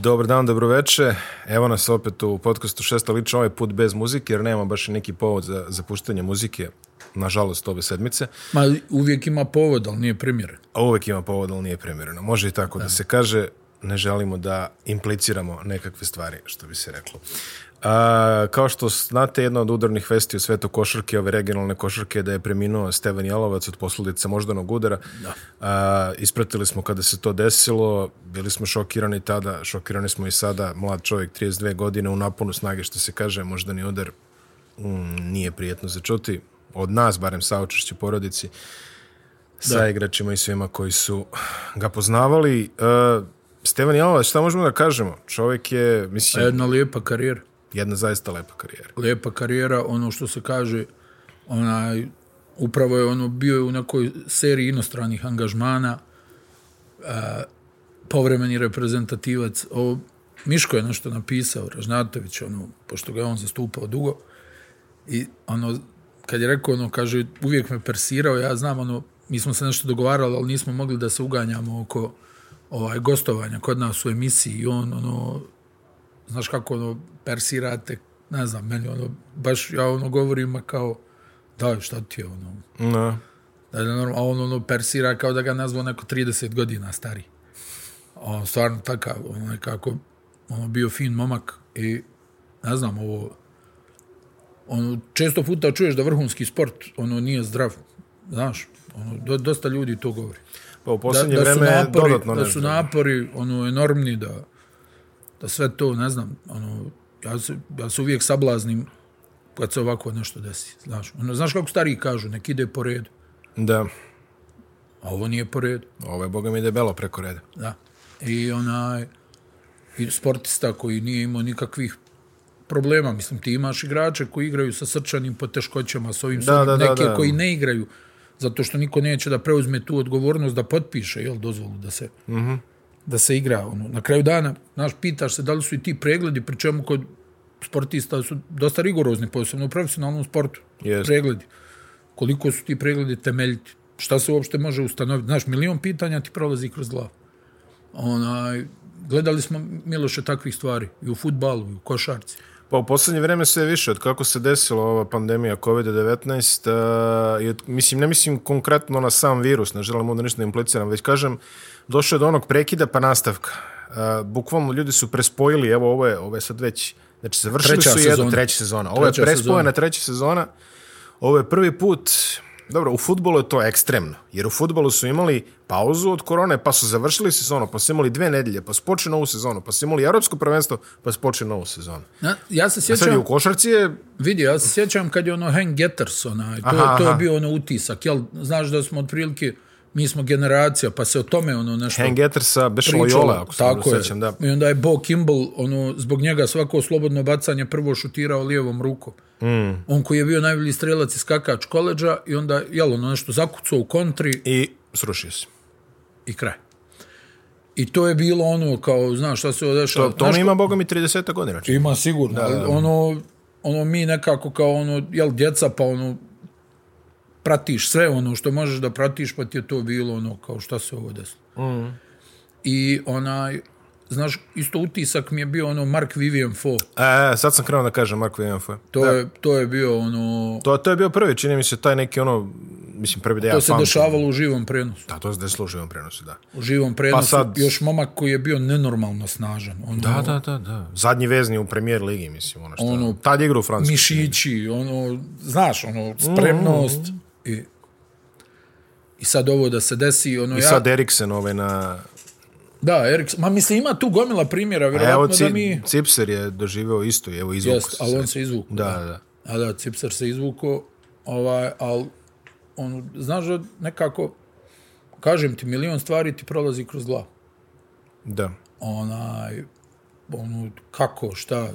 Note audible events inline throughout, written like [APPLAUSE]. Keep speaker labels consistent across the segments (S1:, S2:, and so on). S1: Dobar dan, dobroveče. Evo nas opet u podcastu Šesta lično, ovaj put bez muzike, jer nema baš neki povod za zapuštanje muzike, nažalost, ove sedmice.
S2: Ma uvijek ima povod, ali nije primjeren.
S1: A uvek ima povod, ali nije primjereno. Može i tako da, se kaže, ne želimo da impliciramo nekakve stvari, što bi se reklo. A, kao što znate, jedna od udarnih vesti u svetu košarke, ove regionalne košarke, je da je preminuo Stevan Jalovac od posledica moždanog udara. Da. A, ispratili smo kada se to desilo, bili smo šokirani tada, šokirani smo i sada, mlad čovjek, 32 godine, u naponu snage, što se kaže, moždani udar mm, nije prijetno za čuti. Od nas, barem saučešću porodici, sa igračima i svima koji su ga poznavali. E, Stevan Jalovac, šta možemo da kažemo? Čovjek je,
S2: A
S1: mislim,
S2: jedna lijepa karijera.
S1: jedna zaista lepa karijera.
S2: Lijepa karijera, ono što se kaže, onaj, upravo je ono, bio je u nekoj seriji inostranih angažmana, a, povremeni reprezentativac. O, Miško je nešto napisao, Ražnatović, ono, pošto ga je on zastupao dugo, i ono, kad je rekao, ono, kaže, uvijek me persirao, ja znam, ono, mi smo se nešto dogovarali, ali nismo mogli da se uganjamo oko ovaj, gostovanja kod nas u emisiji i on, ono, znaš kako, ono, persirate, ne znam, meni, ono, baš, ja, ono, govorim, ma kao, daj, šta ti je, ono,
S1: No.
S2: da je normalno, a on, ono, persira kao da ga nazvao neko 30 godina stari. A On stvarno takav, ono, nekako, ono, bio fin momak i, ne znam, ovo, ono, često puta čuješ da vrhunski sport, ono, nije zdrav, znaš, ono, do, dosta ljudi to govori
S1: Pa u
S2: da,
S1: posljednje
S2: da su
S1: vreme je
S2: napori,
S1: dodatno
S2: da
S1: nešto.
S2: su napori ono enormni da da sve to ne znam ono ja se ja se uvijek sablaznim kad se ovako nešto desi znaš ono znaš kako stariji kažu nek ide po redu
S1: Da,
S2: a ovo nije po redu
S1: ovo je, boga mi, debelo preko reda.
S2: da i onaj i sportista koji nije imao nikakvih problema mislim ti imaš igrače koji igraju sa srčanim poteškoćama s ovim s
S1: Da,
S2: onim,
S1: da, da,
S2: neke
S1: da.
S2: koji ne igraju zato što niko neće da preuzme tu odgovornost da potpiše jel dozvolu da se da se igra. Ono. Na kraju dana, znaš, pitaš se da li su i ti pregledi, pri čemu kod sportista su dosta rigorozni, posebno u profesionalnom sportu.
S1: Jest.
S2: Pregledi. Koliko su ti pregledi temeljiti? Šta se uopšte može ustanoviti? Znaš, milion pitanja ti prolazi kroz glavu. Onaj, gledali smo Miloše takvih stvari i u futbalu, i u košarci.
S1: Pa u posljednje vreme sve više, od kako se desila ova pandemija COVID-19, uh, i od- mislim, ne mislim konkretno na sam virus, ne želim onda ništa da impliciram, već kažem, došlo je do onog prekida pa nastavka. Uh, bukvalno ljudi su prespojili, evo ovo je, ovo je sad već, znači završili
S2: Treća
S1: su jednu,
S2: sezona.
S1: treća sezona. Ovo je
S2: Treća
S1: prespojena
S2: sezona.
S1: treća sezona, ovo je prvi put, dobro, u futbolu je to ekstremno, jer u futbolu su imali pauzu od korone, pa su završili sezonu, pa su imali dve nedelje, pa su počeli novu sezonu, pa su imali evropsko prvenstvo, pa su počeli novu sezonu.
S2: Na, ja se
S1: E, Sad je
S2: sjećam,
S1: u košarci je
S2: vidi, ja se sjećam kad je ono Hank Getters, onaj, to,
S1: Aha,
S2: aha, to je
S1: aha.
S2: bio ono utisak, jel, znaš da smo otprilike, mi smo generacija, pa se o tome ono nešto
S1: Hengeter sa Bešlo
S2: pričalo.
S1: Jola, ako se
S2: tako
S1: dobro
S2: je.
S1: sećam, da.
S2: I onda je Bo Kimball, ono, zbog njega svako slobodno bacanje prvo šutirao lijevom rukom. Mm. On koji je bio najbolji strelac i skakač koleđa i onda, jel, ono nešto zakucao u kontri
S1: I srušio se.
S2: i kraj. I to je bilo ono kao, znaš, šta se odešao.
S1: To, to mi ima, boga mi, 30 godina. čini.
S2: Ima sigurno, da, ali ono, ono mi nekako kao ono, jel, djeca pa ono, pratiš sve ono što možeš da pratiš, pa ti je to bilo ono kao šta se ovo desilo. Mm. I onaj, znaš, isto utisak mi je bio ono Mark Vivian Fo.
S1: E, sad sam krenuo da kažem Mark Williamfo.
S2: To, je, to je bio ono,
S1: To, to je bio prvi, čini mi se, taj neki ono, mislim, prvi da ja
S2: to se
S1: pamtim.
S2: dešavalo u živom prenosu.
S1: Da, to se desilo u živom prenosu, da.
S2: U živom prenosu,
S1: sad-
S2: još momak koji je bio nenormalno snažan. Ono,
S1: Da, da, da, da. Zadnji vezni u premijer ligi, mislim, ono što. Ono,
S2: Ono,
S1: Tad je igra u Francusku.
S2: mišići, ono, znaš, ono, spremnost.
S1: Mm.
S2: I, I sad ovo da se desi, ono,
S1: I
S2: ja...
S1: sad Eriksen ovaj na...
S2: Da, Eriks, ma mislim ima tu gomila primjera,
S1: Evo,
S2: vjerovatno
S1: ci,
S2: da mi...
S1: Cipser je doživeo isto, evo izvuk.
S2: Jest, ali on se izvukao.
S1: Da, da.
S2: A da, Cipsar se izvukao, ovaj, ali on, znaš da nekako, kažem ti, milion stvari ti prolazi kroz glavu.
S1: Da.
S2: Onaj, ono, kako, šta,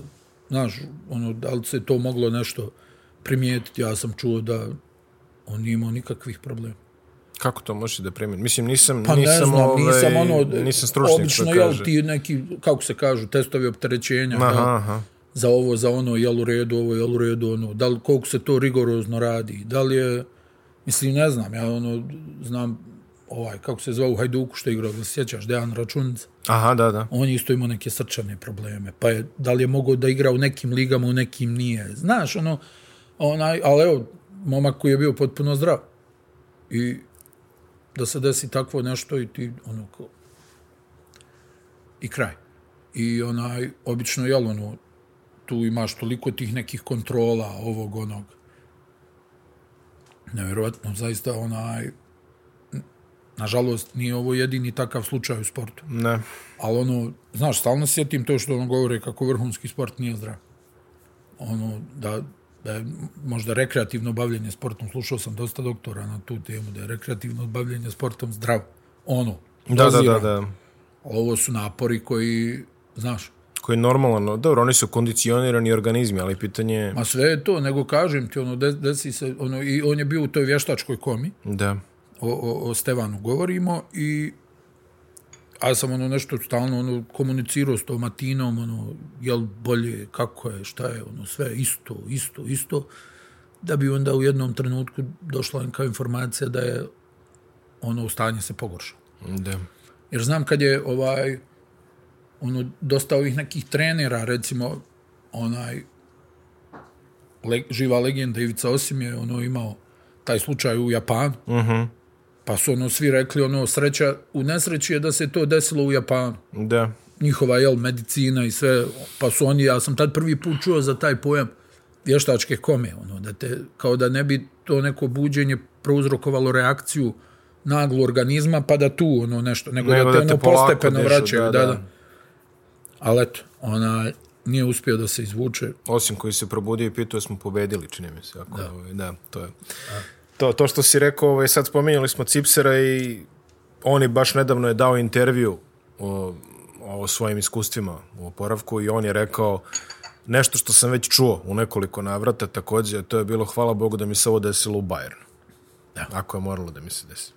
S2: znaš, ono, da li se to moglo nešto primijetiti, ja sam čuo da on nije imao nikakvih problema.
S1: Kako to možeš da primim? Mislim, nisam,
S2: Pa
S1: nisam,
S2: ne znam,
S1: ovaj,
S2: nisam ono,
S1: nisam stručnjak,
S2: obično,
S1: što
S2: jel,
S1: kaže.
S2: ti neki, kako se kažu, testovi opterećenja, jel,
S1: Aha, aha.
S2: za ovo, za ono, jel u redu, ovo, jel u redu, ono, da li, koliko se to rigorozno radi, da li je, mislim, ne znam, ja ono, znam ovaj, kako se zvao u Hajduku što je igrao, da se sjećaš, Dejan Računica.
S1: Aha, da, da.
S2: On je isto imao neke srčane probleme, pa je, da li je mogao da igra u nekim ligama, u nekim nije. Znaš, ono, onaj, ali evo, momak koji je bio potpuno zdrav. I da se desi takvo nešto i ti, ono, ko... i kraj. I onaj, obično, jel, ono, tu imaš toliko tih nekih kontrola, ovog, onog. Nevjerovatno, zaista, onaj, nažalost, nije ovo jedini takav slučaj u sportu.
S1: Ne.
S2: Ali ono, znaš, stalno sjetim to što ono govore kako vrhunski sport nije zdrav. Ono, da, da je možda rekreativno bavljenje sportom, slušao sam dosta doktora na tu temu, da je rekreativno bavljenje sportom zdrav. Ono,
S1: Da, da, da,
S2: doziran.
S1: da.
S2: Ali ovo su napori koji, znaš,
S1: Koji je normalno, no, dobro, oni su kondicionirani organizmi, ali pitanje je...
S2: ma sve je to, nego kažem ti, ono, de- desi se, ono, i on je bio u toj vještačkoj komi,
S1: Da.
S2: o, o, o Stevanu govorimo i a ja sam ono nešto stalno ono komunicirao s tom Matinom, ono, jel bolje, kako je, šta je, ono, sve isto, isto, isto, da bi onda u jednom trenutku došla im kao informacija da je ono stanje se pogoršalo.
S1: Da.
S2: Jer znam kad je ovaj ono dosta ovih nekih trenera recimo onaj le, živa legenda Ivica Osim je ono imao taj slučaj u Japanu. Uh -huh. Pa su ono svi rekli ono sreća u nesreći je da se to desilo u Japanu.
S1: Da.
S2: Njihova jel medicina i sve pa su oni ja sam tad prvi put čuo za taj pojam vještačke kome ono da te kao da ne bi to neko buđenje prouzrokovalo reakciju naglu organizma pa da tu ono nešto nego,
S1: Nego
S2: da te
S1: da te
S2: ono
S1: polako
S2: postepeno
S1: dišu,
S2: vraćaju
S1: da,
S2: da, da,
S1: da.
S2: da. ali eto ona nije uspio da se izvuče
S1: Osim koji se probudio i pitao smo pobedili, čini mi se. Ako, da. Ovaj, da, to je. To, to što si rekao, ovaj, sad spominjali smo Cipsera i on je baš nedavno je dao intervju o, o svojim iskustvima u oporavku i on je rekao nešto što sam već čuo u nekoliko navrata takođe, a to je bilo hvala Bogu da mi se ovo desilo u Bayernu. Da. Ako je moralo da mi se desi.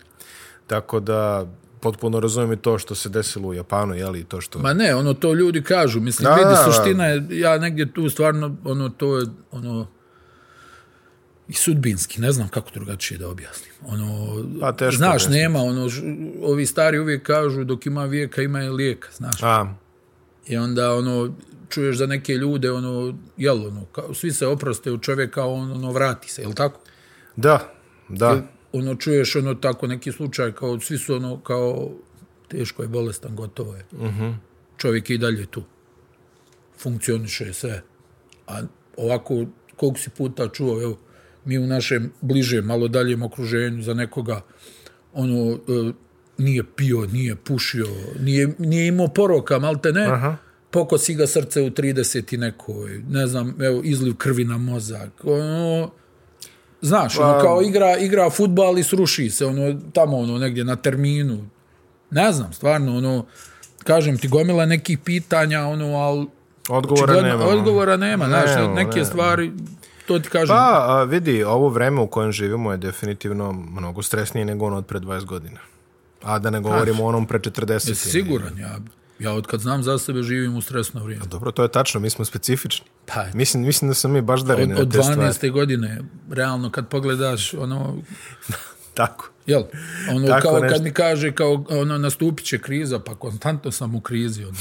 S1: Tako da potpuno razumijem i to što se desilo u Japanu, jeli, i to što...
S2: Ma ne, ono to ljudi kažu, mislim,
S1: Da,
S2: da, vidi,
S1: da, da.
S2: suština je, ja negdje tu stvarno, ono, to je, ono, i sudbinski, ne znam kako drugačije da objasnim. Ono,
S1: Pa, teško
S2: znaš,
S1: objasniti.
S2: nema, ono, ž- ovi stari uvijek kažu, dok ima vijeka, ima i lijeka, znaš.
S1: A,
S2: I onda, ono, čuješ za neke ljude, ono, jel, ono, kao, svi se oproste u čovjeka, on, ono, vrati se, jel tako?
S1: da, da,
S2: Ono, čuješ, ono, tako neki slučaj, kao, svi su, ono, kao, teško je, bolestan, gotovo je. Uh -huh. Čovjek je i dalje tu. Funkcioniše sve. A ovako, koliko si puta čuo, evo, mi u našem bližem, malo daljem okruženju za nekoga, ono, e, nije pio, nije pušio, nije, nije imao poroka, malte ne, Aha. pokosi ga srce u 30 i nekoj, ne znam, evo, izliv krvi na mozak, ono, znaš,
S1: Pa-
S2: ono, kao igra, igra futbal i sruši se, ono, tamo, ono, negdje na terminu, ne znam, stvarno, ono, kažem ti, gomila nekih pitanja, ono, ali
S1: odgovora
S2: Očigledno,
S1: nema. ono.
S2: Odgovora nema, znaš,
S1: Nemamo,
S2: neke
S1: nemamo.
S2: stvari, to ti kažem.
S1: Pa, a, vidi, ovo vreme u kojem živimo je definitivno mnogo stresnije nego ono od pre 20 godina. A da ne govorimo o onom pre 40.
S2: jesi siguran, ja, ja od kad znam za sebe živim u stresno vrijeme.
S1: Dobro, to je tačno, mi smo specifični.
S2: Pa,
S1: Mislim, mislim da sam mi baš dareni
S2: od, od
S1: na te stvari.
S2: 12. godine, realno, kad pogledaš, ono,
S1: Tako.
S2: jel, ono,
S1: Tako
S2: kao
S1: nešto.
S2: kad mi kaže, kao, ono, nastupit će kriza, pa konstantno sam u
S1: [LAUGHS]
S2: krizi, ono.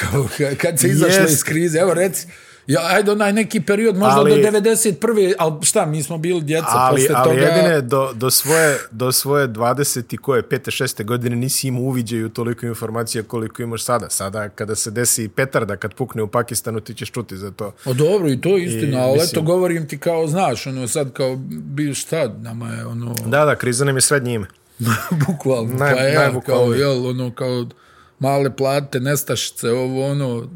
S2: kao, ka- kad se izašlo
S1: Jest.
S2: iz krize, evo, reci, Ja, ajde, onaj neki period, možda
S1: Ali-
S2: do 91. Ali šta, mi smo bili djeca
S1: Ali,
S2: posle
S1: ali
S2: toga.
S1: jedine, do, do, svoje, do svoje 20. i koje, 5. 6. godine nisi imao uviđaju toliko informacija koliko imaš sada. Sada, kada se desi petarda, kad pukne u Pakistanu, ti ćeš čuti za to.
S2: O dobro, i to je istina, ali
S1: mislim-
S2: eto govorim ti kao, znaš, ono sad kao, bi šta, nama je ono, [LAUGHS]
S1: Da, da, kriza nam je srednje ime.
S2: bukvalno,
S1: Naj-
S2: pa ja, kao,
S1: najbukvalnije.
S2: jel, ono, kao, male plate, nestašice, ovo, ono,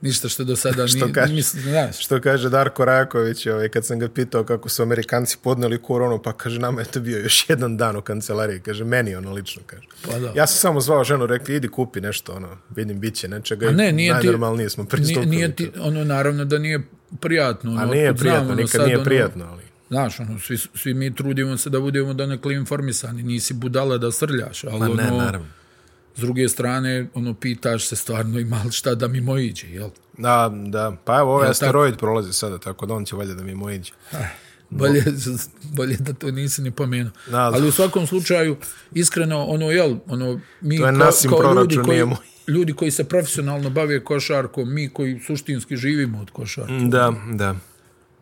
S2: ništa što do sada
S1: [LAUGHS]
S2: nije,
S1: kažeš?
S2: mislim, znaš,
S1: Što kaže Darko Raković, ovaj, kad sam ga pitao kako su Amerikanci podneli koronu, pa kaže, nama je to bio još jedan dan u kancelariji, kaže, meni ono lično, kaže.
S2: Pa da.
S1: Ja sam samo zvao ženu, rekli, idi kupi nešto, ono, vidim, bit će nečega.
S2: A ne,
S1: i
S2: nije ti-
S1: Najnormalnije smo pristupili.
S2: nije, nije ti, ono, naravno da nije prijatno, ono,
S1: A nije
S2: otkud
S1: prijatno,
S2: ono,
S1: nikad
S2: sad,
S1: nije
S2: ono,
S1: prijatno, ali...
S2: Znaš, ono, svi, svi mi trudimo se da budemo donekle informisani, nisi budala da srljaš, ali
S1: Pa
S2: ono,
S1: ne, naravno.
S2: s druge strane, ono, pitaš se stvarno ima li šta da mi mojiđe, jel?
S1: Da, da. Pa evo, ovaj
S2: Jel tako?
S1: asteroid prolazi sada, tako da on će valjda da mi mojiđe.
S2: bolje, [LAUGHS] bolje da to nisi ni pomenuo.
S1: Da, da.
S2: Ali u svakom slučaju, iskreno, ono, jel, ono, mi
S1: To je
S2: kao,
S1: Nasim
S2: kao ljudi
S1: proračun,
S2: koji,
S1: nije moj.
S2: ljudi koji se profesionalno bave košarkom, mi koji suštinski živimo od košarka,
S1: Mm, Da, da.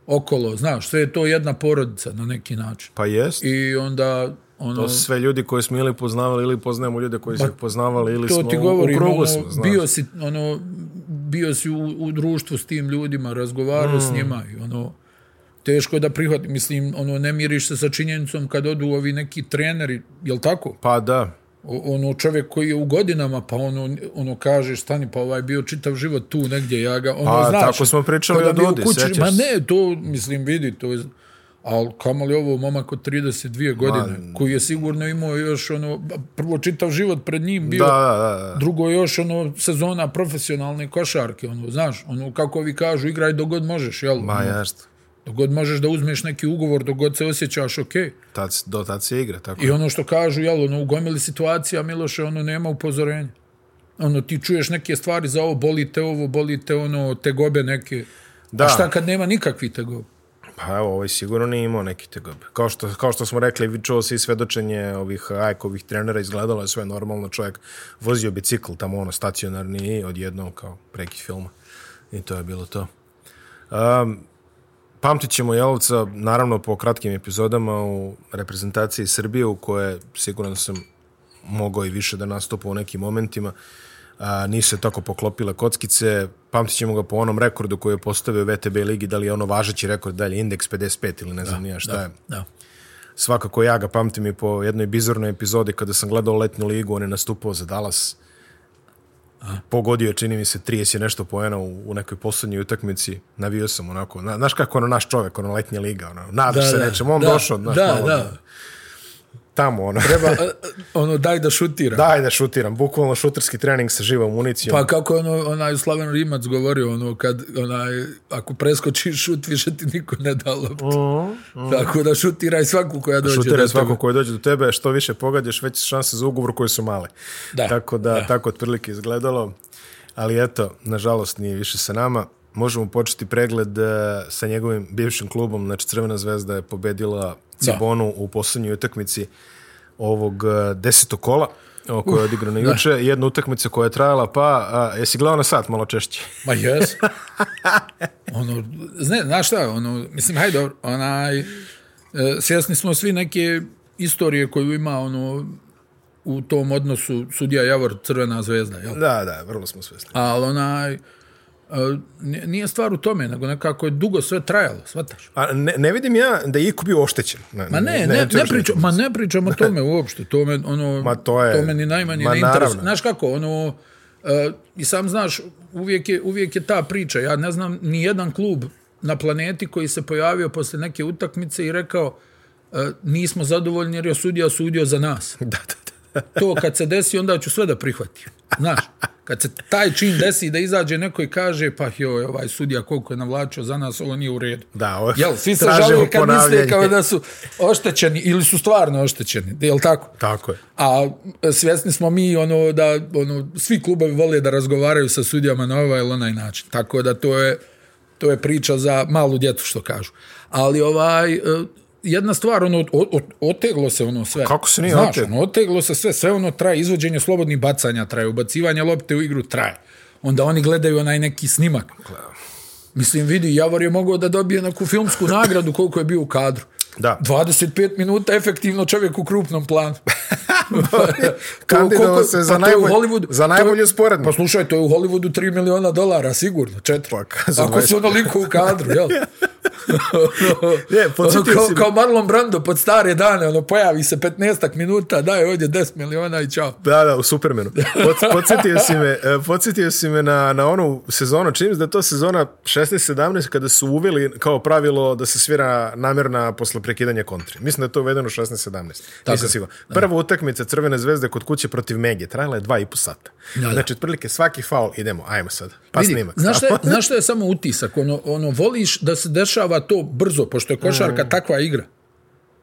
S2: okolo, znaš, sve je to jedna porodica na neki način.
S1: Pa jest.
S2: I onda, ono,
S1: To su sve ljudi koji smo ili poznavali ili poznajemo ljude koji su ih poznavali ili
S2: to
S1: smo
S2: ti
S1: u-
S2: govorim,
S1: u krugu
S2: ono,
S1: smo, znaš.
S2: bio si, ono, bio si u, u društvu s tim ljudima, razgovarao
S1: Mm.
S2: s njima i ono, teško je da prihvatim, mislim, ono, ne miriš se sa činjenicom kad odu ovi neki treneri, jel tako?
S1: Pa da,
S2: O, ono, čovjek koji je u godinama, pa ono, ono kaže, stani, pa ovaj bio čitav život tu negdje, ja ga, ono,
S1: Pa,
S2: znaš.
S1: tako smo pričali
S2: kada
S1: o
S2: bi u
S1: Dodi, sjećaš
S2: Ma
S1: se?
S2: ne, to, mislim, vidi, to je, ali kamali ovo momak od 32 godine, koji je sigurno imao još, ono, prvo čitav život pred njim bio,
S1: da, da, da.
S2: Drugo još ono sezona profesionalne košarke, ono znaš, ono kako vi kažu igraj dok god možeš, jel?
S1: Ma jašt.
S2: Dok god možeš da uzmeš neki ugovor, dok god se osjećaš okej.
S1: Tad, s- do tad se igra, tako.
S2: I ono što kažu, jel, ono u gomili situacija Miloše, ono nema upozorenja. Ono ti čuješ neke stvari za ovo, boli te ovo, boli te ono, tegobe neke.
S1: Da.
S2: A šta kad nema nikakvi tegobe?
S1: Pa evo, ovaj sigurno nije imao neki tegobe. Kao što, kao što smo rekli, vi čuo se i svedočenje ovih ajkovih trenera, izgledalo je sve normalno, čovjek vozio bicikl tamo ono stacionarni i odjednom kao preki filma. I to je bilo to. Um, pamtit ćemo Jelovca, naravno po kratkim epizodama u reprezentaciji Srbije, u koje siguran sam mogao i više da nastupa u nekim momentima. A, nisu se tako poklopile kockice. Pamtit ćemo ga po onom rekordu koji je postavio VTB ligi, da li je ono važeći rekord dalje, indeks 55 ili ne znam da, nija šta da. je.
S2: Da.
S1: Svakako ja ga pamtim i po jednoj bizarnoj epizodi kada sam gledao letnju ligu, on je nastupao za Dallas. A? Pogodio je, čini mi se, 30 i nešto poena u, u nekoj poslednjoj utakmici. Navio sam onako, na, znaš kako ono naš čovek, ono letnja liga, ono, nadaš
S2: Da,
S1: se
S2: da,
S1: nečem, on
S2: da,
S1: došao, znaš,
S2: da,
S1: malo,
S2: da.
S1: tamo, ono.
S2: Treba, a, a, ono, daj da šutira.
S1: [LAUGHS] Daj da šutiram, bukvalno šuterski trening sa živom municijom.
S2: Pa kako je ono, onaj Slaven Rimac govorio, ono, kad, onaj, ako preskočiš šut, više ti niko ne da loptu. Tako da šutiraj svaku koja dođe.
S1: Mhm, šutira
S2: do
S1: svako
S2: tebe.
S1: koji dođe do tebe, što više pogađaš, veće su šanse za ugovor koje su male.
S2: Da,
S1: tako da, da. tako otprilike izgledalo. Ali eto, nažalost nije više sa nama. Možemo početi pregled eh, sa njegovim bivšim klubom, znači Crvena zvezda je pobedila Cibonu u posljednjoj utakmici ovog eh, desetog kola o kojoj je odigrano juče. Jedna utakmica koja je trajala, pa a, jesi gledao na sat malo
S2: [LAUGHS]
S1: češće?
S2: Ma jes. ono, zne, znaš šta, ono, mislim, hajde, dobro, onaj, e, svjesni smo svi neke istorije koju ima, ono, u tom odnosu sudija Javor Crvena zvezda, jel?
S1: Da, da, vrlo smo svesni.
S2: Ali onaj, e, nije- nije stvar u tome, nego nekako je dugo sve trajalo, shvataš?
S1: A ne, ne vidim ja da je iko bio oštećen.
S2: Ma ne, ne, ne,
S1: to je
S2: ne
S1: još
S2: pričam, ma ne pričam o tome uopšte. To me, ono,
S1: Ma to je-
S2: to me ni najmanje
S1: ma
S2: ne interesuje.
S1: naravno.
S2: Znaš kako, ono, uh, i sam znaš, uvijek je, uvijek je ta priča. Ja ne znam ni jedan klub na planeti koji se pojavio posle neke utakmice i rekao uh, nismo zadovoljni jer je sudija sudio za
S1: [LAUGHS]
S2: nas.
S1: Da, da, da.
S2: To kad se desi, onda ću sve da prihvatim. Znaš, kad se taj čin desi da izađe neko i kaže pa joj, ovaj sudija koliko je navlačio za nas, ovo nije u redu.
S1: Da, ovo,
S2: Jel, svi se
S1: tražimo
S2: žale kad misle
S1: ponavljanje.
S2: kao da su oštećeni ili su stvarno oštećeni, jel tako?
S1: [LAUGHS] Tako
S2: [LAUGHS]
S1: je.
S2: A e, svjesni smo mi ono da ono svi klubovi vole da razgovaraju sa sudijama na ovaj ili onaj način. Tako da to je to je priča za malu djecu što kažu. Ali ovaj e, jedna stvar ono o- o- oteglo se ono sve.
S1: kako se nije
S2: Znaš,
S1: oteglo?
S2: ono, oteglo se sve, sve ono traje, izvođenje slobodnih bacanja traje, ubacivanje lopte u igru traje. Onda oni gledaju onaj neki snimak. Mislim, vidi, Javor je mogao da dobije neku filmsku nagradu koliko je bio u kadru.
S1: Da.
S2: 25 minuta efektivno čovjek u
S1: [LAUGHS]
S2: krupnom planu.
S1: Kandidovao
S2: koliko-
S1: se za
S2: pa to je u
S1: najbolj-
S2: Hollywoodu-
S1: za
S2: to je-
S1: najbolju sporednu.
S2: Pa
S1: [LAUGHS]
S2: slušaj, to je u Hollywoodu 3 miliona dolara, sigurno, 4.
S1: Pa, kažem,
S2: Ako su onoliko u kadru,
S1: [LAUGHS]
S2: jel? Ono,
S1: Ne, podsjetio
S2: kao,
S1: si me.
S2: kao Marlon Brando pod stare dane, ono, pojavi se 15 minuta, daje ovdje 10 miliona i čao.
S1: Da, da, u Supermanu.
S2: [LAUGHS]
S1: Pod- Podsjetio si me, e, podsjetio si me na, na onu sezonu, čini mi se da je to sezona 16-17 kada su uveli kao pravilo da se svira namjerna posle prekidanja kontri. Mislim da je to uvedeno 16-17. Nisam
S2: je.
S1: siguran. Prva utakmica Crvene zvezde kod kuće protiv Mege trajala je dva i po sata.
S2: da.
S1: Znači, otprilike svaki faul, idemo, ajmo sad. Pa
S2: Vidi,
S1: snimak.
S2: Znaš šta, je, znaš šta je samo utisak? Ono, ono, voliš da se dešava to brzo, pošto je
S1: Mm.
S2: košarka takva igra.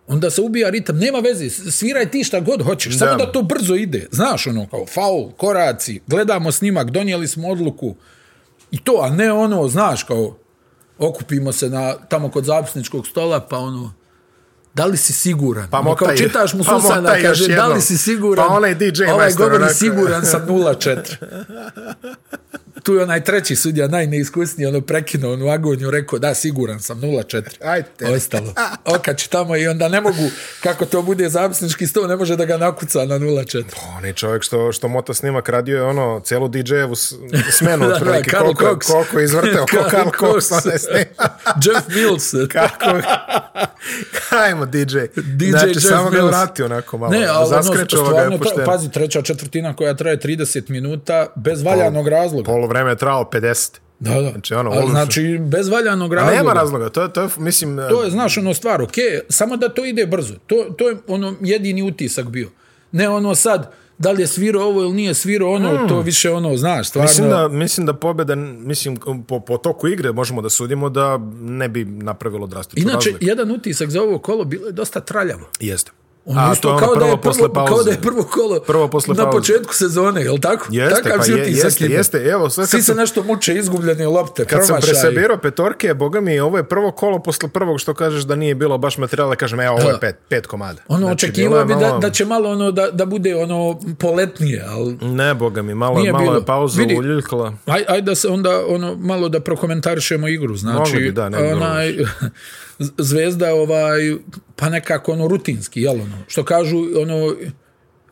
S2: Onda se ubija ritam, nema veze, s- sviraj ti šta god hoćeš, samo
S1: Da.
S2: da to brzo ide. Znaš, ono, kao faul, koraci, gledamo snimak, donijeli smo odluku. I to, a ne ono, znaš, kao, okupimo se na, tamo kod zapisničkog stola, pa ono, da li si siguran?
S1: Pa
S2: Ono,
S1: motaj-
S2: kao čitaš mu
S1: pa
S2: Susana,
S1: motaj još
S2: kaže, da
S1: jednom.
S2: li si siguran?
S1: Pa onaj DJ
S2: Ovaj
S1: majstor,
S2: govori
S1: onako.
S2: siguran sa 0-4. tu je onaj treći sudija, najneiskusniji, ono prekinuo onu agoniju, rekao, da, siguran sam, 0-4.
S1: Ajte. [LAUGHS]
S2: Ostalo. Okači tamo i onda ne mogu, kako to bude zapisnički sto, ne može da ga nakuca na 0-4.
S1: Pa Onaj čovjek što, što mota snimak radio je ono celu DJ-evu s- smenu
S2: [LAUGHS] Da, da,
S1: otprilike,
S2: Karl
S1: koliko, je-
S2: Cox.
S1: koliko je
S2: [LAUGHS]
S1: izvrteo, ko Karl Cox onaj snima.
S2: Jeff Mills.
S1: [LAUGHS] Kako? Ajmo
S2: [LAUGHS]
S1: DJ.
S2: DJ
S1: znači,
S2: Jeff
S1: samo ga je
S2: Mills.
S1: vratio onako malo.
S2: Ne, ali ono,
S1: Zaskrečao ga
S2: stvarno,
S1: je
S2: pra,
S1: pošteno.
S2: pazi, treća četvrtina koja traje 30 minuta bez valjanog razloga.
S1: Polo vreme je trao 50.
S2: Da, da.
S1: Pa, Znači, ono,
S2: Ali,
S1: ono-
S2: znači bez valjanog razloga.
S1: Nema razloga, to je, to je mislim... eh,
S2: To je, znaš, ono stvar, okej, samo da to ide brzo. To, to je ono jedini utisak bio. Ne ono sad, da li je svirao ovo ili nije svirao ono, to više ono, znaš, stvarno.
S1: Hmm. Mislim da, mislim da pobjeda, mislim, po, po toku igre možemo da sudimo da ne bi napravilo drastičnu
S2: Inače,
S1: razliku.
S2: jedan utisak za ovo kolo bilo je dosta traljavo.
S1: Jeste.
S2: Ono
S1: A
S2: isto
S1: to je ono
S2: kao, da
S1: prvo
S2: je prvo,
S1: posle pauze.
S2: kao da je prvo kolo
S1: Prvo posle
S2: na
S1: pauze.
S2: početku sezone, jel tako?
S1: Jeste,
S2: Takav
S1: pa
S2: si
S1: je-
S2: utisak
S1: jeste,
S2: imao.
S1: jeste. Evo, sad
S2: Svi
S1: kad
S2: se
S1: sam-
S2: nešto muče izgubljene lopte,
S1: Kad sam
S2: promašaji.
S1: presabirao petorke, boga mi, ovo je prvo kolo posle prvog što kažeš da nije bilo baš materijala, kažem, evo, ovo
S2: Da.
S1: je pet, pet komada.
S2: Ono,
S1: Znači,
S2: očekivao bi
S1: bilo je
S2: da,
S1: malo-
S2: da će malo ono, da, da bude ono poletnije, ali
S1: Ne, boga mi, malo,
S2: Nije
S1: je- malo
S2: bilo.
S1: je pauza
S2: Vidi.
S1: uljuljkala.
S2: Aj, aj da se onda ono malo da prokomentarišemo igru. Znači,
S1: Mogli bi, da, ne bi bilo
S2: onaj, Z- [LAUGHS] zvezda ovaj, pa nekako ono rutinski, jel ono? Što kažu, ono,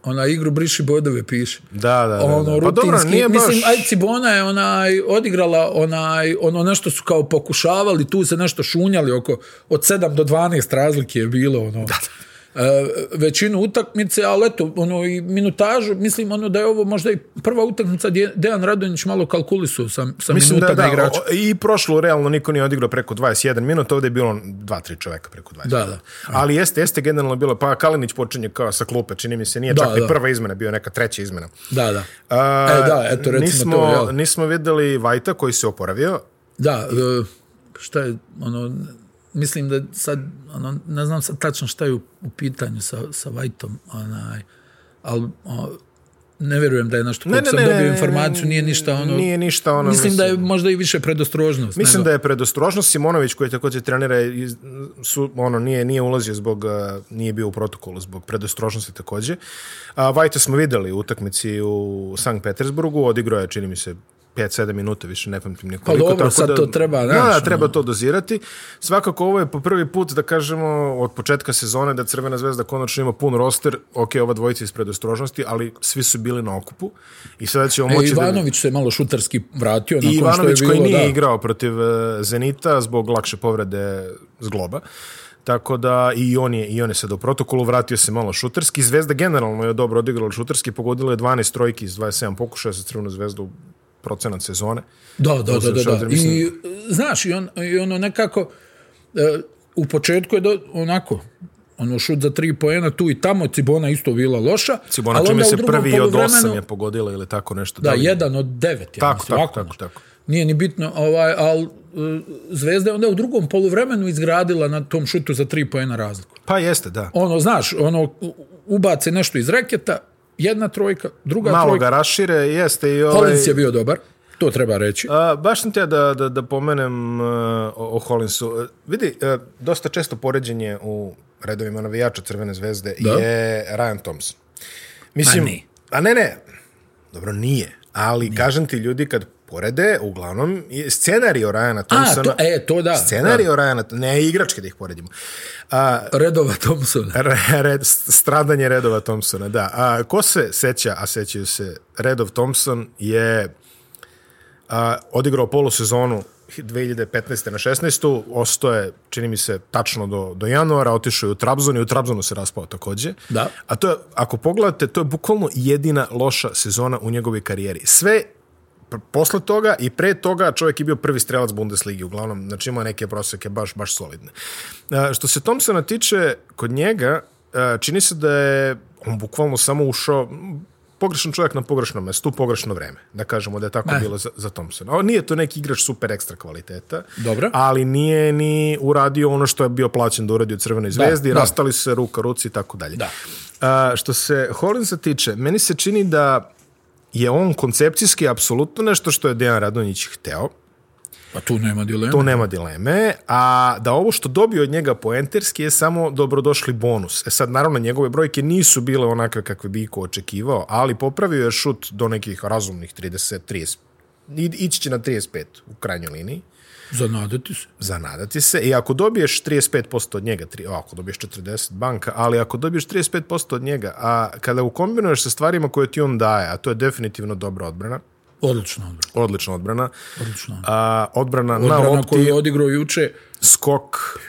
S2: ona igru briši bodove piše.
S1: Da, da, da. da.
S2: Ono,
S1: pa dobro, nije baš...
S2: Mislim, aj Cibona je onaj, odigrala onaj, ono nešto su kao pokušavali, tu se nešto šunjali oko, od 7 do 12 razlike je bilo,
S1: [LAUGHS]
S2: ono. E, većinu utakmice, ali eto, ono, i minutažu, mislim, ono, da je ovo možda i prva utakmica gdje je Dejan Radonjić malo kalkulisao sa, sa
S1: Mislim da,
S2: minutama
S1: da,
S2: igrača.
S1: o- i prošlo realno niko nije odigrao preko 21 minuta, ovdje je bilo 2-3 čoveka preko 20.
S2: Da, da.
S1: Ali jeste, jeste generalno bilo, pa Kalinić počinje kao sa klupe, čini mi se, nije
S2: Da,
S1: čak ni
S2: da.
S1: prva izmena, bio je neka treća izmena.
S2: Da, da.
S1: A,
S2: E, da, eto, recimo
S1: nismo,
S2: to, jel?
S1: Nismo videli Vajta koji se oporavio,
S2: Da, e, šta je, ono, mislim da sad, ono, ne znam sad tačno šta je u, u pitanju sa, sa Vajtom, onaj, ali o, ne vjerujem da je nešto,
S1: Ne,
S2: koliko
S1: ne,
S2: sam
S1: ne,
S2: dobio
S1: ne,
S2: informaciju, nije ništa ono...
S1: nije ništa ono...
S2: mislim, da je možda i više predostrožnost.
S1: Mislim
S2: nego-
S1: da je predostrožnost Simonović koji također trenira je iz- su, ono nije nije ulazio zbog uh, nije bio u protokolu zbog predostrožnosti također. A Vajta smo videli u utakmici u Sankt Petersburgu, odigrao je čini mi se 5-7 minuta, više ne pamtim nekoliko.
S2: Pa dobro, sad to treba,
S1: da,
S2: znaš, ono.
S1: da, treba to dozirati. Svakako ovo je po prvi put da kažemo od početka sezone da Crvena zvezda konačno ima pun roster, ok, ova dvojica iz predostrožnosti, ali svi su bili na okupu i sada ćemo
S2: E,
S1: moći da...
S2: Ivanović se malo šutarski vratio nakon
S1: I Ivanović
S2: što je
S1: koji
S2: bilo,
S1: nije
S2: da.
S1: igrao protiv e, Zenita zbog lakše povrede zgloba. Tako da i on je, i on je sad u protokolu, vratio se malo šuterski. Zvezda generalno je dobro odigrala šuterski, pogodila je 12 trojki iz 27 pokušaja sa Crvenu zvezdu procenat sezone.
S2: Da, da, da, da,
S1: Uzeo
S2: da.
S1: šalter,
S2: I
S1: mislim.
S2: znaš, i, on, i ono nekako e, u početku je do, onako ono šut za tri poena tu i tamo Cibona isto bila loša.
S1: Cibona
S2: ali
S1: čini mi
S2: onda u
S1: ono se
S2: drugom
S1: prvi od
S2: poluvremenu-
S1: 8 je pogodila ili tako nešto.
S2: Da,
S1: li-
S2: jedan od devet. Ja
S1: Tako,
S2: mislim,
S1: tako,
S2: ovako
S1: tako,
S2: nešto.
S1: tako.
S2: Nije ni bitno, ovaj, ali e, Zvezda je onda u drugom poluvremenu izgradila na tom šutu za tri poena razliku.
S1: Pa jeste, da.
S2: Ono, znaš, ono, u- ubace nešto iz reketa, jedna trojka, druga
S1: Malo
S2: trojka.
S1: ga rašire, jeste i ovaj...
S2: Collins je bio dobar, to treba reći.
S1: A, baš sam te da, da, da pomenem uh, o, o Hollinsu. Uh, vidi, uh, dosta često poređenje u redovima navijača Crvene zvezde da? je Ryan Thompson. Mislim,
S2: Pa nije.
S1: a ne, ne, dobro, nije. Ali, nije. kažem ti, ljudi kad porede, uglavnom, je scenarij o Ryana
S2: A,
S1: Thompsona...
S2: to, e, to da.
S1: Scenarij o Ryana, ne igračke da ih poredimo. A,
S2: da. Redova Thompsona.
S1: Re- Red, stradanje redova Thompsona, da. A, ko se seća, a sećaju se, redov Thompson je a, odigrao polusezonu 2015. na 16. Ostao je, čini mi se, tačno do, do januara, otišao je u Trabzon i u Trabzonu se raspao takođe.
S2: Da.
S1: A to je, ako pogledate, to je bukvalno jedina loša sezona u njegovoj karijeri. Sve p- posle toga i pre toga čovjek je bio prvi strelac Bundesligi, uglavnom, znači imao je neke proseke baš, baš solidne. E, Što se Thompsona tiče, kod njega e, čini se da je on bukvalno samo ušao m, pogrešan čovjek na pogrešnom mestu, u pogrešno vreme, da kažemo da je tako
S2: Ne.
S1: bilo za, za Thompsona. O, nije to neki igrač super ekstra kvaliteta,
S2: Dobro.
S1: ali nije ni uradio ono što je bio plaćen da uradi u Crvenoj zvezdi,
S2: da.
S1: rastali su se ruka, ruci i tako dalje.
S2: Da.
S1: A, što se Holinsa tiče, meni se čini da je on koncepcijski apsolutno nešto što je Dejan Radonjić hteo.
S2: Pa tu nema dileme.
S1: Tu nema dileme, a da ovo što dobio od njega poenterski je samo dobrodošli bonus. E sad, naravno, njegove brojke nisu bile onakve kakve bi iko očekivao, ali popravio je šut do nekih razumnih 30, 30, I- ići će na 35 u krajnjoj liniji.
S2: Zanadati se.
S1: Zanadati se. I ako dobiješ 35% od njega, tri, ako dobiješ 40 banka, ali ako dobiješ 35% od njega, a kada ukombinuješ sa stvarima koje ti on daje, a to je definitivno dobra odbrana,
S2: Odlično odbrana.
S1: odlična odbrana,
S2: Odlično. odbrana.
S1: a, odbrana,
S2: Odbrana
S1: na
S2: koju
S1: opti,
S2: je odigrao juče.
S1: skok,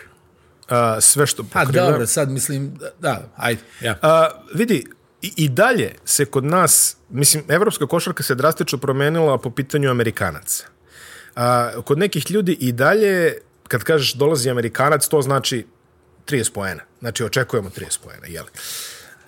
S1: a, sve što
S2: A
S1: pokriva.
S2: dobro, sad mislim, da, da ajde. Ja.
S1: A, vidi, i, i dalje se kod nas, mislim, evropska košarka se drastično promenila po pitanju Amerikanaca. A, kod nekih ljudi i dalje, kad kažeš dolazi Amerikanac, to znači 30 poena. Znači, očekujemo 30 poena, jeli?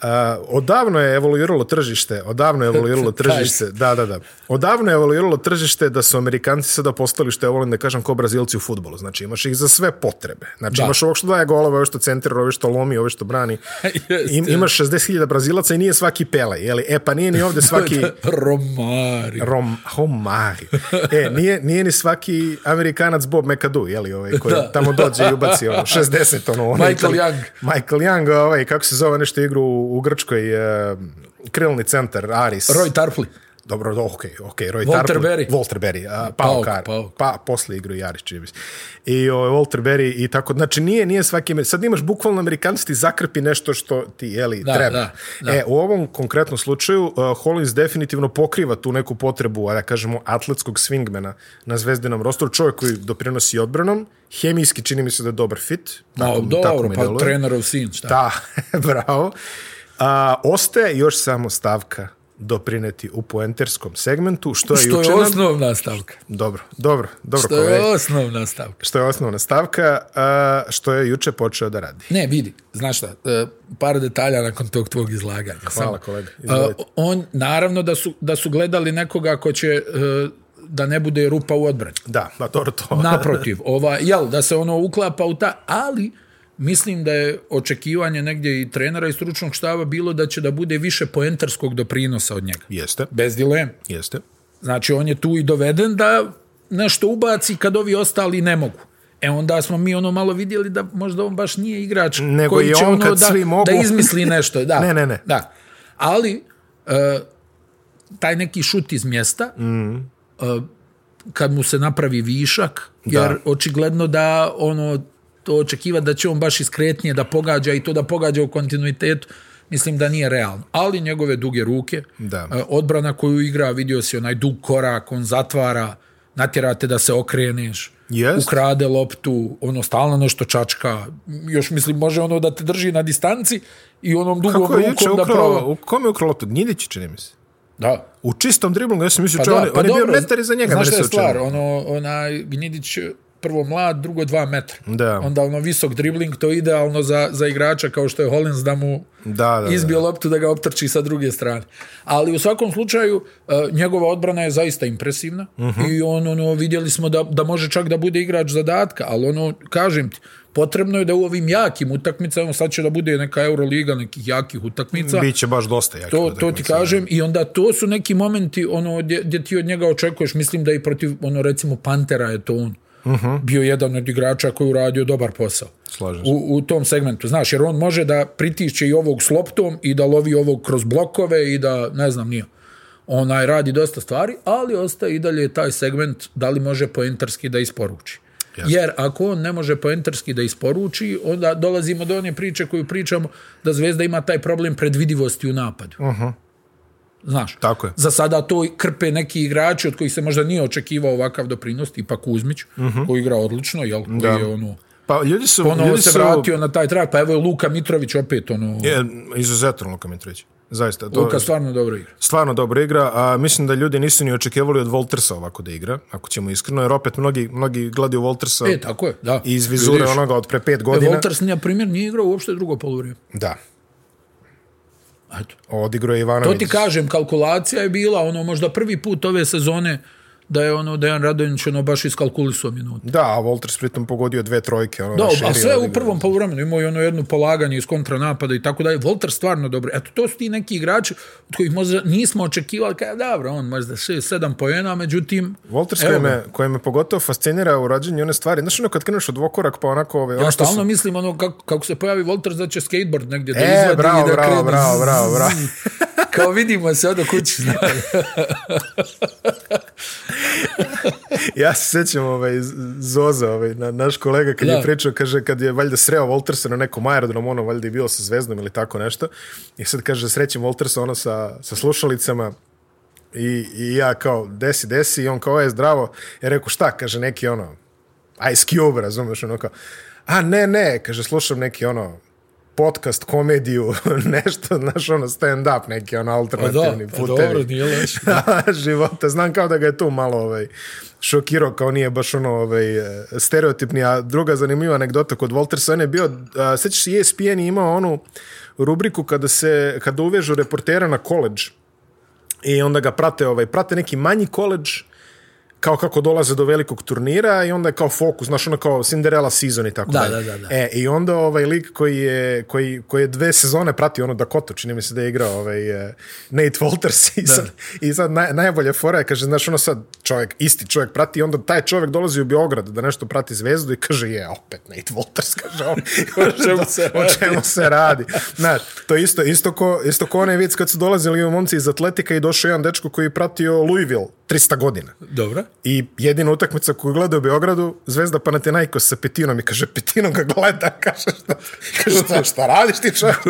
S1: A, odavno je evoluiralo tržište, odavno je
S2: [LAUGHS]
S1: evoluiralo
S2: Taj si.
S1: tržište, da, da, da. Odavno je evoluiralo tržište da su Amerikanci sada postali, što ja volim da kažem, ko Brazilci u futbolu. Znači, imaš ih za sve potrebe. Znači,
S2: Da.
S1: imaš ovog što daje golove, ovog što centrira, ovog što lomi, ovog što brani.
S2: [LAUGHS] Jeste.
S1: Im, imaš 60.000 Brazilaca i nije svaki Pele, jeli? E, pa nije ni
S2: [LAUGHS]
S1: ovde svaki...
S2: Romari.
S1: Rom, Homari. E, nije, nije ni svaki Amerikanac Bob McAdoo, jeli, ovaj, koji
S2: Da.
S1: tamo dođe i ubaci ono, 60, ono, ono
S2: Michael Young.
S1: Michael Young, ovaj, kako se zove nešto igru u, u Grčkoj, e, krilni centar, Aris.
S2: Roy Tarpli.
S1: Dobro, do, okej, okej. Roy
S2: Walter
S1: Tarpley-
S2: Berry.
S1: Walter Berry, a, Pauk,
S2: Pauk,
S1: Pauk,
S2: Pauk.
S1: Pa, posle igru Jarić, čini mi se. I o, Walter Berry i tako. Znači, nije, nije svaki... Amer- Sad imaš bukvalno Amerikanci ti zakrpi nešto što ti, jeli,
S2: Da,
S1: treba.
S2: da, da.
S1: E, u ovom konkretnom slučaju, uh, Hollins definitivno pokriva tu neku potrebu, a da kažemo, atletskog swingmana na zvezdenom rostoru. Čovjek koji doprinosi odbranom. Hemijski čini mi se da je dobar fit.
S2: Ma,
S1: Tako mi- tako
S2: dobro,
S1: mi
S2: pa
S1: deluje.
S2: trenerov sin, šta?
S1: Da, [LAUGHS] bravo. A, ostaje još samo stavka doprineti u poenterskom segmentu, što je,
S2: Što
S1: juče
S2: je osnovna stavka.
S1: nam... Dobro, dobro, dobro.
S2: Što je
S1: kolega.
S2: osnovna stavka.
S1: što je osnovna stavka, a, što je juče počeo da radi.
S2: Ne, vidi, znaš šta, e, par detalja nakon tog tvog izlaganja.
S1: Hvala, kolega, izvolite.
S2: Izvolite. On, naravno da su, da su gledali nekoga ko će e, da ne bude rupa u odbrani.
S1: Da, pa dobro to.
S2: Naprotiv, ova, jel, da se ono uklapa u ta, ali mislim da je očekivanje negdje i trenera i stručnog štaba bilo da će da bude više poentarskog doprinosa od njega.
S1: Jeste,
S2: Bez dileme.
S1: jeste.
S2: Znači, on je tu i doveden da nešto ubaci kad ovi ostali ne mogu. E onda smo mi ono malo vidjeli da možda on baš nije igrač
S1: Nego
S2: koji
S1: i
S2: će
S1: on
S2: ono
S1: kad
S2: da,
S1: svi mogu.
S2: da izmisli nešto. Da.
S1: [LAUGHS] Ne, ne, ne.
S2: Da. Ali, e, taj neki šut iz mjesta, mm. e, kad mu se napravi višak, jer
S1: Da.
S2: da. očigledno da ono to očekiva da će on baš iskretnije da pogađa i to da pogađa u kontinuitetu, mislim da nije realno. Ali njegove duge ruke,
S1: Da.
S2: e, odbrana koju igra, vidio si onaj dug korak, on zatvara, natjerate da se okreneš,
S1: Jest.
S2: ukrade loptu, ono stalno nešto čačka, još mislim može ono da te drži na distanci i onom dugom
S1: Kako je juče
S2: rukom da
S1: ukrao,
S2: prova.
S1: u kom je ukrao loptu? Njidić, čini mi se.
S2: Da.
S1: U čistom driblingu, ja sam mislio, pa on, je- on je bio metar iza njega.
S2: Znaš
S1: meni
S2: šta
S1: se
S2: je stvar,
S1: učinilo.
S2: ono, onaj Gnjidić prvo mlad, drugo dva metra.
S1: Da.
S2: Onda ono visok dribling, to je idealno za, za igrača kao što je Hollins da mu
S1: Da, da, da.
S2: izbio loptu da ga optrči sa druge strane. Ali u svakom slučaju, e, njegova odbrana je zaista impresivna
S1: Mhm.
S2: i on, ono, vidjeli smo da, da može čak da bude igrač zadatka, ali ono, kažem ti, potrebno je da u ovim jakim utakmicama, sad će da bude neka Euroliga nekih jakih utakmica,
S1: Biće baš dosta jaki.
S2: To, to ti
S1: utakmica.
S2: kažem i onda to su neki momenti ono gdje, gdje ti od njega očekuješ mislim da i protiv ono recimo Pantera je to on uh -huh. bio jedan od igrača koji je uradio dobar posao
S1: Mhm. Slažem se.
S2: u, u tom segmentu znaš jer on može da pritišće i ovog s loptom i da lovi ovog kroz blokove i da ne znam nije onaj radi dosta stvari ali ostaje i dalje taj segment da li može poentarski da isporuči
S1: Jasno.
S2: Jasne. Jer ako on ne može poentarski da isporuči, onda dolazimo do one priče koju pričamo da Zvezda ima taj problem predvidivosti u napadu. Znaš,
S1: Tako je.
S2: za sada to krpe neki igrači od kojih se možda nije očekivao ovakav doprinos, tipa Kuzmić, uh -huh. koji igra odlično, jel, koji da. je ono,
S1: Pa ljudi su...
S2: ono
S1: Mhm. ljudi
S2: se
S1: su,
S2: vratio na taj trak, pa evo je Luka Mitrović opet, ono, je,
S1: Je, izuzetno Luka Mitrović. Zaista. To,
S2: Luka stvarno dobro igra.
S1: stvarno dobro igra, a mislim da ljudi nisu ni očekivali od Voltersa ovako da igra, ako ćemo iskreno, jer opet mnogi, mnogi gledaju Voltersa
S2: E, tako je, da.
S1: iz vizure
S2: Vidiš.
S1: onoga od pre pet
S2: E,
S1: godina.
S2: Volters, na primjer, nije igrao uopšte drugo polovrijeme.
S1: Da,
S2: Eto.
S1: odigrao je
S2: To
S1: Ivanović.
S2: ti kažem, kalkulacija je bila, ono, možda prvi put ove sezone da je ono Dejan Radonjić ono baš iskalkulisao minute.
S1: Da, a Walters pritom pogodio dve trojke. Ono,
S2: Da,
S1: na
S2: a
S1: šeri,
S2: sve
S1: ali-
S2: u prvom poluvremenu imao je ono jedno polaganje iz kontranapada i tako dalje. Volter stvarno dobro. Eto, to su ti neki igrači od kojih možda nismo očekivali kao, dobro, on možda 6-7 pojena, međutim...
S1: Walters
S2: evo
S1: koji
S2: ga.
S1: me, koji me pogotovo fascinira u rađenju one stvari. Znaš ono kad kreneš od dvokorak pa onako ove... ono
S2: Ja
S1: što su-
S2: stalno mislim ono kako, kako se pojavi Volters da će skateboard negdje da
S1: E,
S2: izvadi
S1: bravo,
S2: i da
S1: bravo,
S2: krene.
S1: bravo, bravo, bravo.
S2: [LAUGHS] Kao vidimo se odo
S1: [LAUGHS]
S2: kući. znaš.
S1: Ja se sjećam ovaj, Z- Zoza, ovaj, na, naš kolega, kad da.
S2: Da.
S1: je pričao, kaže, kad je valjda sreo Waltersa na nekom aerodromu, ono, valjda je bilo sa zvezdom ili tako nešto, i sad kaže, srećem Waltersa, ono, sa, sa slušalicama, I, I ja kao, desi, desi, i on kao, je zdravo. Ja rekao, šta? Kaže, neki ono, Ice Cube, razumeš, ono kao, a ne, ne, kaže, slušam neki ono, podcast, komediju, [LAUGHS] nešto, znaš, ono, stand-up, neki ono
S2: Pa da,
S1: alternativni
S2: pa
S1: putevi.
S2: dobro, nije loš.
S1: [LAUGHS] života. Znam kao da ga je tu malo ovaj, šokirao, kao nije baš ono ovaj, eh, stereotipni. A druga zanimljiva anegdota kod Voltersa, on je bio, a, sećaš se, E ESPN je imao onu rubriku kada, se, kada uvežu reportera na koleđ i onda ga prate, ovaj, prate neki manji koleđ kao kako dolaze do velikog turnira i onda je kao fokus, znaš, ono kao Cinderella season i tako
S2: Da,
S1: dalje.
S2: da, da, da.
S1: E, i onda ovaj lik koji je, koji, koji je dve sezone pratio ono Dakota, čini mi se da je igrao ovaj, eh, Nate Walters i sad, i sad naj, najbolje fora je, kaže, znaš, ono sad čovjek, isti čovjek prati i onda taj čovjek dolazi u Beograd da nešto prati zvezdu i kaže, je, opet Nate Walters, kaže, on, [LAUGHS] o čemu se radi? O čemu se radi? Znaš, to je isto, isto ko, isto ko onaj vic kad su dolazili u momci iz atletika i došao jedan dečko koji je pratio Louisville 300 godina. [LAUGHS]
S2: Dobro.
S1: I jedina utakmica koju gleda u Beogradu, Zvezda Panathinaikos sa Petinom i kaže, Petinom ga gleda, [LAUGHS] kaže, šta, kaže, šta, šta radiš ti čovjek?
S2: [LAUGHS]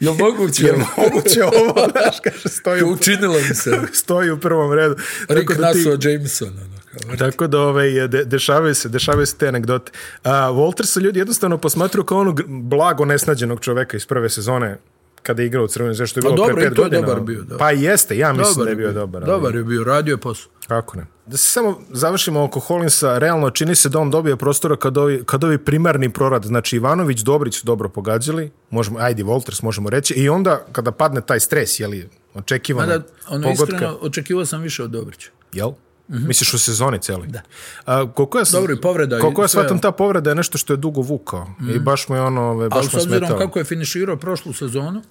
S2: Jel moguće?
S1: Jer moguće ovo, [LAUGHS] znaš, kaže, stoji u,
S2: Učinilo mi
S1: [LAUGHS]
S2: se.
S1: stoji u prvom redu.
S2: Rick
S1: Tako da ti-
S2: Nassau Jameson. Ono, kao.
S1: Tako da ovaj, de, dešavaju, se, dešavaju se te anegdote. A, Walter se ljudi jednostavno posmatruju kao onog blago nesnađenog čoveka iz prve sezone kada je igrao u Crvenom zvezdu, što je bilo
S2: Pa dobro,
S1: pre
S2: i
S1: pet
S2: to je
S1: godina.
S2: dobar bio, da.
S1: Pa jeste, ja mislim da je bio dobar. ali-
S2: Dobar je bio, radio je posao.
S1: Kako ne? Da se samo završimo oko Holinsa, realno čini se da on dobije prostora kad ovi, kad ovi primarni prorad, znači Ivanović, Dobrić su dobro pogađali, možemo, ajde, Volters možemo reći, i onda kada padne taj stres, jeli, očekivano,
S2: Mada, ono,
S1: pogotka,
S2: iskreno, očekivao sam više od Dobrića.
S1: jel? Misliš u sezoni celi? Da. A, koliko ja, sam-
S2: Dobro, i povreda i
S1: Koliko ja
S2: sve. Mhm.
S1: shvatam, ta povreda je nešto što je dugo vukao i baš mu je ono, ove,
S2: Ali
S1: baš
S2: s
S1: mu je
S2: obzirom
S1: smetao.
S2: kako je finiširao prošlu sezonu,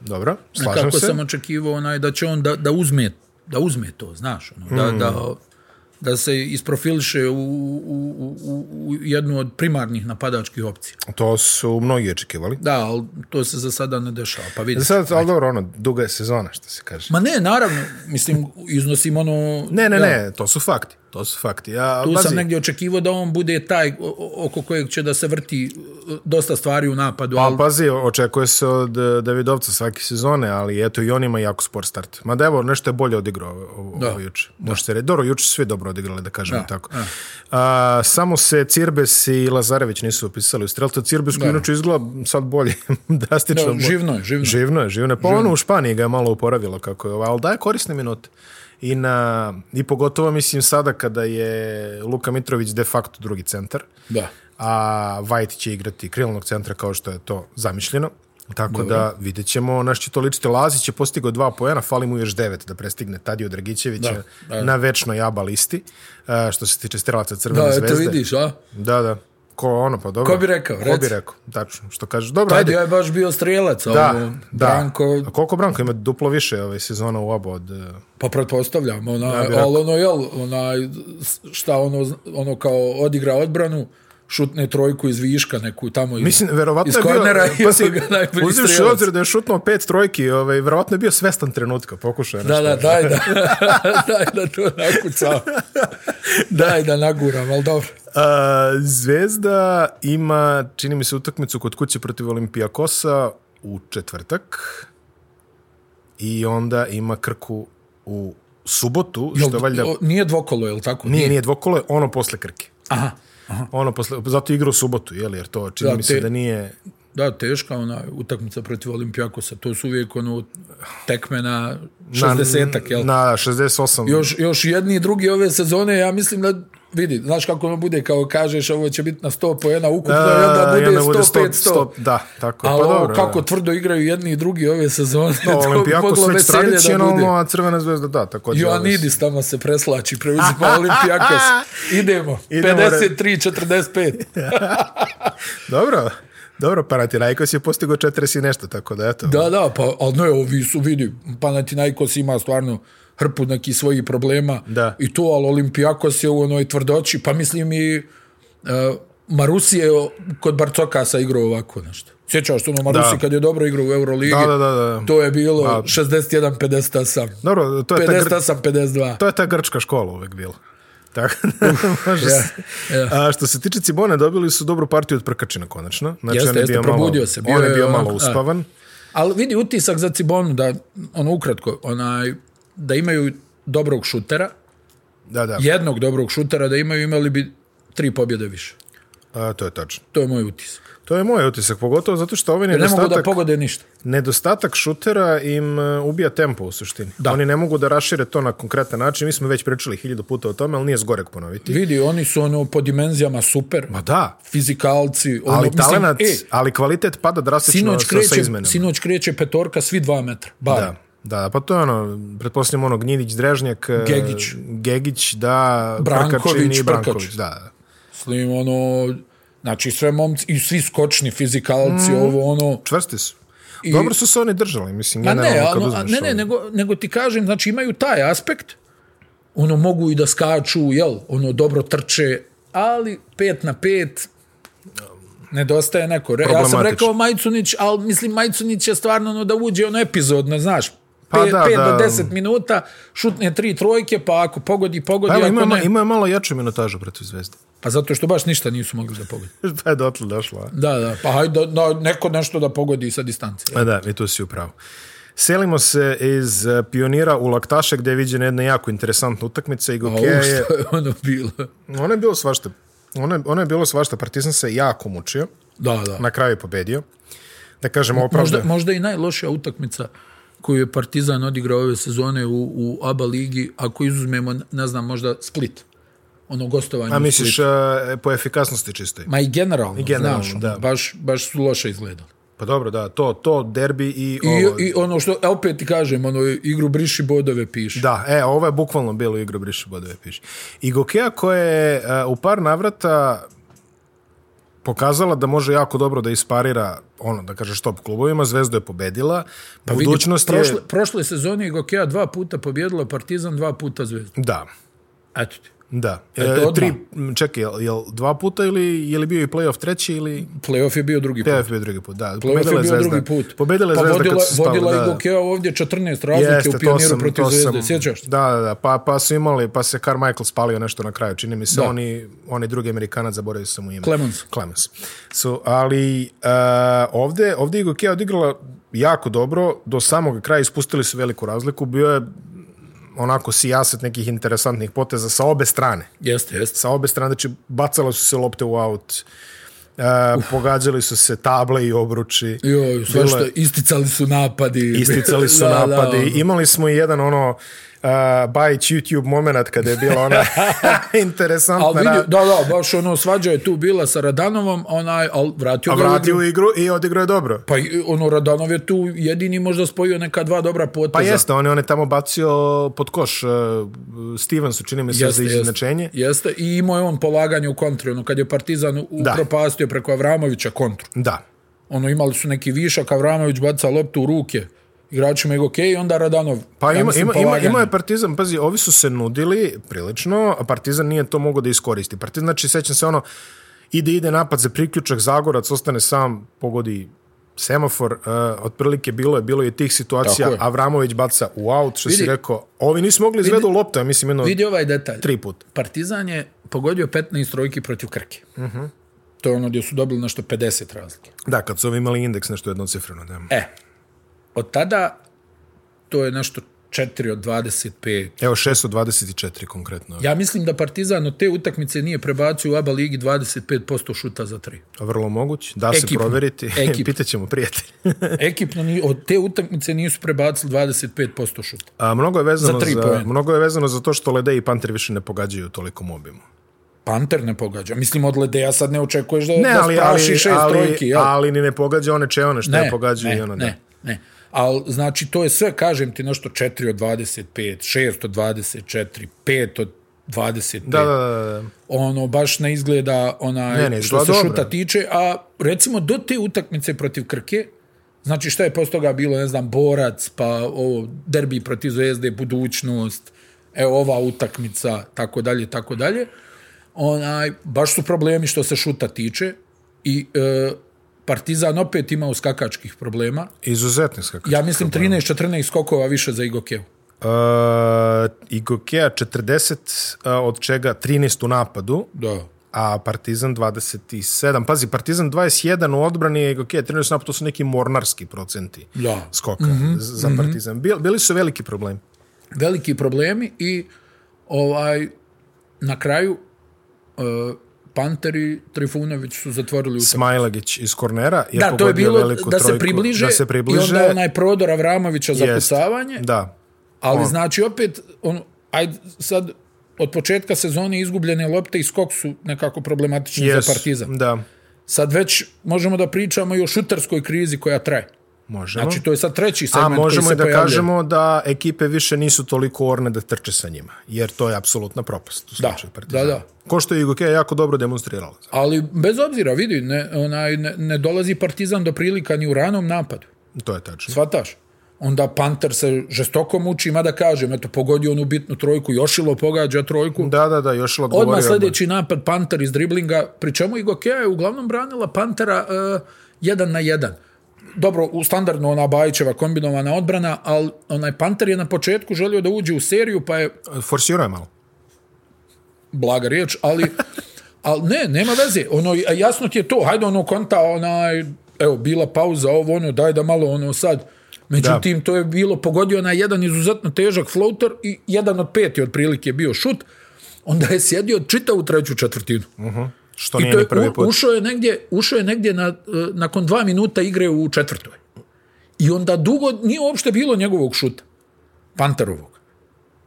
S1: Dobro, slažem
S2: kako
S1: se.
S2: sam očekivao onaj, da će on da, da, uzme, da uzme to, znaš, ono, da,
S1: Mm.
S2: da, da se isprofiliše u, u, u, u- u jednu od primarnih napadačkih opcija.
S1: To su mnogi očekivali.
S2: Da, ali to se za sada ne dešava, pa vidi.
S1: Sad, ali dobro, ono, duga je sezona, što se kaže.
S2: Ma ne, naravno, mislim, iznosim ono...
S1: Ne, ne,
S2: ja,
S1: ne, to su fakti. To su fakti. Ja,
S2: Tu
S1: pazi,
S2: sam negdje očekivao da on bude taj o- o- oko kojeg će da se vrti e, dosta stvari u napadu,
S1: Pa
S2: ali
S1: pazi, očekuje se od e, Davidovca svake sezone, ali eto i on ima jako spor start. Mada evo, nešto je bolje odigrao ovo, ovo,
S2: Da.
S1: ovo juče. Može se reći. Dobro, juče su svi dobro odigrali, da kažem
S2: Da,
S1: tako. A, samo se Cirbes i Lazarević nisu upisali u strelca. Cirbes koji inače izgleda sad bolje, [LAUGHS] drastično.
S2: Da,
S1: bolje.
S2: živno je, živno je.
S1: Živno je, živno je. Pa ono u Španiji ga je malo uporavilo kako je ovo, ali daje korisne minute. I, na, I pogotovo mislim sada kada je Luka Mitrović de facto drugi centar
S2: da.
S1: a White će igrati krilnog centra kao što je to zamišljeno. Tako da vidjet ćemo na što to ličite. Lazić je postigao dva pojena, fali mu još devet da prestigne Tadiju Dragićevića
S2: Da,
S1: na večnoj aba listi, e, što se tiče strelaca Crvene
S2: Da, eto
S1: zvezde.
S2: vidiš, a?
S1: Da, da. Ko ono, pa dobro.
S2: Ko bi rekao,
S1: Ko
S2: reci.
S1: bi rekao, tačno. Što kažeš, dobro,
S2: Ajde,
S1: ajde.
S2: ja je baš bio strelac, da,
S1: Da,
S2: ovo,
S1: da.
S2: ono, Branko,
S1: A koliko Branko ima duplo više ove sezona u aba od... e,
S2: pa pretpostavljam, onaj,
S1: bi
S2: ja ali ono, jel, onaj, šta ono, ono kao odigra odbranu, šutne trojku iz viška neku tamo iz,
S1: Mislim, verovatno
S2: iz
S1: je bio... [LAUGHS]
S2: kornera i
S1: pazi,
S2: ovo ga najbolji
S1: uzevši u
S2: strelac.
S1: obzir da je šutnuo pet trojki, ovaj, verovatno je bio svestan trenutka, pokušao je
S2: Da,
S1: nešto.
S2: da, daj da, [LAUGHS] daj da to nakucam. Daj da naguram, ali dobro.
S1: A, Zvezda ima, čini mi se, utakmicu kod kuće protiv Olimpijakosa u četvrtak i onda ima Krku u subotu, što je valjda...
S2: O, Nije dvokolo, je li tako?
S1: Nije, nije dvokolo, je ono posle Krke.
S2: Aha.
S1: Ono posle, zato igra u subotu, jel, jer to čini
S2: Da,
S1: mi se
S2: te-
S1: da nije...
S2: Da, teška ona utakmica protiv Olimpijakosa. To su uvijek ono tekme na
S1: na-
S2: 60-ak, jel?
S1: Na 68.
S2: Još, još jedni i drugi ove sezone, ja mislim da vidi, znaš kako ono bude, kao kažeš ovo će biti na 100 po jedna ukupno, i onda bude 100, 500.
S1: da, tako je.
S2: Ali
S1: Pa
S2: ovo
S1: dobro,
S2: kako
S1: da.
S2: tvrdo igraju jedni i drugi ove sezone,
S1: No,
S2: [LAUGHS] to bi
S1: Olimpijakos
S2: moglo
S1: već
S2: veselje da bude. [LAUGHS]
S1: tradicionalno, a Crvena zvezda, da, tako da.
S2: Joanidis tamo se preslači,
S1: [LAUGHS]
S2: preuzima Olimpijakos. Idemo.
S1: Idemo, re-
S2: 53-45.
S1: Dobro, dobro, Panathinaikos je postigao 40 i nešto, tako da, eto.
S2: Da, da, pa, ali ne, ovi su, vidi, Panathinaikos ima stvarno hrpu nekih svojih problema.
S1: Da.
S2: I to, ali Olimpijakos je u onoj tvrdoći, pa mislim i e, Marusi je o- kod Barcokasa igrao ovako nešto. Sjećaš se ono Marusi
S1: Da.
S2: kad je dobro igrao u Euroligi?
S1: Da, da, da, da.
S2: To je bilo
S1: Da.
S2: 61-58.
S1: Dobro, to je, ta gr...
S2: 58-52.
S1: to je ta grčka škola uvek bila. Tako da, [LAUGHS] može
S2: ja,
S1: se. A što se tiče Cibone, dobili su dobru partiju od Prkačina konačno. Znači,
S2: Jeste,
S1: on je
S2: jeste,
S1: bio malo-
S2: probudio se, bio
S1: on je
S2: je
S1: bio malo
S2: onako, da.
S1: uspavan.
S2: Ali vidi utisak za Cibonu da, ono ukratko, onaj, da imaju dobrog šutera,
S1: Da, da,
S2: jednog dobrog šutera da imaju, imali bi tri pobjede više.
S1: a, to je tačno.
S2: To je moj utisak.
S1: To je moj utisak, pogotovo zato što ovaj
S2: Ne mogu
S1: nedostatak...
S2: da pogode ništa.
S1: Nedostatak šutera im e, ubija tempo u suštini. Da. Oni ne mogu da rašire to na konkretan način. Mi smo već pričali hiljadu puta o tome, ali nije zgorek ponoviti.
S2: Vidi, oni su ono po dimenzijama super,
S1: Ma da,
S2: fizikalci, ono,
S1: ali
S2: mislim,
S1: talenat,
S2: e,
S1: ali kvalitet pada drastično
S2: sinoć
S1: sa, sa
S2: kreće,
S1: izmenama.
S2: sinoć kreće petorka svi dva metra, bar.
S1: Da, da, pa to je ono, pretpostavljam ono Gnjidić, Drežnjak, e,
S2: Gegić.
S1: Gegić da,
S2: Branković,
S1: Prkačin i
S2: Prkač.
S1: Branković. Da,
S2: Mislim, ono, znači sve momci, i svi skočni fizikalci,
S1: Mm.
S2: ovo, ono,
S1: čvrsti su. I... Dobro su se oni držali, mislim,
S2: A ne,
S1: generalno kad
S2: ono, a
S1: uzmeš
S2: ne, ne,
S1: ovo.
S2: nego, nego ti kažem, znači imaju taj aspekt, ono mogu i da skaču, jel, ono dobro trče, ali pet na pet, nedostaje neko. Re, ja sam
S1: Problematično.
S2: rekao Majcunić, ali mislim Majcunić je stvarno ono da uđe ono epizodno, znaš,
S1: Pa
S2: pa 5
S1: da,
S2: da,
S1: da.
S2: do 10 minuta, šutne tri trojke, pa ako pogodi, pogodi,
S1: Pa evo,
S2: ako
S1: ima,
S2: ne.
S1: ima je malo jaču minutažu protiv Zvezde. [LAUGHS]
S2: Pa zato što baš ništa nisu mogli da pogodi.
S1: pa je dotle došla. a?
S2: Da, da, pa hajde, da, neko nešto da pogodi sa distancije.
S1: Pa da, i tu si upravo. Selimo se iz e, pionira u Laktaše gdje je viđena jedna jako interesantna utakmica i
S2: A
S1: Gokeja
S2: Pa ovo
S1: je...
S2: što je ono bilo.
S1: Ono je bilo svašta. Ono je, ono je bilo svašta. Partizan se jako mučio.
S2: Da, da.
S1: Na kraju je pobedio. Da kažemo opravda.
S2: Možda, možda i najlošija utakmica koju je Partizan odigrao ove sezone u, u ABA ligi, ako izuzmemo, ne znam, možda Split. Ono gostovanje
S1: A
S2: u
S1: misliš
S2: Splitu.
S1: e, po efikasnosti čistoj?
S2: Ma i generalno, I
S1: generalno,
S2: generalno znaš,
S1: da.
S2: da. baš, baš su loše izgledali.
S1: Pa dobro, da, to, to derbi i,
S2: I,
S1: ovo.
S2: I ono što, e, opet ti kažem, ono, igru briši bodove piše.
S1: Da, e, ovo je bukvalno bilo igro briše bodove piše. I Gokeja koja je e, u par navrata pokazala da može jako dobro da isparira ono, da kažeš top klubovima, Zvezdu je pobedila, pa
S2: Vidi,
S1: budućnost je...
S2: prošle, Prošle sezone je Gokeja dva puta pobjedila Partizan, dva puta Zvezdu.
S1: Da,
S2: Eto ti.
S1: da. E,
S2: Eto, odmah.
S1: tri, m, čekaj, jel, jel dva puta ili je li bio i playoff treći ili...
S2: Playoff je bio drugi put.
S1: Playoff je bio drugi put, da.
S2: Playoff je
S1: pobedila
S2: bio
S1: je Zvezda.
S2: drugi put.
S1: Pobedila je
S2: pa
S1: Zvezda
S2: vodila,
S1: kad su spali.
S2: vodila
S1: da.
S2: je Gokeja ovdje 14 razlike u pioniru protiv Zvezde. Sjećaš se?
S1: Da, da, da, pa, pa su imali, pa se Carmichael spalio nešto na kraju, čini mi se,
S2: Da.
S1: oni, oni drugi Amerikanac, zaboravio sam mu ime.
S2: Clemens.
S1: Clemens. Su, ali uh, ovde, ovde je Gokea odigrala jako dobro, do samog kraja ispustili su veliku razliku, bio je onako sijaset nekih interesantnih poteza sa obe strane.
S2: Jeste, jeste.
S1: Sa obe strane, znači bacala su se lopte u aut, uh, pogađali su se table i obruči.
S2: Joj,
S1: Bilo
S2: sve što,
S1: je-
S2: isticali su napadi.
S1: [LAUGHS] Isticali su
S2: [LAUGHS] Da, da,
S1: napadi.
S2: ono.
S1: Imali smo i jedan ono uh, Bajić YouTube moment kada je bila
S2: [LAUGHS]
S1: ona
S2: Al
S1: interesantna
S2: vidi,
S1: ra-
S2: da, da, baš ono, svađa je tu bila sa Radanovom, onaj, al vratio
S1: a
S2: ga u
S1: vratio
S2: igru.
S1: u igru i odigrao je dobro.
S2: Pa i, ono, Radanov je tu jedini možda spojio neka dva dobra poteza.
S1: Pa jeste, on je, on je tamo bacio pod koš uh, Stevensu, čini mi se, za izjednačenje.
S2: Jeste, i imao je on polaganje u kontri, ono, kad je Partizan
S1: Da.
S2: upropastio preko Avramovića kontru.
S1: Da.
S2: Ono, imali su neki višak, Avramović baca loptu u ruke igračima je okej, onda Radanov,
S1: Pa
S2: ja
S1: ima,
S2: mislim,
S1: ima, ima,
S2: polaganje.
S1: ima je Partizan, pazi, ovi su se nudili prilično, a Partizan nije to mogao da iskoristi. Partizan, znači, sećam se ono, ide, ide napad za priključak, Zagorac ostane sam, pogodi semafor, uh, otprilike bilo je, bilo je tih situacija,
S2: Tako je.
S1: Avramović baca u out, što si
S2: Vidi-
S1: rekao, ovi nisu mogli izvedu loptu, ja mislim, jedno
S2: Vidi ovaj detalj.
S1: tri puta.
S2: Partizan je pogodio 15 trojki protiv Krke. Uh
S1: Mhm.
S2: -huh. To je ono gdje su dobili nešto 50 razlike.
S1: Da, kad su ovi imali indeks, nešto jedno cifrano, da.
S2: E, od tada to je nešto 4 od 25.
S1: Evo, 624 konkretno,
S2: Ja mislim da Partizan od te utakmice nije prebacio u ABA ligi 25% šuta za tri.
S1: vrlo moguć, da se
S2: Ekipno.
S1: proveriti,
S2: Ekipno.
S1: [LAUGHS] pitaćemo prijatelj.
S2: Ekipno ni, od te utakmice nisu prebacili 25% šuta.
S1: A, mnogo, je vezano
S2: Za tri
S1: za,
S2: poena.
S1: mnogo je vezano za to što Lede i Panter više ne pogađaju toliko mobima.
S2: Panter ne pogađa. Mislim, od Ledeja sad ne očekuješ da,
S1: Ne,
S2: da
S1: ali,
S2: spraši
S1: ali,
S2: šest
S1: ali,
S2: trojki. Jel?
S1: ali ni ne pogađa one čeone što ne pogađa
S2: ne,
S1: i ono. da.
S2: ne, ne. Ali, znači, to je sve, kažem ti, nešto 4 od 25, 6 od 24, 5 od 25.
S1: Da, da, da, da.
S2: Ono, baš ne izgleda onaj,
S1: Ne, ne izgleda
S2: što se
S1: dobro.
S2: šuta tiče, a recimo do te utakmice protiv Krke, znači šta je posle toga bilo, ne znam, Borac, pa ovo, derbi protiv Zvezde, budućnost, evo ova utakmica, tako dalje, tako dalje. Onaj, baš su problemi što se šuta tiče i e, Partizan opet ima uskakačkih problema.
S1: Izuzetni skakač.
S2: Ja mislim 13-14 skokova više za Igokevu.
S1: Uh, Igokea 40, uh, od čega 13 u napadu,
S2: Da.
S1: a Partizan 27. Pazi, Partizan 21 u odbrani, a Igokea 13 u napadu, to su neki mornarski procenti
S2: Da. Mhm,
S1: skoka za Partizan. Bil- Bili su veliki problemi.
S2: veliki problemi i ovaj na kraju e, Panter i Trifunović su zatvorili utakmicu.
S1: Smajlagić iz kornera je
S2: Da, to je
S1: pogodio
S2: bilo
S1: veliku
S2: da se,
S1: trojku,
S2: približe,
S1: da se približe
S2: i onda onaj prodor Avramovića za
S1: Jest.
S2: pucavanje,
S1: Da.
S2: ali znači opet, on, ajde sad, od početka sezone izgubljene lopte i skok su nekako problematični
S1: Yes,
S2: za Partizan.
S1: Da.
S2: Sad već možemo da pričamo i o šutarskoj krizi koja traje.
S1: Možemo.
S2: Znači, to je sad treći
S1: A
S2: segment koji
S1: možemo
S2: se
S1: i da
S2: pojavljuje.
S1: kažemo da ekipe više nisu toliko orne da trče sa njima, jer to je apsolutna propast. U
S2: Da,
S1: slučaju
S2: da,
S1: Partizana.
S2: da.
S1: Ko što je Igokea jako dobro demonstrirala.
S2: Ali bez obzira, vidi, ne, onaj, ne, ne dolazi Partizan do prilika ni u ranom napadu.
S1: To je tačno.
S2: Svataš? Onda Panter se žestoko muči, mada kažem, eto, pogodio onu bitnu trojku, Jošilo pogađa trojku.
S1: Da, da, da, još Mm, je odgovorio.
S2: Odmah sljedeći napad Panter iz driblinga, pri čemu Igokea je uglavnom branila Pantera uh, jedan na jedan. Dobro, u standardno ona Bajićeva kombinovana odbrana, ali onaj Panter je na početku želio da uđe u seriju, pa je
S1: Forsirao je malo.
S2: blaga riječ, ali, ali ne, nema veze. Ono, jasno ti je to, hajde ono konta, onaj, evo, bila pauza, ovo, ono, daj da malo, ono, sad. Međutim, to je bilo, pogodio na jedan izuzetno težak floater i jedan od pet je otprilike bio šut, onda je sjedio čitavu treću četvrtinu.
S1: Što
S2: I
S1: nije
S2: to
S1: ni
S2: je,
S1: prvi
S2: u-
S1: put.
S2: ušao je negdje, ušao je negdje na, e, nakon dva minuta igre u četvrtoj. I onda dugo nije uopšte bilo njegovog šuta. Panterovog.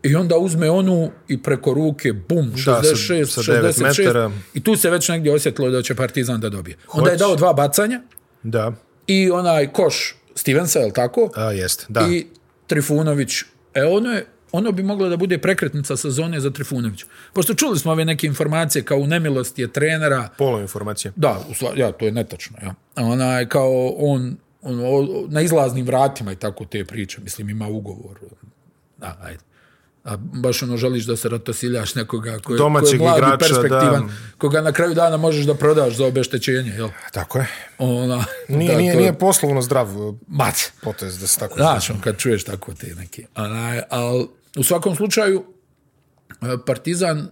S2: I onda uzme onu i preko ruke, bum, 66,
S1: sa- sa devet
S2: 66.
S1: metara.
S2: I tu se već negdje osjetilo da će Partizan da dobije. Onda je dao dva bacanja
S1: Da,
S2: i onaj koš Stevensa, je li tako?
S1: a, jeste. Da.
S2: I Trifunović. E, ono je ono bi moglo da bude prekretnica sezone za Trifunovića. Pošto čuli smo ove neke informacije kao u nemilosti je trenera,
S1: Polo informacije.
S2: Da, u sla, ja, to je netačno. Ja. Ona je kao on, on o, na izlaznim vratima i tako te priče. Mislim, ima ugovor. Da, ajde. A baš ono želiš da se ratosiljaš nekoga koji, koji
S1: Domaćeg
S2: je mlad
S1: igrača,
S2: i perspektivan,
S1: da.
S2: koga na kraju dana možeš da prodaš za obeštećenje. Jel?
S1: Tako je.
S2: Ona,
S1: [LAUGHS] Nije,
S2: da,
S1: nije,
S2: to je-
S1: nije poslovno zdrav uh,
S2: Mac.
S1: potez da se tako
S2: Znaš, on kad čuješ tako te neke. Onaj, al, u svakom slučaju, e, Partizan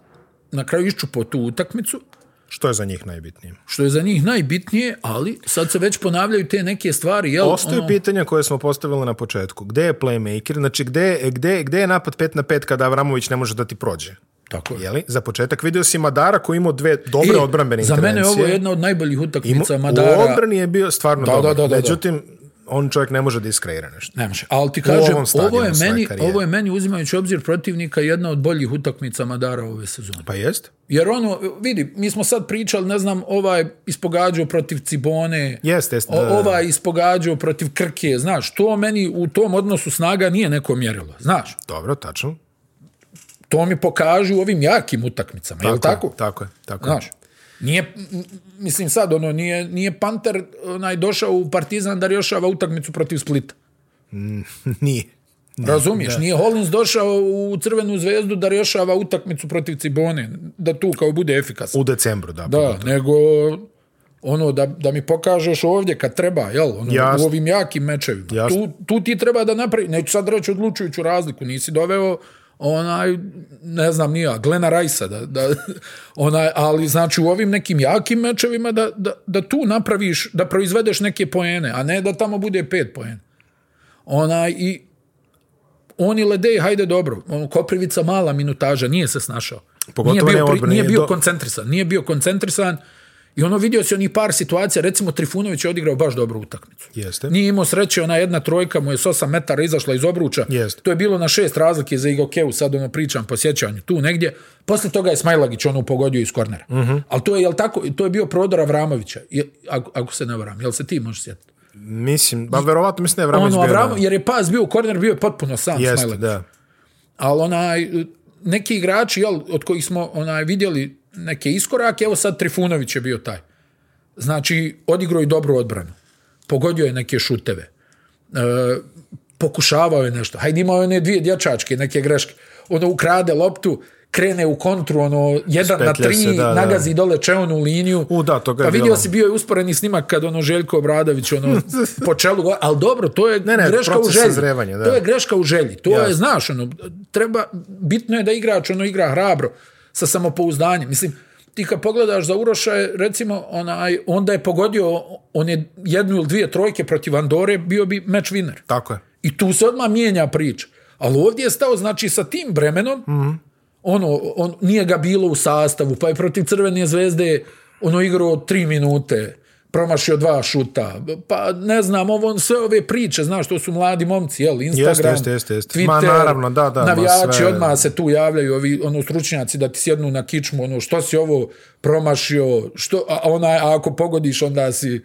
S2: na kraju iščupo tu utakmicu,
S1: Što je za njih najbitnije?
S2: što je za njih najbitnije, ali sad se već ponavljaju te neke stvari, jel? ono,
S1: Ostaju pitanja koje smo postavili na početku. Gde je playmaker? Znači, gde, gde, gde je napad 5 na 5 kada Avramović ne može da ti prođe?
S2: Tako je.
S1: Jeli? Za početak vidio si Madara koji je imao dve dobre
S2: E,
S1: odbrambene
S2: Za mene
S1: intervencije.
S2: je ovo jedna od najboljih
S1: Imao-
S2: utakmica Madara.
S1: U odbrani je bio stvarno
S2: Da,
S1: dobar.
S2: da, da, da, da.
S1: Međutim, on čovjek ne može da iskreira nešto.
S2: Ne može. Ali ti kažem,
S1: ovom stadionu
S2: ovo je,
S1: svoje
S2: meni,
S1: karijere.
S2: ovo je meni, uzimajući obzir protivnika, jedna od boljih utakmica Madara ove sezone.
S1: Pa jest?
S2: Jer ono, vidi, mi smo sad pričali, ne znam, ovaj ispogađao protiv Cibone,
S1: Jest, jest. da, da, da.
S2: o, ovaj ispogađao protiv Krke, znaš, to meni u tom odnosu snaga nije neko mjerilo, znaš.
S1: Dobro, tačno.
S2: To mi pokažu u ovim jakim utakmicama, je li tako?
S1: je, Tako je, tako je.
S2: Znaš, nije, m- m- mislim sad, ono, nije, nije Panter onaj, došao u Partizan da rješava utakmicu protiv Splita.
S1: [LAUGHS] Nije.
S2: Razumiješ? Nije Hollins došao u Crvenu zvezdu da rješava utakmicu protiv Cibone, da tu kao bude efikasan.
S1: U decembru, da.
S2: Da, nego ono da, da mi pokažeš ovdje kad treba, jel? Ono,
S1: Jasno.
S2: u ovim jakim mečevima.
S1: Jasno.
S2: Tu, tu ti treba da napravi, neću sad reći odlučujuću razliku, nisi doveo onaj, ne znam nija, Glena Rajsa, da, da, [LAUGHS] onaj, ali znači u ovim nekim jakim mečevima da, da, da tu napraviš, da proizvedeš neke poene, a ne da tamo bude pet poena. Onaj, i oni ledej, hajde dobro, ono, Koprivica mala minutaža, nije se snašao.
S1: Pogotovo
S2: nije
S1: ne
S2: bio,
S1: u
S2: pri-
S1: odbrani,
S2: nije bio
S1: do-
S2: koncentrisan, nije bio koncentrisan i ono vidio si onih par situacija, recimo Trifunović je odigrao baš dobru utakmicu.
S1: Jeste.
S2: Nije imao sreće, ona jedna trojka mu je s 8 metara izašla iz obruča.
S1: Jeste.
S2: To je bilo na šest razlike za Igokeu, sad ono pričam po sjećanju, tu negdje. Posle toga je Smajlagić ono pogodio iz kornera. Uh
S1: Mhm.
S2: -huh. Ali to je, jel tako, to je bio prodor Avramovića, je, ako, ako se ne varam. Jel se ti možeš sjetiti?
S1: Mislim, ba, verovatno mislim da je Vramović
S2: Ono,
S1: bio...
S2: Avramo, jer je pas bio, korner bio je potpuno sam
S1: da. Jeste,
S2: Smajlagić.
S1: da.
S2: Ali onaj, neki igrači jel, od kojih smo onaj vidjeli neke iskorake, evo sad Trifunović je bio taj. Znači, odigrao je dobru odbranu. Pogodio je neke šuteve. E, pokušavao je nešto. Hajde imao je one dvije dječačke, neke greške. Ono ukrade loptu, krene u kontru, ono, jedan na
S1: Spetlja
S2: tri,
S1: se,
S2: se,
S1: da, da.
S2: da, nagazi dole čeonu liniju.
S1: U, da, toga je
S2: Pa vidio
S1: bilo.
S2: si, bio je usporeni snimak kad ono Željko Obradović ono,
S1: [LAUGHS]
S2: po čelu, go- ali dobro, to je
S1: ne,
S2: greška u
S1: proces
S2: želji.
S1: sazrevanja, da.
S2: To je greška u želji. To
S1: Jasno.
S2: je, znaš, ono, treba, bitno je da igrač ono igra hrabro, sa samopouzdanjem. Mislim, ti kad pogledaš za Uroša, je, recimo, onaj, onda je pogodio on je jednu ili dvije trojke protiv Andore, bio bi meč winner.
S1: Tako je.
S2: I tu se odmah mijenja priča. Ali ovdje je stao, znači, sa tim bremenom, mm -hmm. ono, on, nije ga bilo u sastavu, pa je protiv Crvene zvezde ono igrao tri minute, promašio dva šuta, pa ne znam, ovo, on, sve ove priče, znaš, to su mladi momci, jel, Instagram,
S1: jeste, jeste, jeste.
S2: Twitter,
S1: Ma, naravno, da, da, ma,
S2: navijači,
S1: sve-
S2: odmah se tu javljaju ovi ono stručnjaci da ti sjednu na kičmu, ono što si ovo promašio, što a ona a ako pogodiš onda si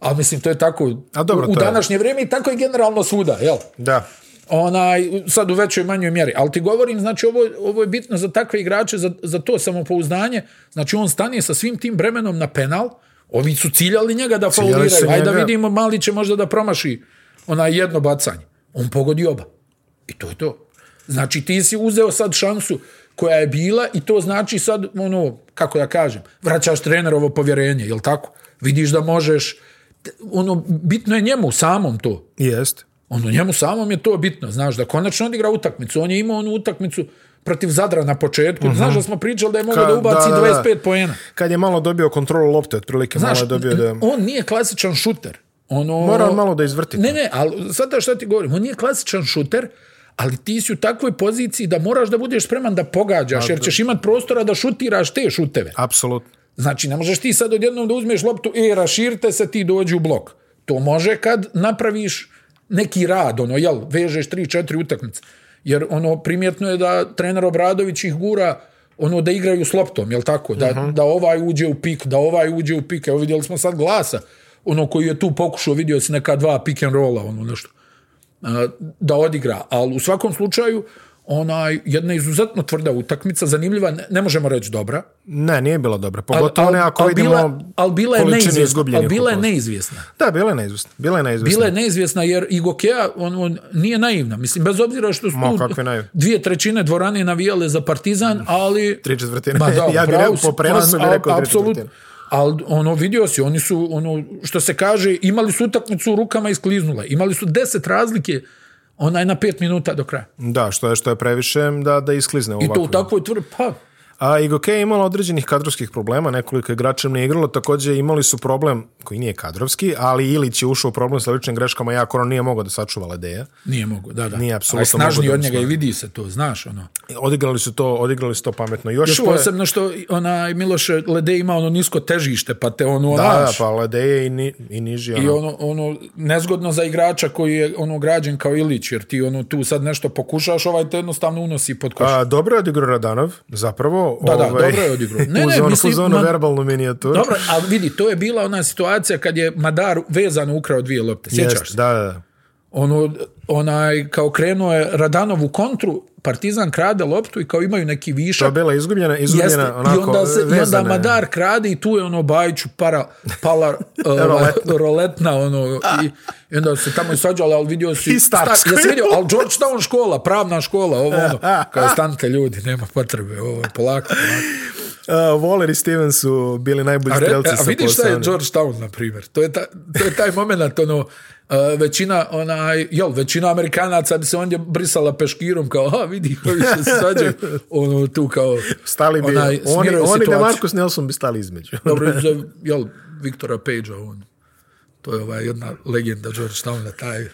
S2: ali mislim to je tako
S1: A dobro,
S2: u, u
S1: to je.
S2: današnje vrijeme i tako je generalno svuda, jel?
S1: Da.
S2: onaj, sad u većoj manjoj mjeri. Ali ti govorim, znači, ovo, ovo je bitno za takve igrače, za, za to samopouzdanje. Znači, on stane sa svim tim bremenom na penal, ovi su ciljali njega da
S1: Ciljali
S2: fauliraju.
S1: su
S2: Ajde da
S1: njega.
S2: vidimo, mali će možda da promaši onaj jedno bacanje. On pogodi oba. I to je to. Znači, ti si uzeo sad šansu koja je bila i to znači sad, ono, kako da kažem, vraćaš trenerovo povjerenje, jel tako? Vidiš da možeš, t- ono, bitno je njemu samom to.
S1: Jeste.
S2: Ono, njemu samom je to bitno, znaš, da konačno odigra utakmicu. On je imao onu utakmicu protiv Zadra na početku. Uh -huh. Znaš da smo pričali da je mogao
S1: Ka-
S2: da ubaci
S1: Mhm. da,
S2: da,
S1: da, da.
S2: 25 poena.
S1: Kad je malo dobio kontrolu lopte, otprilike
S2: Znaš,
S1: malo je dobio da...
S2: on nije klasičan šuter. Ono,
S1: Mora malo da izvrti to.
S2: Ne, ne, ali sad da šta ti govorim, on nije klasičan šuter, ali ti si u takvoj poziciji da moraš da budeš spreman da pogađaš, jer ćeš imat prostora da šutiraš te šuteve.
S1: Apsolutno.
S2: Znači, ne možeš ti sad odjednom da uzmeš loptu, e, raširte se, ti dođi u blok. To može kad napraviš neki rad, ono, jel, vežeš 3-4 utakmice. Jer, ono, primjetno je da trener Obradović ih gura ono da igraju s loptom, jel tako? Da, uh -huh. da ovaj uđe u pik, da ovaj uđe u pik. Evo vidjeli smo sad glasa, ono koji je tu pokušao, vidio si neka dva pick and rolla, ono nešto a, da odigra, ali u svakom slučaju onaj, jedna izuzetno tvrda utakmica, zanimljiva, ne, ne možemo reći dobra,
S1: Ne, nije bila dobra. Pogotovo ne ako
S2: Pa, al
S1: vidimo
S2: bila, al bila je
S1: količinu
S2: neizvjesna,
S1: izgubljenih
S2: al bila je
S1: utakmica.
S2: neizvjesna.
S1: Da, bila je neizvjesna. Bila je neizvjesna.
S2: Bila je neizvjesna jer Igokea on, on nije naivna. Mislim, bez obzira što su
S1: Ma,
S2: tu
S1: kako je naivna.
S2: dvije trećine dvorane navijale za Partizan, ali...
S1: Tri četvrtine. [LAUGHS]
S2: Ma da,
S1: Ja bih
S2: pravo
S1: rekao,
S2: si,
S1: po prenosu
S2: ma,
S1: bih rekao
S2: a-
S1: tri
S2: Apsolutno.
S1: četvrtine.
S2: Ali ono, vidio si, oni su, ono, što se kaže, imali su utakmicu u rukama i skliznula. Imali su deset razlike onaj na pet minuta do kraja.
S1: Da, što je, što je previše da, da isklizne
S2: I to u
S1: ovako.
S2: takvoj tvrdi, pa,
S1: A Igoke je imala određenih kadrovskih problema, nekoliko igrača nije igralo, također imali su problem, koji nije kadrovski, ali Ilić je ušao u problem sa ličnim greškama, jako ono nije mogao da sačuva Ledeja.
S2: nije mogo, da, da.
S1: Nije
S2: Ali
S1: apsolutno mogu
S2: snažniji
S1: da
S2: od njega i
S1: usvoji.
S2: vidi se to, znaš, ono.
S1: Odigrali su to, odigrali su to pametno. Još,
S2: Još
S1: ovo je-
S2: posebno što onaj Miloš Lede ima ono nisko težište, pa te ono
S1: Da, da,
S2: naš,
S1: pa Ledeje i, ni, i niži.
S2: i
S1: Ono.
S2: ono, ono nezgodno za igrača koji je ono građen kao Ilić, jer ti ono tu sad nešto pokušaš, ovaj te jednostavno unosi pod koš.
S1: A, Pa, dobro je odigrao Radanov, zapravo.
S2: Da, da, dobro je odigrao.
S1: Ne, [LAUGHS]
S2: Ne,
S1: uz
S2: ne,
S1: onu,
S2: mislim,
S1: uz onu
S2: ma-
S1: verbalnu minijaturu.
S2: Dobro, ali vidi, to je bila ona situacija kad je Madar vezano ukrao dvije lopte, sjećaš
S1: Jest,
S2: se?
S1: da, da, da.
S2: ono, onaj, kao krenuo je Radanov u kontru, Partizan krade loptu i kao imaju neki
S1: To je
S2: višak.
S1: bila izgubljena, izgubljena
S2: Jeste,
S1: onako
S2: i onda, se, i onda
S1: vezana je.
S2: Madar krade i tu je ono Bajiću para,
S1: [LAUGHS]
S2: pala ovaj, roletna ono, i, i onda se tamo svađala, ali vidio si...
S1: I Starks
S2: Sta- Jesi vidio, ali Georgetown škola, pravna škola, ovo ono, kao stanite ljudi, nema potrebe, ovo je polako. polako.
S1: Uh, Waller i Steven su bili najbolji
S2: A, re, e,
S1: strelci
S2: a
S1: sa
S2: vidiš šta je
S1: posebnim.
S2: Georgetown, na primjer. To je, ta, to je taj moment, ono, uh, većina, onaj, jel, većina Amerikanaca bi se ondje brisala peškirom, kao, a vidi, koji se
S1: [LAUGHS]
S2: svađaju, ono, tu kao,
S1: Stali bi,
S2: onaj,
S1: oni,
S2: smiruju
S1: oni da
S2: situaciju.
S1: Marcus Nelson bi stali između. [LAUGHS]
S2: Dobro, za, jel, Viktora Page-a, on, to je ovaj, jedna legenda Georgetowna, taj,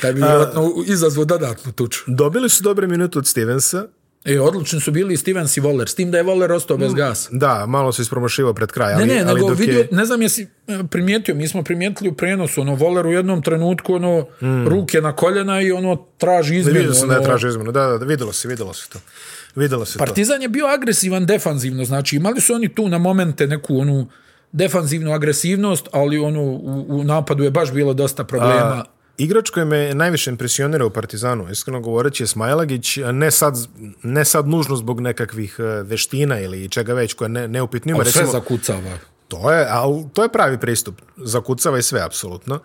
S2: taj bi vjerojatno izazvao dodatnu tuču.
S1: Dobili su dobre minute od Stevensa,
S2: E, odlični su bili i Stevens i Waller, s tim da je Waller ostao bez gasa.
S1: Da, malo se ispromašivao pred kraj, Mm. ali,
S2: Ne, ne,
S1: ali
S2: nego
S1: dok
S2: vidio,
S1: je...
S2: ne znam jesi e, primijetio, mi smo primijetili u prenosu, ono, Voler u jednom trenutku, ono, ruke na koljena i ono, traži izmjenu.
S1: Mm. Vidio sam
S2: ono,
S1: da je tražio izmenu, da, da, da, vidjelo se, vidjelo se to. Vidjelo se to.
S2: Partizan je bio agresivan defanzivno, znači imali su oni tu na momente neku onu defanzivnu agresivnost, ali ono u, u napadu je baš bilo dosta problema. A,
S1: Igrač koji me najviše impresionira u Partizanu, iskreno govoreći, je Smajlagić, ne sad, ne sad nužno zbog nekakvih e, veština ili čega već koja ne, neupitno ima.
S2: ali Pa sve
S1: Recimo,
S2: zakucava.
S1: to, je, al, to je pravi pristup. Zakucava i sve, apsolutno.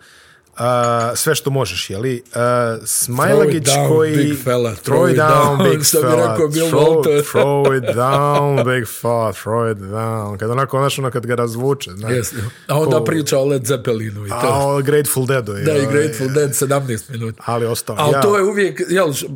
S1: A, sve što možeš, jeli? A, Smajlagić
S2: Throw it down,
S1: koji...
S2: big fella,
S1: Throw it down,
S2: [LAUGHS]
S1: big
S2: što bi
S1: fella.
S2: rekao Bill
S1: throw,
S2: Walton.
S1: [LAUGHS] throw it down, big fella, throw it down. Kad onako, znaš, ono kad ga razvuče. Znaš,
S2: Yes. A onda
S1: Ko-
S2: priča o Led Zeppelinu i to.
S1: A, o Grateful Deadu.
S2: da, i Grateful Dead 17 minuta.
S1: Ali ostao.
S2: Ali
S1: ja,
S2: to je uvijek, jel, š-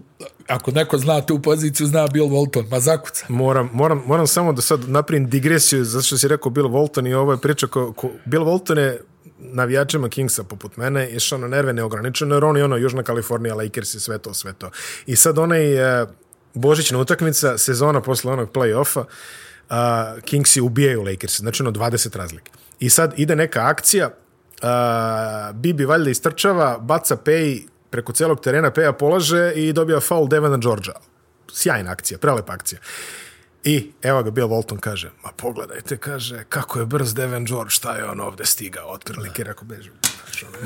S2: ako neko zna tu poziciju, zna Bill Walton, ma zakuca.
S1: Moram, moram, moram samo da sad napravim digresiju zato što si rekao Bill Walton i ovo je priča ko, ko, Bill Walton je navijačima Kingsa poput mene išao na nerve neograničeno jer on je ono Južna Kalifornija, Lakers i sve to, sve to. I sad onaj e, Božićna utakmica, sezona posle onog play-offa, a, Kingsi ubijaju Lakers, znači ono 20 razlike. I sad ide neka akcija, a, Bibi valjda istrčava, baca Pej preko celog terena, Peja polaže i dobija foul Devana Georgia. Sjajna akcija, prelepa akcija. I evo ga Bill Walton kaže, ma pogledajte, kaže, kako je brz Devan George, šta je on ovde stigao, otprilike, rekao, beži. znaš, ono.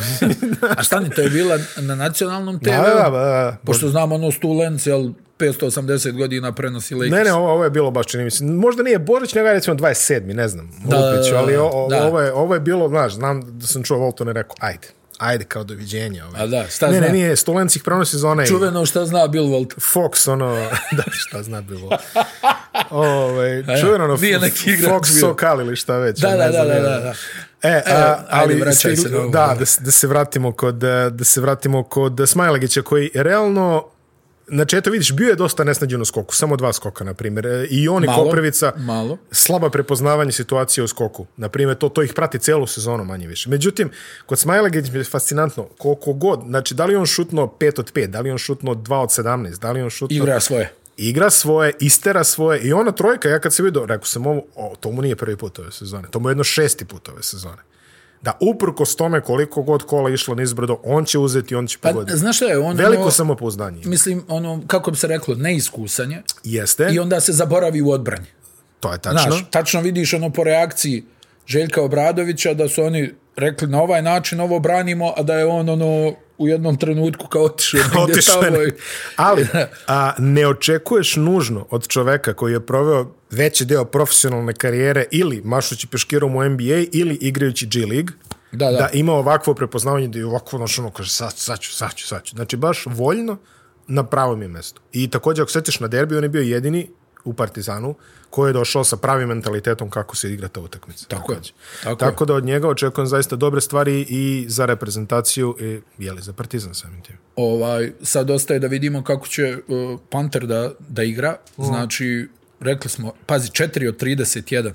S2: A šta ni, to je bila na nacionalnom TV?
S1: [LAUGHS] Da, da, da, da.
S2: Pošto znamo ono Stulens, jel, 580 godina prenosi Lakers.
S1: Ne, ne, ovo, ovo je bilo baš čini mi se. Možda nije Božić, nego je recimo 27. ne znam, da, Lupiću, ali o, o,
S2: da.
S1: ovo, je, ovo je bilo, znaš, znam da sam čuo Walton je rekao, ajde, ajde, kao doviđenja. Ovaj.
S2: A da, šta
S1: ne,
S2: zna?
S1: ne, nije, Stolenc ih prenosi za onaj
S2: Čuveno šta zna Bill Walton.
S1: Fox, ono, [LAUGHS] da, šta zna bilo. Ove, čuveno ono,
S2: E, nije neki igrač
S1: Fox
S2: bio.
S1: Sokal ili šta već.
S2: Da,
S1: ne
S2: da, da,
S1: znam
S2: da,
S1: ja.
S2: da, da.
S1: E, a,
S2: ajde,
S1: ali
S2: vraćaj se na ovo.
S1: da, da, se- da se vratimo kod e, da se vratimo kod Smailagića koji realno znači eto vidiš bio je dosta nesnađen u skoku, samo dva skoka na primjer. E, I on i
S2: Malo,
S1: Koprivica
S2: malo.
S1: slaba prepoznavanje situacije u skoku. Na primjer to to ih prati celu sezonu manje više. Međutim kod Smailagić je fascinantno koliko god, znači da li je on šutno 5 od 5, da li je on šutno 2 od 17, da li je on šutno
S2: Igra svoje.
S1: igra svoje, istera svoje i ona trojka, ja kad se vidio, rekao sam ovo, o, to mu nije prvi put ove sezone, to mu je jedno šesti put ove sezone. Da uprkos tome koliko god kola išlo nizbrdo, on će uzeti, on će
S2: Pa,
S1: pogoditi.
S2: znaš šta je, on,
S1: Veliko
S2: ono,
S1: samopouzdanje.
S2: mislim, ono, kako bi se reklo, neiskusanje
S1: Jeste,
S2: i onda se zaboravi u odbrani.
S1: to je
S2: Znaš,
S1: tačno.
S2: tačno vidiš ono po reakciji Željka Obradovića da su oni rekli na ovaj način ovo branimo, a da je on ono u jednom trenutku kao otišao [LAUGHS] negdje
S1: [LAUGHS] Otišao je
S2: tamo. i-
S1: negdje. Ali a, ne očekuješ nužno od čoveka koji je proveo veći deo profesionalne karijere ili mašući peškirom u NBA ili igrajući G League,
S2: Da, da.
S1: da ima ovakvo prepoznavanje da je ovako ono što ono kaže sad, sad ću, sad ću, sad ću. Znači baš voljno na pravom je mestu. I također ako setiš na derbi, on je bio jedini u Partizanu koji je došao sa pravim mentalitetom kako se igra ta utakmica.
S2: Tako je.
S1: Tako,
S2: Tako
S1: tako da od njega očekujem zaista dobre stvari i za reprezentaciju i jeli, za Partizan samim tim.
S2: Ovaj, sad ostaje da vidimo kako će uh, Panter da, da igra.
S1: Mm.
S2: Znači, rekli smo, pazi, 4 od 31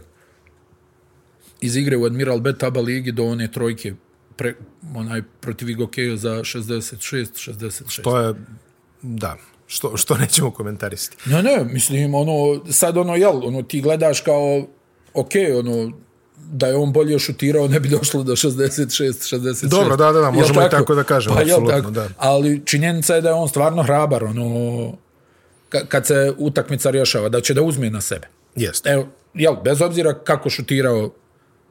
S2: iz igre u Admiral B Taba ligi do one trojke pre, onaj protiv Igokeja za 66-66.
S1: To je, da, što, što [LAUGHS] nećemo komentarisati.
S2: Ne, ne, mislim, ono, sad ono, jel, ono, ti gledaš kao, ok, ono, da je on bolje šutirao, ne bi došlo do 66, 66.
S1: Dobro, da, da, da,
S2: Jel Pa
S1: možemo i tako da kažemo,
S2: jel
S1: apsolutno, da.
S2: Ali činjenica je da je on stvarno hrabar, ono, ka- kad se utakmica rješava, da će da uzme na sebe.
S1: Jeste.
S2: Evo, jel, bez obzira kako šutirao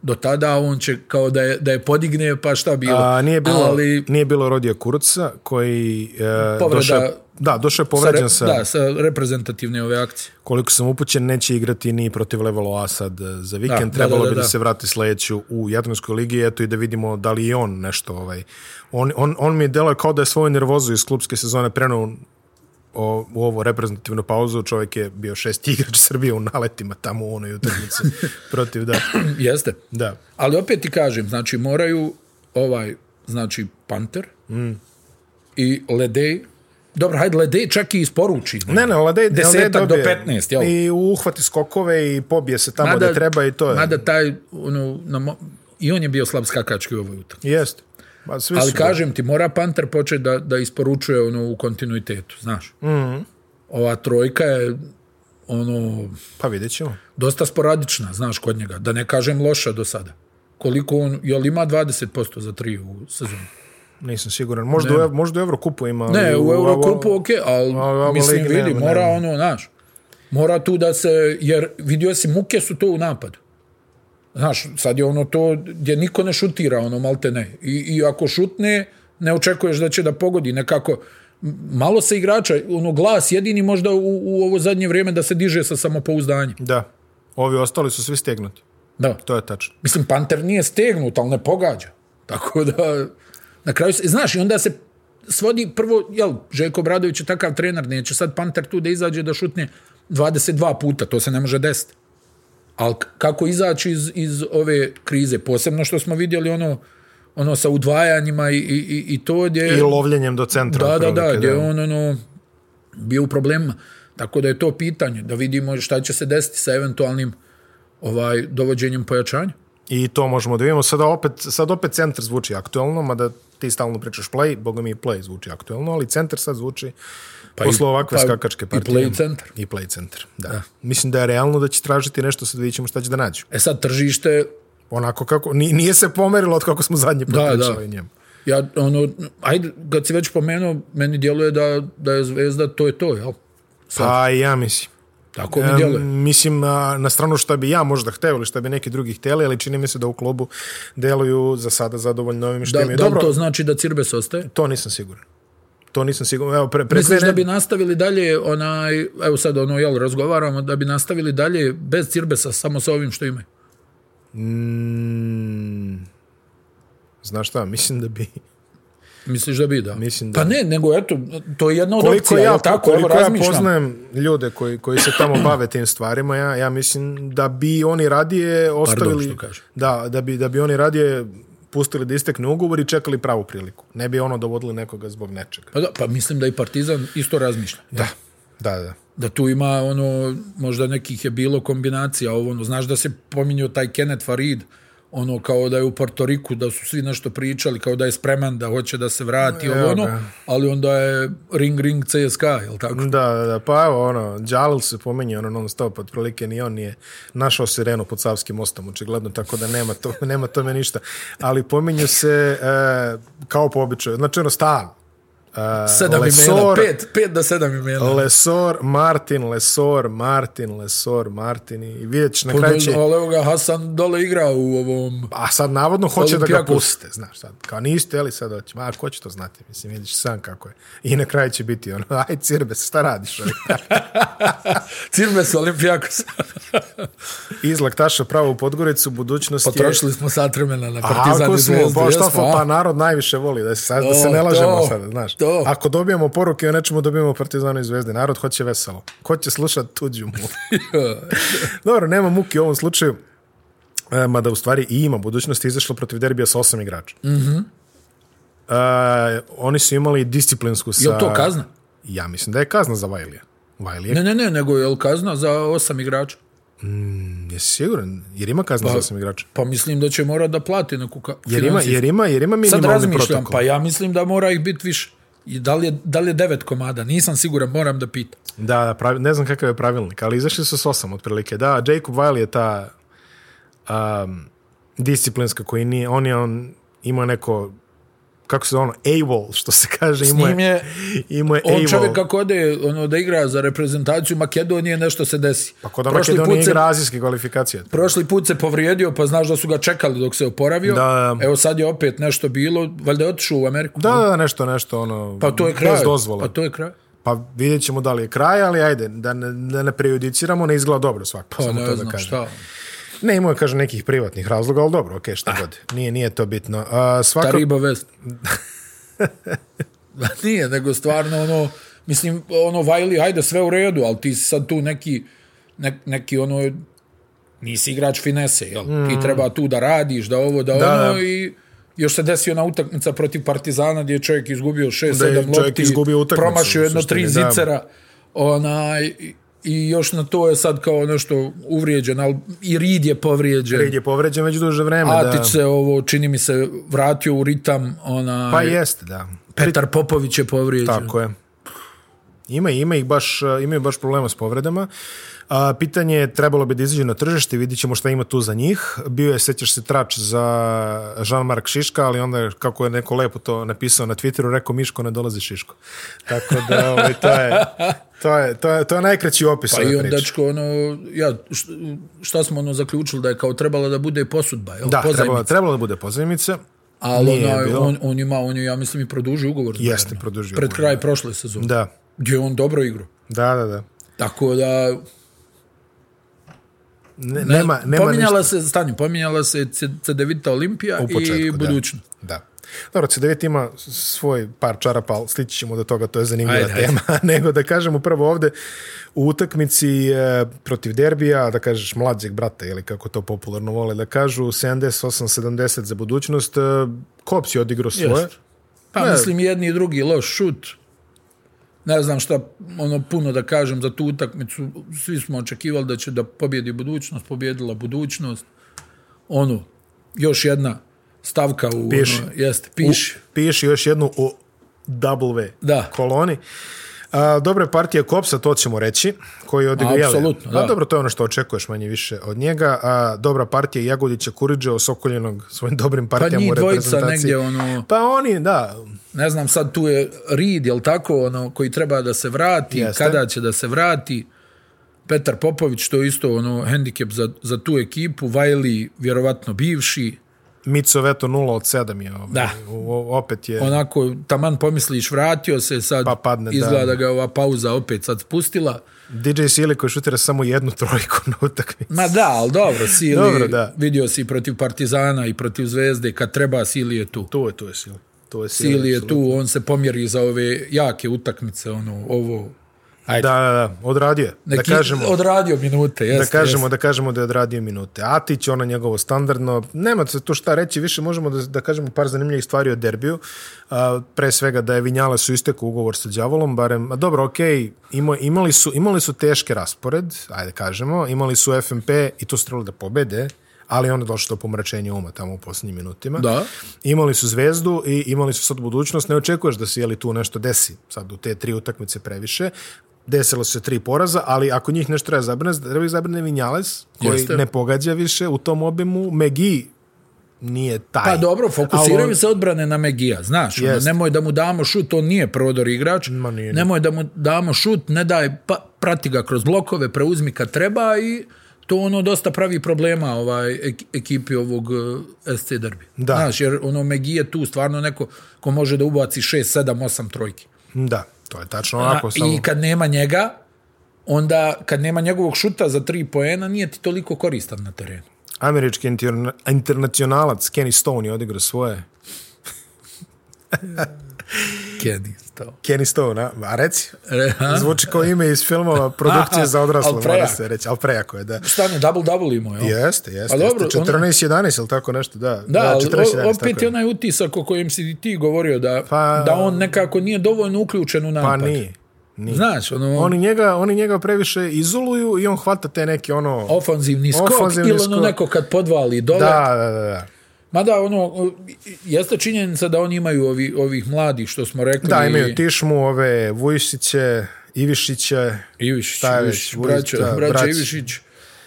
S2: do tada, on će kao da je, da je podigne, pa šta bilo.
S1: A, nije bilo, ali,
S2: Ali,
S1: nije bilo Rodija Kuruca koji e,
S2: Povreda-
S1: došao, je- da, došao je
S2: sa, re,
S1: povređen sa,
S2: da, sa reprezentativne ove akcije. [CLEARS THROAT]
S1: koliko sam upućen, neće igrati ni protiv Levelo A sad e, za vikend.
S2: Da, da,
S1: Trebalo
S2: da,
S1: bi da,
S2: da, da.
S1: se vrati sledeću u Jadranskoj ligi, eto i da vidimo da li je on nešto. Ovaj. On, on, on mi je delao kao da je svoju nervozu iz klubske sezone prenuo o, u ovo reprezentativnu pauzu. Čovjek je bio šesti igrač Srbije u naletima tamo u onoj
S2: [LAUGHS]
S1: utakmici protiv, da.
S2: Jeste.
S1: da.
S2: Ali opet ti kažem, znači moraju ovaj, znači Panter mm. i Ledej. Dobro, hajde Ledej čak i isporuči. ono,
S1: Ne, ne, Ladej, Ladej
S2: Desetak do
S1: dobije
S2: 15, jel?
S1: I uhvati skokove i pobije se tamo mada, da treba i to je.
S2: Mada taj, ono, na mo... i on je bio slab skakački u ovoj utakmici.
S1: Jest. Ba, svi
S2: Ali
S1: su ga-
S2: kažem ti, mora Panter početi da, da isporučuje ono u kontinuitetu, znaš. Mm. Ova trojka je ono,
S1: Pa vidjet ćemo.
S2: dosta sporadična, znaš, kod njega. Da ne kažem loša do sada. Koliko on, jel ima 20% za tri u sezonu?
S1: Nisam siguran. Možda, u, ev- možda u Eurokupu ima. ali
S2: Ne, u
S1: ovo-
S2: Eurokupu okej, ali
S1: ovo- ovo
S2: mislim,
S1: ligi
S2: vidi,
S1: nema,
S2: mora
S1: nema.
S2: ono, znaš, mora tu da se, jer vidio si, muke su to u napadu. Znaš, sad je ono to gdje niko ne šutira, ono, malte ne. I, i ako šutne, ne očekuješ da će da pogodi, nekako, m- malo se igrača, ono, glas jedini možda u, u ovo zadnje vrijeme da se diže sa samopouzdanjem.
S1: Da. Ovi ostali su svi stegnuti.
S2: Da.
S1: To je tačno.
S2: Mislim, Panter nije stegnut, ali ne pogađa. Tako da, na kraju, se, znaš, i onda se svodi prvo, jel, Željko Bradović je takav trener, neće sad Panter tu da izađe da šutne 22 puta, to se ne može desiti. Ali k- kako izaći iz, iz ove krize, posebno što smo vidjeli ono, ono sa udvajanjima i, i, i- i to gdje...
S1: I lovljenjem do centra.
S2: Da, da, da,
S1: otprilike,
S2: gdje je on ono, bio u problemima. Tako da je to pitanje, da vidimo šta će se desiti sa eventualnim ovaj dovođenjem pojačanja.
S1: I to možemo da vidimo. Sada opet, sad opet centar zvuči aktuelno, mada ti stalno pričaš play, boga mi i play zvuči aktuelno, ali centar sad zvuči pa
S2: i-
S1: posle ovakve
S2: pa
S1: skakačke
S2: i
S1: partije.
S2: play centar.
S1: I play centar, da. da. Mislim da je realno da će tražiti nešto, sad vidit ćemo šta će da nađu.
S2: E sad tržište,
S1: Onako kako, ni- nije se pomerilo od kako smo zadnji put
S2: Da, da.
S1: pričali o njemu.
S2: ja ono, ajde, kad si već pomenuo, meni djeluje da, da je zvezda, to je to, jel?
S1: Pa i ja mislim.
S2: Tako mi djeluje.
S1: Em, Mislim, a, na stranu šta bi ja možda hteo ili šta bi neki drugi hteli, ali čini mi se da u klubu deluju za sada zadovoljno ovim što
S2: Da,
S1: im je
S2: da li
S1: dobro.
S2: to
S1: To...
S2: znači da Cirbes ostaje?
S1: nisam siguran. To nisam siguran. Evo, pre, pre
S2: Misliš da bi nastavili dalje, onaj, evo sad ono, jel, razgovaramo, da bi nastavili dalje bez Cirbesa, samo sa ovim što imaju?
S1: Znaš šta, mislim da
S2: [LAUGHS]
S1: bi...
S2: Misliš da bi, da?
S1: Mislim da
S2: Pa ne, nego eto, to je jedna od
S1: Koliko
S2: opcija,
S1: ja,
S2: jel tako, evo,
S1: koliko ja
S2: razmišljam.
S1: poznajem ljude koji, koji se
S2: [CLEARS THROAT]
S1: tamo bave tim stvarima, ja, ja mislim da bi oni radije ostavili...
S2: što kažem.
S1: da, da, bi, da bi oni radije pustili da istekne ugovor i čekali pravu priliku. Ne bi ono dovodili nekoga zbog nečega.
S2: Pa, da, pa mislim da i Partizan isto razmišlja.
S1: Da, da, da.
S2: da tu ima ono, možda nekih je bilo kombinacija, ovo, ono, znaš da se pominjao taj Kenneth Farid, ono kao da je u Portoriku, da su svi nešto pričali, kao da je spreman, da hoće da se vrati, ovo
S1: Evo
S2: ono,
S1: ga.
S2: ali onda je ring ring CSKA, jel tako?
S1: Da, da, da, pa evo ono, Đalil se pominje ono non stop, otprilike ni on nije našao sirenu pod Savskim mostom, očigledno, tako da nema, to, [LAUGHS] nema tome ništa. Ali pominju se e, kao po običaju, znači ono stan. E,
S2: Sedam imena,
S1: Lesor,
S2: pet, pet do sedam imena.
S1: Lesor, Martin, Lesor, Martin, Lesor, Martin i vidjet ćeš na kraju će...
S2: Ono, Ali evo ga Hasan dole igra u ovom...
S1: A sad navodno hoće da ga
S2: Olimpijakos.
S1: puste, znaš sad. Kao niste, ali sad hoće. Ma, ko će to znati? Mislim, vidiš sam kako je. I na kraju će biti ono, [LAUGHS] aj cirbe, šta radiš? Ono? [LAUGHS]
S2: Cirbes Olimpijakos.
S1: Iz Laktaša pravo u Podgoricu, budućnost je...
S2: Potrošili smo sat vremena na Partizan
S1: Ako
S2: i
S1: smo,
S2: Zvezdu.
S1: pa šta
S2: jesmo,
S1: pa,
S2: a? [LAUGHS]
S1: pa narod najviše voli, da se, sad, da se
S2: To,
S1: ne lažemo
S2: to,
S1: sada, znaš.
S2: to.
S1: Ako dobijemo poruke o nečemu, dobijemo Partizanu i Zvezde. Narod hoće veselo. Ko će slušat
S2: [LAUGHS]
S1: tuđu mu? Dobro, nema muki u ovom slučaju. E, Mada u stvari i ima budućnost je izašla protiv derbija sa osam igrača. Mm
S2: Mhm.
S1: -hmm. e, oni su imali disciplinsku sa...
S2: Je li to kazna?
S1: Ja mislim da je kazna za Vajlija. Vajlija,
S2: Ne, ne, ne, nego je li kazna za osam igrača?
S1: jesi siguran? Jer ima kazna za osam igrača.
S2: Pa mislim da će morat da plati neku ka...
S1: Jer ima, jer ima, jer ima
S2: Sad
S1: minimalni
S2: razmišljam,
S1: protokol.
S2: pa ja mislim da mora ih biti više. I da li, je, da li je devet komada? Nisam siguran, moram da pitam.
S1: Da, da pravi, ne znam kakav je pravilnik, ali izašli su s osam otprilike. Da, Jacob Wiley je ta um, disciplinska koji nije, on je on, ima neko, kako se zove ono, AWOL, što se kaže, ima
S2: njim je-
S1: ima je
S2: On
S1: AWOL.
S2: čovjek kako ode ono, da igra za reprezentaciju Makedonije, nešto se desi.
S1: Ako Pa da
S2: Prošli
S1: Makedonija
S2: put se-
S1: igra azijske kvalifikacije.
S2: Prošli put se povrijedio, pa znaš da su ga čekali dok se oporavio.
S1: Da.
S2: Evo sad je opet nešto bilo, valjda je otišao u Ameriku.
S1: Da, da, da, nešto, nešto, ono,
S2: Pa to je kraj.
S1: bez dozvole.
S2: Pa to je kraj.
S1: Pa vidjet ćemo da li je kraj, ali ajde, da ne, da ne prejudiciramo, ne izgleda dobro svakako.
S2: Pa
S1: samo to
S2: ne
S1: da
S2: znam
S1: kažem.
S2: šta.
S1: Ne, imao je, kaže, nekih privatnih razloga, ali dobro, okej, šta god. Nije, nije to bitno. A,
S2: Ta
S1: svakako,
S2: riba vest. [LAUGHS] Ma Nije, nego stvarno ono, mislim, ono, Vajli, hajde, sve u redu, ali ti si sad tu neki, ne, neki ono, nisi igrač finese, jel? Mm. Ti treba tu da radiš, da ovo, da,
S1: Da,
S2: ono
S1: da.
S2: i još se desio na utakmica protiv Partizana gdje je čovjek izgubio
S1: Da je
S2: 6-7
S1: čovjek
S2: lopti,
S1: izgubio utakmicu,
S2: promašio
S1: u
S2: jedno
S1: suštini,
S2: tri
S1: da.
S2: zicera, onaj, i- i još na to je sad kao nešto uvrijeđen, ali i Reed je povrijeđen.
S1: Reid je povređen već duže vreme.
S2: Atić se ovo, čini mi se, vratio u ritam, ona,
S1: Pa jeste, da.
S2: Petar Popović je povrijeđen.
S1: Tako je. Ima, ima ih baš, imaju baš problema s povredama. A, pitanje je, trebalo bi da izađu na tržište, vidit ćemo šta ima tu za njih. Bio je, sećaš se, trač za Jean-Marc Šiška, ali onda, kako je neko lepo to napisao na Twitteru, rekao Miško ne dolazi Šiško. Tako da, ovaj, to, je, to, je, to, je, to je najkraći opis
S2: Pa
S1: ove
S2: i on
S1: priče.
S2: dečko, ono, ja, šta, šta smo ono zaključili da je kao trebala da bude posudba, jel?
S1: Da,
S2: Pozajmica.
S1: trebalo, trebalo da bude pozajmica.
S2: Ali
S1: Nije
S2: onaj,
S1: bilo.
S2: on, on ima, on je, ja mislim, i produžio ugovor. s
S1: Jeste,
S2: Bayernom.
S1: produžio
S2: Pred
S1: ugovor,
S2: kraj prošle sezone.
S1: Da,
S2: Gdje je on dobro igrao.
S1: da, da. da.
S2: Tako da,
S1: Ne, nema, nema ništa.
S2: pominjala se, stanje, pominjala se C- Cedevita Olimpija
S1: U početku,
S2: i
S1: da.
S2: budućnost.
S1: Da. Dobro, C9 ima svoj par čarapa, ali stići ćemo do toga, to je zanimljiva
S2: Ajde, ajde.
S1: tema. [LAUGHS] Nego da kažem upravo ovde, u utakmici e, protiv derbija, da kažeš mlađeg brata, ili kako to popularno vole da kažu, 78-70 za budućnost, e, Kops je odigrao svoje.
S2: Jeste. Pa
S1: Ne.
S2: mislim jedni i drugi loš šut. Ne znam šta ono puno da kažem za tu utakmicu. Svi smo očekivali da će da pobjedi budućnost, pobjedila budućnost. Ono, još jedna stavka u...
S1: Piši.
S2: Ono, jeste, piši.
S1: Piši još jednu o W
S2: Da.
S1: koloni. A, dobra je partija Kopsa, to ćemo reći, koji je odigrao. jel?
S2: Apsolutno,
S1: Pa
S2: da.
S1: dobro, to je ono što očekuješ manje više od njega. A, dobra partija Jagodića Kuriđe, osokoljenog svojim dobrim
S2: Pa
S1: partijama
S2: njih
S1: u
S2: dvojica
S1: reprezentaciji.
S2: negdje ono...
S1: Pa oni, da,
S2: Ne znam, sad tu je Reed, jel tako, ono, koji treba da se vrati,
S1: Jeste.
S2: Jeste. kada će da se vrati. Petar Popović, to je isto ono, hendikep za, za tu ekipu. Vajli, vjerovatno bivši.
S1: Micov eto 0 od 7 je. Ovaj.
S2: Da.
S1: U- o- opet je,
S2: onako, taman pomisliš, vratio se, sad
S1: Pa padne, da.
S2: izgleda da. ga je ova pauza opet sad spustila.
S1: DJ Sili koji šutira samo jednu trojku na utakmici.
S2: [LAUGHS] Ma da, ali dobro, Sili,
S1: Dobro, da.
S2: vidio si i protiv Partizana i protiv Zvezde, kad treba, Sili je tu.
S1: Tu je, tu je Sili. Tu je Sili,
S2: Sili je
S1: apsolutno.
S2: tu, on se pomjeri za ove jake utakmice, ono, ovo.
S1: Da, da, da, odradio je. Da
S2: Neki,
S1: kažemo,
S2: Odradio minute, jeste.
S1: da kažemo, da
S2: jeste.
S1: kažemo da je odradio minute. Atić, ono njegovo standardno, nema se tu šta reći, više možemo da, da kažemo par zanimljivih stvari o derbiju. A, pre svega da je Vinjale su isteku ugovor sa đavolom, barem, a dobro, okej, ima, imali, su, imali su teške raspored, ajde kažemo, imali su FMP i to su trebali da pobede, ali onda je došlo do pomračenja uma tamo u posljednjim minutima.
S2: Da.
S1: Imali su zvezdu i imali su sad budućnost. Ne očekuješ da se jeli tu nešto desi. Sad u te tri utakmice previše. Desilo se tri poraza, ali ako njih nešto treba zabrane, treba ih zabrane Vinjales, koji Jeste.
S2: Jeste.
S1: ne pogađa više u tom obimu. Megi nije taj.
S2: Pa dobro,
S1: Ali
S2: fokusiraju
S1: on-
S2: se odbrane na Megija, znaš, ono,
S1: Jeste.
S2: nemoj da mu damo šut, on nije prodor igrač,
S1: Ma nije, nije.
S2: nemoj da mu damo šut, ne daj, pa, prati ga kroz blokove, preuzmi kad treba i to ono dosta pravi problema ovaj ek- ekipi ovog eh, SC derbi.
S1: Da.
S2: Znaš, jer ono Megije tu stvarno neko ko može da ubaci 6, 7, 8 trojki.
S1: Da, to je tačno
S2: A,
S1: onako. samo...
S2: I kad nema njega, onda kad nema njegovog šuta za 3 poena, nije ti toliko koristan na terenu.
S1: Američki interna- internacionalac Kenny Stone je odigrao svoje.
S2: Kenny, to.
S1: Kenny Stone, a, a reci.
S2: Re, ha?
S1: Zvuči kao ime iz
S2: [LAUGHS]
S1: filmova produkcije za odrasle,
S2: Al
S1: mora
S2: prejak.
S1: se reći. Ali prejako je, da.
S2: Stane, double-double imao, jel?
S1: Jeste, jeste.
S2: A dobro,
S1: jeste. 14-11, ili tako nešto, da.
S2: Da, ali
S1: 14-11,
S2: o-
S1: tako
S2: opet je onaj utisak o kojem si i ti govorio da,
S1: Pa-
S2: pa, da on nekako nije dovoljno uključen u
S1: Pa
S2: napad.
S1: nije.
S2: Znaš, ono, on,
S1: Oni njega, oni njega previše izoluju i on hvata te neke ono...
S2: ofanzivni skok
S1: Ofanzivni
S2: ili ono
S1: skok.
S2: neko kad podvali dole. Da.
S1: da, da, da, da.
S2: Mada ono, jeste činjenica da oni imaju ovi, ovih mladih što smo rekli.
S1: Da, imaju Tišmu, ove Vujšiće, Ivišiće.
S2: Ivišić,
S1: šta je već,
S2: Ivišić,
S1: Vujić,
S2: braća,
S1: da,
S2: braća
S1: braća.
S2: Ivišić.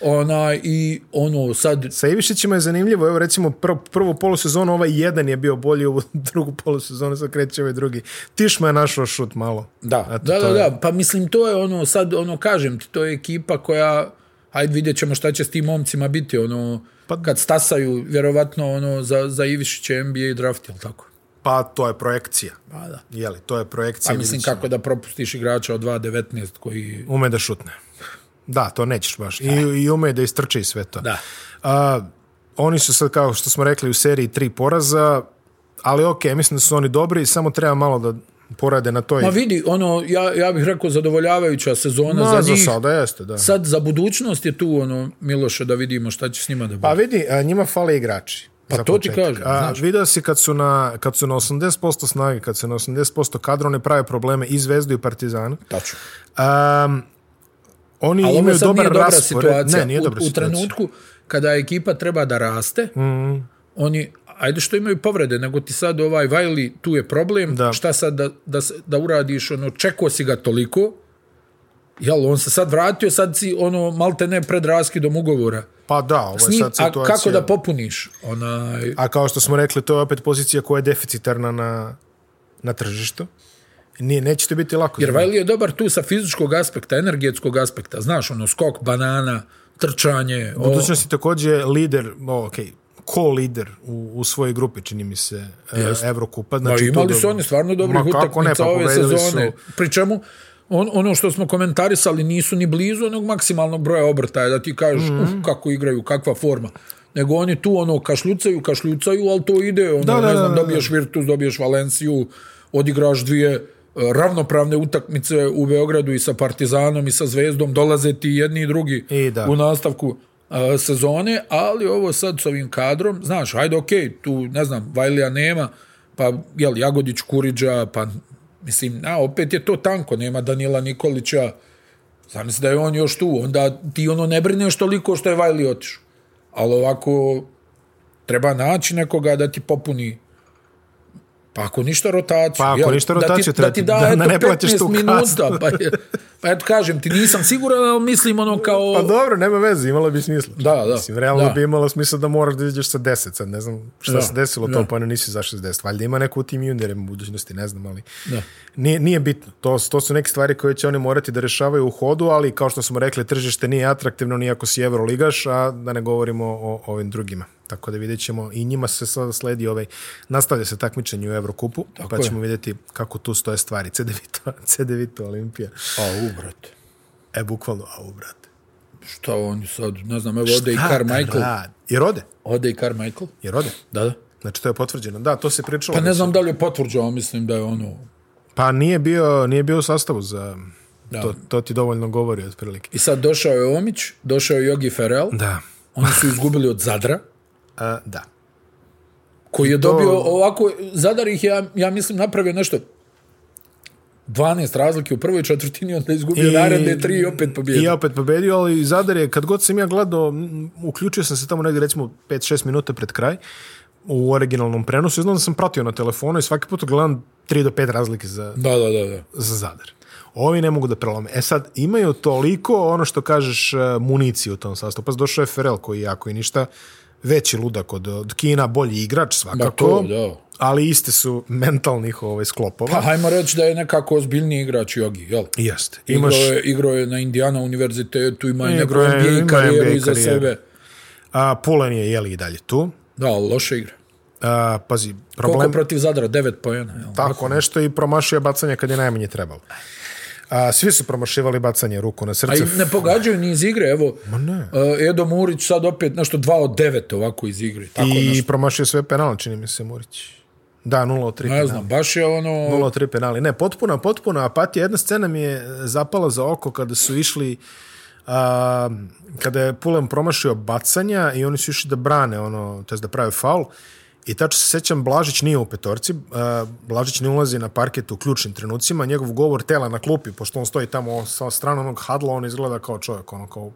S2: Ona, I ono, sad
S1: Sa Ivišićima je zanimljivo, evo recimo pr prvu polusezonu ovaj jedan je bio bolji, ovu [LAUGHS] drugu polusezonu sad kreće ovaj drugi. Tišma je našao šut malo.
S2: Da,
S1: Eto,
S2: da,
S1: to
S2: da,
S1: je-
S2: da, pa mislim to je ono, sad ono kažem ti, to je ekipa koja, hajde vidjet ćemo šta će s tim momcima biti, ono,
S1: Pa-
S2: pa, kad stasaju, vjerovatno, ono, za, za Ivišiće NBA draft, jel tako?
S1: Pa to je projekcija.
S2: Pa da.
S1: Jeli, to je projekcija.
S2: Pa mislim
S1: vidjet ćemo.
S2: kako da propustiš igrača od 2.19 koji...
S1: Ume da šutne. Da, to nećeš baš. I, i ume da istrče i sve to.
S2: Da.
S1: A, oni su sad, kao što smo rekli, u seriji tri poraza, ali ok, mislim da su oni dobri, samo treba malo da porade na toj...
S2: Ma vidi, ono, ja, ja bih rekao zadovoljavajuća sezona
S1: Ma,
S2: za
S1: za
S2: njih.
S1: sada jeste, da.
S2: Sad za budućnost je tu, ono, Miloše, da vidimo šta će s njima da bude.
S1: Pa vidi, a, njima fale igrači.
S2: Pa
S1: za
S2: to ti
S1: početak.
S2: kažem,
S1: A,
S2: znaš.
S1: Video si kad su, na, kad su na 80% snage, kad su na 80% kadra, oni prave probleme i Zvezdu i Partizanu.
S2: Tačno.
S1: Um, oni
S2: Ali ovo
S1: imaju
S2: sad
S1: dobar
S2: nije dobra
S1: raspored.
S2: situacija.
S1: Ne, nije
S2: u,
S1: dobra
S2: u
S1: situacija. Mhm.
S2: trenutku kada ekipa treba da raste, mm. oni, ajde što imaju povrede, nego ti sad ovaj Vajli, tu je problem,
S1: Da.
S2: šta sad da, da, se- da uradiš, ono, čekao si ga toliko, jel, on se sad vratio, sad si, ono, malte ne pred raskidom ugovora.
S1: Pa da, ovo je
S2: S njim,
S1: sad
S2: a
S1: situacija.
S2: kako da popuniš? Onaj,
S1: A kao što smo rekli, to je opet pozicija koja je deficitarna na, na tržištu. Nije, neće to biti lako.
S2: Jer Vajli je dobar tu sa fizičkog aspekta, energetskog aspekta. Znaš, ono, skok, banana, trčanje. O,
S1: Budućnost je također lider, o, ok, co-lider u, u svojoj grupi, čini mi se, yes. Evrokupa.
S2: pa
S1: Znači, tu
S2: imali su
S1: dobro.
S2: oni stvarno dobrih
S1: Ma kako
S2: utakmica
S1: ne, pa
S2: ove
S1: pobedili
S2: sezone.
S1: Su,
S2: Pri čemu, on, ono što smo komentarisali nisu ni blizu onog maksimalnog broja obrtaja, da ti kažeš,
S1: Mhm.
S2: mm -hmm. uf, kako igraju, kakva forma. Nego oni tu ono kašljucaju, kašljucaju, ali to ide. Ono, da,
S1: da,
S2: ne
S1: da,
S2: znam,
S1: da, da.
S2: dobiješ Virtus, dobiješ Valenciju, odigraš dvije e, ravnopravne utakmice u Beogradu i sa Partizanom i sa Zvezdom, dolaze ti jedni i drugi
S1: I da.
S2: u nastavku e, sezone, ali ovo sad s ovim kadrom, znaš, ajde, okej, okay, tu, ne znam, Vajlija nema, pa, jel, Jagodić, Kuriđa, pa, mislim, a, opet je to tanko, nema Danila Nikolića, zamisli da je on još tu, onda ti ono ne brineš toliko što je Vajli otišao. Ali ovako, treba naći nekoga da ti popuni Pa ako ništa rotaciju.
S1: Pa ako
S2: jel,
S1: ništa
S2: da
S1: rotaciju
S2: ti,
S1: treba
S2: da ti
S1: ti-
S2: da,
S1: da-
S2: eto,
S1: da ne plaćaš
S2: 15
S1: tu
S2: minuta.
S1: kaznu.
S2: Pa, je, pa eto kažem ti, nisam siguran, ali mislim ono kao...
S1: pa dobro, nema veze, imalo bi smisla.
S2: Da, da.
S1: Mislim, realno
S2: Da.
S1: bi imalo smisla da moraš da izađeš sa 10, sad ne znam šta
S2: Da,
S1: se desilo,
S2: da.
S1: to pa ne nisi zašao sa 10. Valjda ima neko u tim juniorima u budućnosti, ne znam, ali
S2: Da.
S1: nije, nije bitno. To, to su neke stvari koje će oni morati da rešavaju u hodu, ali kao što smo rekli, tržište nije atraktivno ni ako si Euroligaš, a da ne govorimo o ovim drugima. Tako da vidjet ćemo i njima se sada sledi ovaj, nastavlja se takmičenje u Evrokupu, Tako pa
S2: je.
S1: ćemo vidjeti kako tu stoje stvari. [LAUGHS] CDVito, CDVito Olimpija.
S2: A, ubrate.
S1: E, bukvalno, au, brate.
S2: Šta oni sad, ne znam, evo ode i Carmichael.
S1: Rad. Jer ode,
S2: Ode i Carmichael.
S1: jer ode.
S2: Da, da.
S1: Znači, to je potvrđeno. Da, to se pričalo.
S2: Pa
S1: da
S2: ne
S1: se-
S2: znam da li je potvrđao, mislim da je ono...
S1: Pa nije bio, nije bio u sastavu za...
S2: Da.
S1: To, to ti dovoljno govori, otprilike.
S2: I sad došao je Omić, došao je Jogi Ferrell,
S1: Da.
S2: oni su izgubili od Zadra,
S1: A, da.
S2: koji je
S1: to-
S2: dobio ovako, Zadar ih je, ja, ja mislim, napravio nešto 12 razlike u prvoj četvrtini, onda je izgubio
S1: I-
S2: naredne tri i opet
S1: I ja
S2: pobjedio.
S1: opet pobedio, ali Zadar je, kad god sam ja gledao, m, uključio sam se tamo negdje, recimo, 5-6 minuta pred kraj, u originalnom prenosu, i znam da sam pratio na telefonu i svaki put gledam 3 do 5 razlike za,
S2: Da, da, da, da.
S1: za Zadar. Ovi ne mogu da prelome. E sad, imaju toliko, ono što kažeš, e, municije u tom sastavu. Pa došao je Ferel koji je jako i ništa veći ludak od, od Kina, bolji igrač
S2: Pa
S1: svakako.
S2: to, da.
S1: ali iste su mentalnih ovaj,
S2: Pa
S1: sklopova.
S2: hajmo reći da je nekako ozbiljniji igrač Jogi, jel?
S1: Jeste.
S2: Imaš...
S1: Imaš,
S2: Igrao, je, igrao je na Indiana univerzitetu, ima i neku
S1: Igrao je-
S2: NBA
S1: ima
S2: karijeru
S1: NBA
S2: iza
S1: karijeru.
S2: sebe.
S1: a, Pulen je jeli i dalje tu.
S2: Da, ali loše igra.
S1: A, pazi,
S2: Koliko
S1: problem...
S2: protiv Zadra? 9 pojena. Jel?
S1: Tako nešto i promašio je bacanje kad je najmanje trebalo. A, svi su promašivali bacanje ruku na
S2: A i
S1: srce.
S2: ne pogađaju ni iz igre, evo. Ma
S1: ne.
S2: Edo Murić sad opet nešto 2 od 9 ovako iz igre. Tako
S1: I
S2: nešto.
S1: promašio sve penale, čini mi se, Murić. Da, 0 od 3
S2: Ne
S1: penala.
S2: znam, baš je ono...
S1: 0 od 3 penali. Ne, potpuna, potpuna apatija. Jedna scena mi je eh, zapala za oko kada su išli a, kada je Pulen promašio bacanja i oni su išli da brane, ono, to jest da prave faul. I tačno se sećam, Blažić nije u petorci. a, Blažić ne ulazi na parket u ključnim trenucima. Njegov govor tela na klupi, pošto on stoji tamo sa strane onog hadla, on izgleda kao čovjek, ono, kao,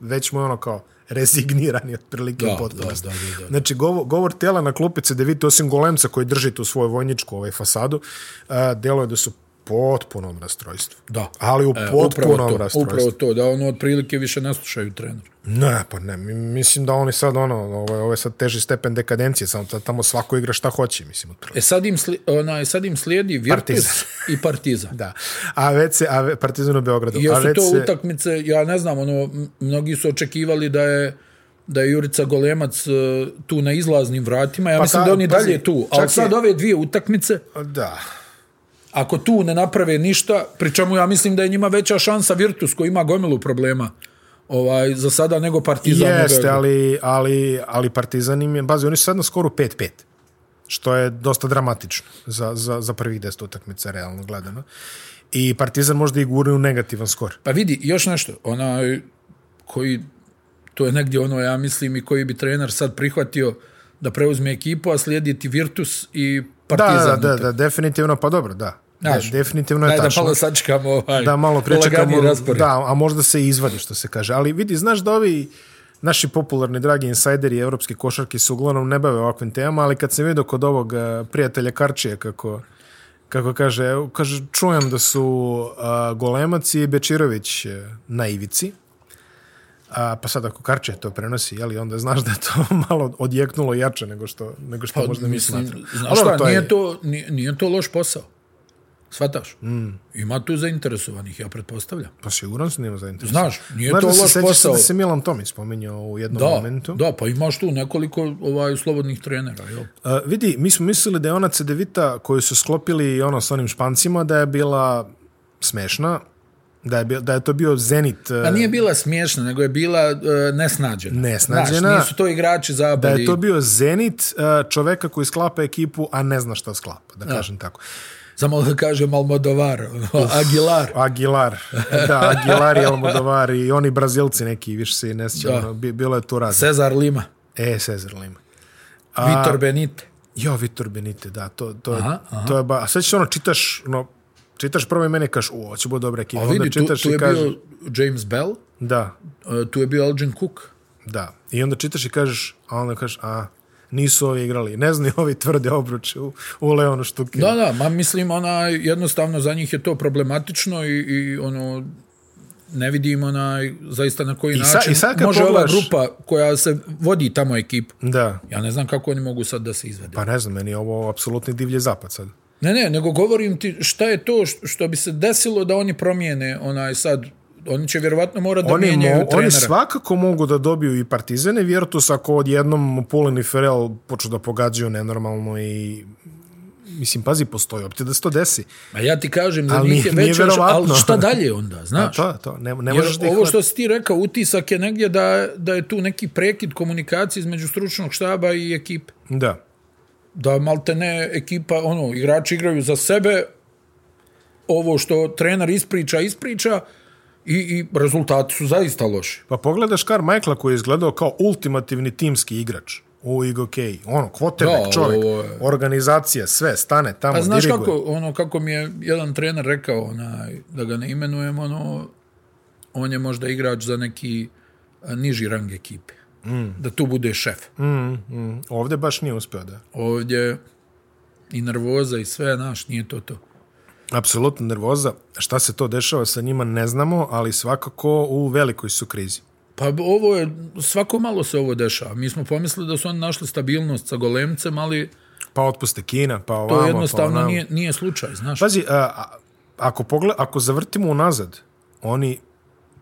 S1: već mu je ono kao rezignirani otprilike
S2: Da,
S1: u potpunosti.
S2: da, da, da, da.
S1: Znači, govor, govor tela na klupice da vidite, osim golemca koji drži tu svoju vojničku ovaj, fasadu, a, delo je da su potpunom rastrojstvu.
S2: Da.
S1: Ali u
S2: E, upravo
S1: potpunom
S2: to, upravo
S1: rastrojstvu.
S2: to, da ono otprilike više ne slušaju trenera.
S1: Ne, pa ne, mi- mislim da oni sad ono, ovo, je- ovo je sad teži stepen dekadencije, samo da tamo svako igra šta hoće, mislim, otprilike.
S2: E sad im, sli, onaj, sad im slijedi Virtus
S1: Partizan.
S2: i Partizan.
S1: Da. A već se, a ve- Partizan u Beogradu. [LAUGHS]
S2: I
S1: a
S2: Još su
S1: već
S2: to
S1: se-
S2: utakmice, ja ne znam, ono, m- mnogi su očekivali da je da je Jurica Golemac e, tu na izlaznim vratima. Ja
S1: Pa
S2: mislim
S1: ta-
S2: da on i
S1: pazi,
S2: dalje je tu.
S1: čak
S2: Ali
S1: i-
S2: sad ove dvije utakmice,
S1: Da.
S2: ako tu ne naprave ništa, pri čemu ja mislim da je njima veća šansa Virtus koji ima gomilu problema ovaj, za sada nego Partizan. u
S1: Jeste,
S2: Beogradu.
S1: ali, ali, ali Partizan im je, bazi, oni su sad na skoru 5-5, što je dosta dramatično za, za, za prvih 10 utakmica, realno gledano. I Partizan možda i gurne u negativan skor.
S2: Pa vidi, još nešto, onaj koji, to je negdje ono, ja mislim, i koji bi trener sad prihvatio da preuzme ekipu, a slijedi ti Virtus i Partizan.
S1: Da, da, da, da, definitivno, pa dobro, da.
S2: Znaš,
S1: De- definitivno je
S2: Daj da
S1: tačno.
S2: malo sačekamo ovaj [LAUGHS]
S1: da malo pričekamo.
S2: raspored.
S1: Da, a možda se i izvadi, što se kaže. Ali vidi, znaš da ovi naši popularni dragi insajderi evropske košarke se uglavnom ne bave ovakvim temama, ali kad sam vidio kod ovog e, prijatelja Karčija kako kako kaže, evo, kaže čujem da su a, Golemac i Bečirović e, na ivici. A, pa sad ako Karče to prenosi, jeli, onda znaš da je to [LAUGHS] malo odjeknulo jače nego što, nego što
S2: Pa,
S1: možda mi smatramo.
S2: Znaš
S1: Ali dobro,
S2: šta,
S1: to je-
S2: nije, to, nije, nije to loš posao. Svataš? Mm. Ima tu zainteresovanih, ja pretpostavljam.
S1: Pa siguran sam da ima zainteresan.
S2: Znaš, nije
S1: Znaš
S2: to
S1: da se
S2: loš
S1: sjećaš
S2: posao.
S1: da se Milan Tomić spominjao u jednom
S2: Da,
S1: momentu.
S2: da, pa imaš tu nekoliko ovaj slobodnih trenera, jel?
S1: A, vidi, mi smo mislili da je ona Cedevita koju su sklopili ono s onim špancima da je bila smešna, da je, bil, da je to bio Zenit,
S2: Pa
S1: e,
S2: nije bila smiješna, nego je bila e, nesnađena.
S1: Nesnađena.
S2: Znaš, nisu to igrači
S1: da
S2: zabali.
S1: je to bio Zenit e, čoveka koji sklapa ekipu, a ne zna šta sklapa, da kažem tako.
S2: Samo da kažem Almodovar, [LAUGHS] ono, Aguilar.
S1: Aguilar, da, Aguilar i Almodovar i oni Brazilci neki, više se i ne sjećam,
S2: Da.
S1: ono, bi- bilo je tu razne.
S2: Cezar Lima,
S1: E, Cezar Lima.
S2: Vitor Benite.
S1: Jo, Vitor Benite, da, to, to, je,
S2: Aha, aha.
S1: to je ba... A sad ćeš ono, čitaš, ono, čitaš prvo imene i kažeš, u, ovo će bude dobra ekipa.
S2: A
S1: Onda
S2: Pa vidi, tu,
S1: čitaš
S2: tu
S1: i
S2: je
S1: kažeš,
S2: bio James Bell,
S1: da,
S2: e, tu je bio Elgin Cook.
S1: Da. I onda čitaš i kažeš, a onda kažeš, a, nisu ovi igrali. Ne znaju ovi tvrde obruče u, u Leonu Štukiru.
S2: Da, da, ma mislim, ona, jednostavno za njih je to problematično i, i ono, ne vidim onaj, zaista na koji
S1: sa-
S2: način
S1: i sad kad
S2: može
S1: pogledaš-
S2: ova grupa koja se vodi tamo ekipu.
S1: da.
S2: Ja ne znam kako oni mogu sad da se izvede.
S1: Pa ne znam, meni je ovo apsolutni divlje zapad sad.
S2: Ne, ne, nego govorim ti šta je to š- što bi se desilo da oni promijene onaj sad, oni će vjerovatno morati da
S1: Oni, mo,
S2: mijenjaju trenera.
S1: oni svakako mogu da dobiju i Partizane, Virtus ako odjednom Pulin i Ferel počnu da pogađaju nenormalno i mislim, pazi, postoji opcija da se to desi.
S2: A ja ti kažem, za
S1: Ali
S2: njih je
S1: nije
S2: već, još-
S1: vjerovatno.
S2: ali šta dalje onda,
S1: A
S2: znaš?
S1: to, je to, ne, ne
S2: Jer
S1: možeš da ih
S2: ovo što si ti rekao, utisak je negdje da, da je tu neki prekid komunikacije između stručnog štaba i ekipe.
S1: hvat- Da.
S2: Da malte ne ekipa, ono, igrači igraju za sebe, ovo što trener ispriča, ispriča, i, i rezultati su zaista loši.
S1: Pa pogledaš Kar Michaela koji je izgledao kao ultimativni timski igrač u Igokeji. Ono, kvoternik,
S2: Da,
S1: čovjek,
S2: ovo je-
S1: organizacija, sve, stane tamo,
S2: Pa znaš
S1: diriguje.
S2: kako, ono, kako mi je jedan trener rekao, onaj, da ga ne imenujem, ono, on je možda igrač za neki a, niži rang ekipe. Mm. Da tu bude šef. Mm.
S1: Ovdje baš nije uspio da.
S2: Ovdje i nervoza i sve, znaš, nije to to.
S1: Apsolutno nervoza. Šta se to dešava sa njima ne znamo, ali svakako u velikoj su krizi.
S2: Pa b- ovo je, svako malo se ovo dešava. Mi smo pomislili da su oni našli stabilnost sa golemcem, ali
S1: Pa otpuste Kina, pa ovamo,
S2: to Vamo,
S1: pa
S2: jednostavno
S1: onamo.
S2: nije, nije slučaj, znaš.
S1: Pazi, a, a, ako, pogled, ako zavrtimo unazad, oni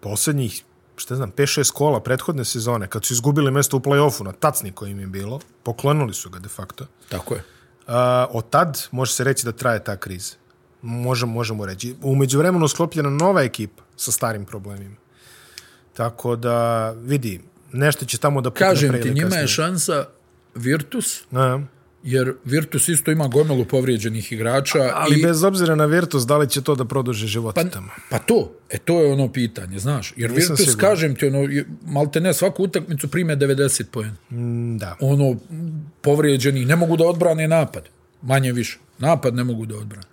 S1: posljednjih, šta znam, 5-6 kola prethodne sezone, kad su izgubili mjesto u play-offu na tacni koji im je bilo, poklonili su ga de facto,
S2: Tako je.
S1: A, od tad može se reći da traje ta kriza. Možemo, možemo reći. Umeđu vremenu sklopljena nova ekipa sa starim problemima. Tako da, vidi, nešto će tamo da pukne
S2: Kažem
S1: pre
S2: ti,
S1: ili
S2: njima je
S1: kasnije.
S2: šansa Virtus,
S1: A,
S2: jer Virtus isto ima gomilu povrijeđenih igrača.
S1: ali
S2: i,
S1: bez obzira na Virtus, da li će to da produže život
S2: Pa,
S1: tamo?
S2: pa to, e to je ono pitanje, znaš. Jer
S1: Nisam
S2: Virtus,
S1: siguran.
S2: kažem ti, ono, je- malte ne, svaku utakmicu prime 90 poena.
S1: Mm, Da.
S2: Ono, m, povrijeđeni, ne mogu da odbrane napad. Manje više. Napad ne mogu da odbrane.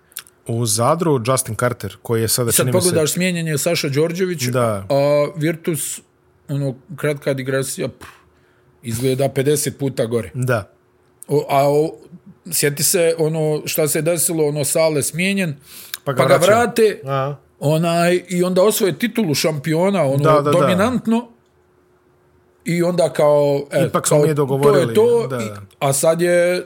S1: U Zadru Justin Carter, koji je sada...
S2: Sad
S1: čini mi se-
S2: pogledaš, smijenjen je Saša Đorđević,
S1: Da.
S2: a Virtus, ono, kratka digresija, pff, izgleda 50 puta gore.
S1: Da.
S2: O, a o, sjeti se ono šta se desilo, ono Sale smijenjen,
S1: Pa
S2: pa
S1: ga
S2: ga, pa ga
S1: vraćaju.
S2: vrate,
S1: A.
S2: onaj, i onda osvoje titulu šampiona, ono,
S1: Da,
S2: da,
S1: da, da.
S2: da, dominantno, i onda kao... E,
S1: Ipak smo
S2: kao,
S1: mi dogovorili,
S2: To je to,
S1: da,
S2: i,
S1: da.
S2: a sad je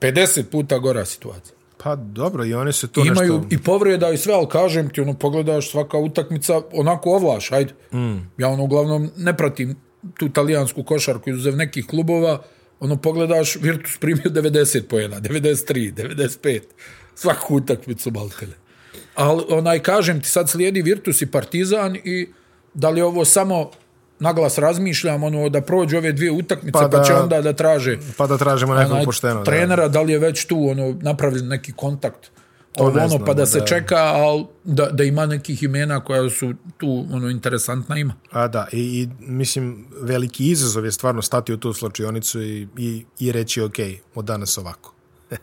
S2: 50 puta gora situacija.
S1: Pa dobro, i oni su tu
S2: To Imaju
S1: nešto...
S2: i povreda i sve, ali kažem ti, ono, pogledaš svaka utakmica, onako ovlaš, ajde. Mm. Ja ono, uglavnom, ne pratim tu talijansku košarku izuzev nekih klubova, ono, pogledaš, Virtus primio [LAUGHS] 90 pojena, 93, 95, svaku utakmicu maltele. Ali, onaj, kažem ti, sad slijedi Virtus i Partizan i da li je ovo samo naglas razmišljam, ono, da prođu ove dvije utakmice,
S1: Pa
S2: pa,
S1: da-
S2: da, će onda da traže
S1: Pa da tražimo nekog
S2: onaj
S1: pošteno. da.
S2: trenera, da. li je već tu ono napravljen neki kontakt
S1: ne
S2: ovo, ono,
S1: znamo,
S2: pa da se
S1: da.
S2: čeka, ali da, da ima nekih imena koja su tu ono interesantna ima.
S1: A da, i, i mislim, veliki izazov je stvarno stati u tu slučionicu i, i, i reći, ok, od danas ovako. [LAUGHS]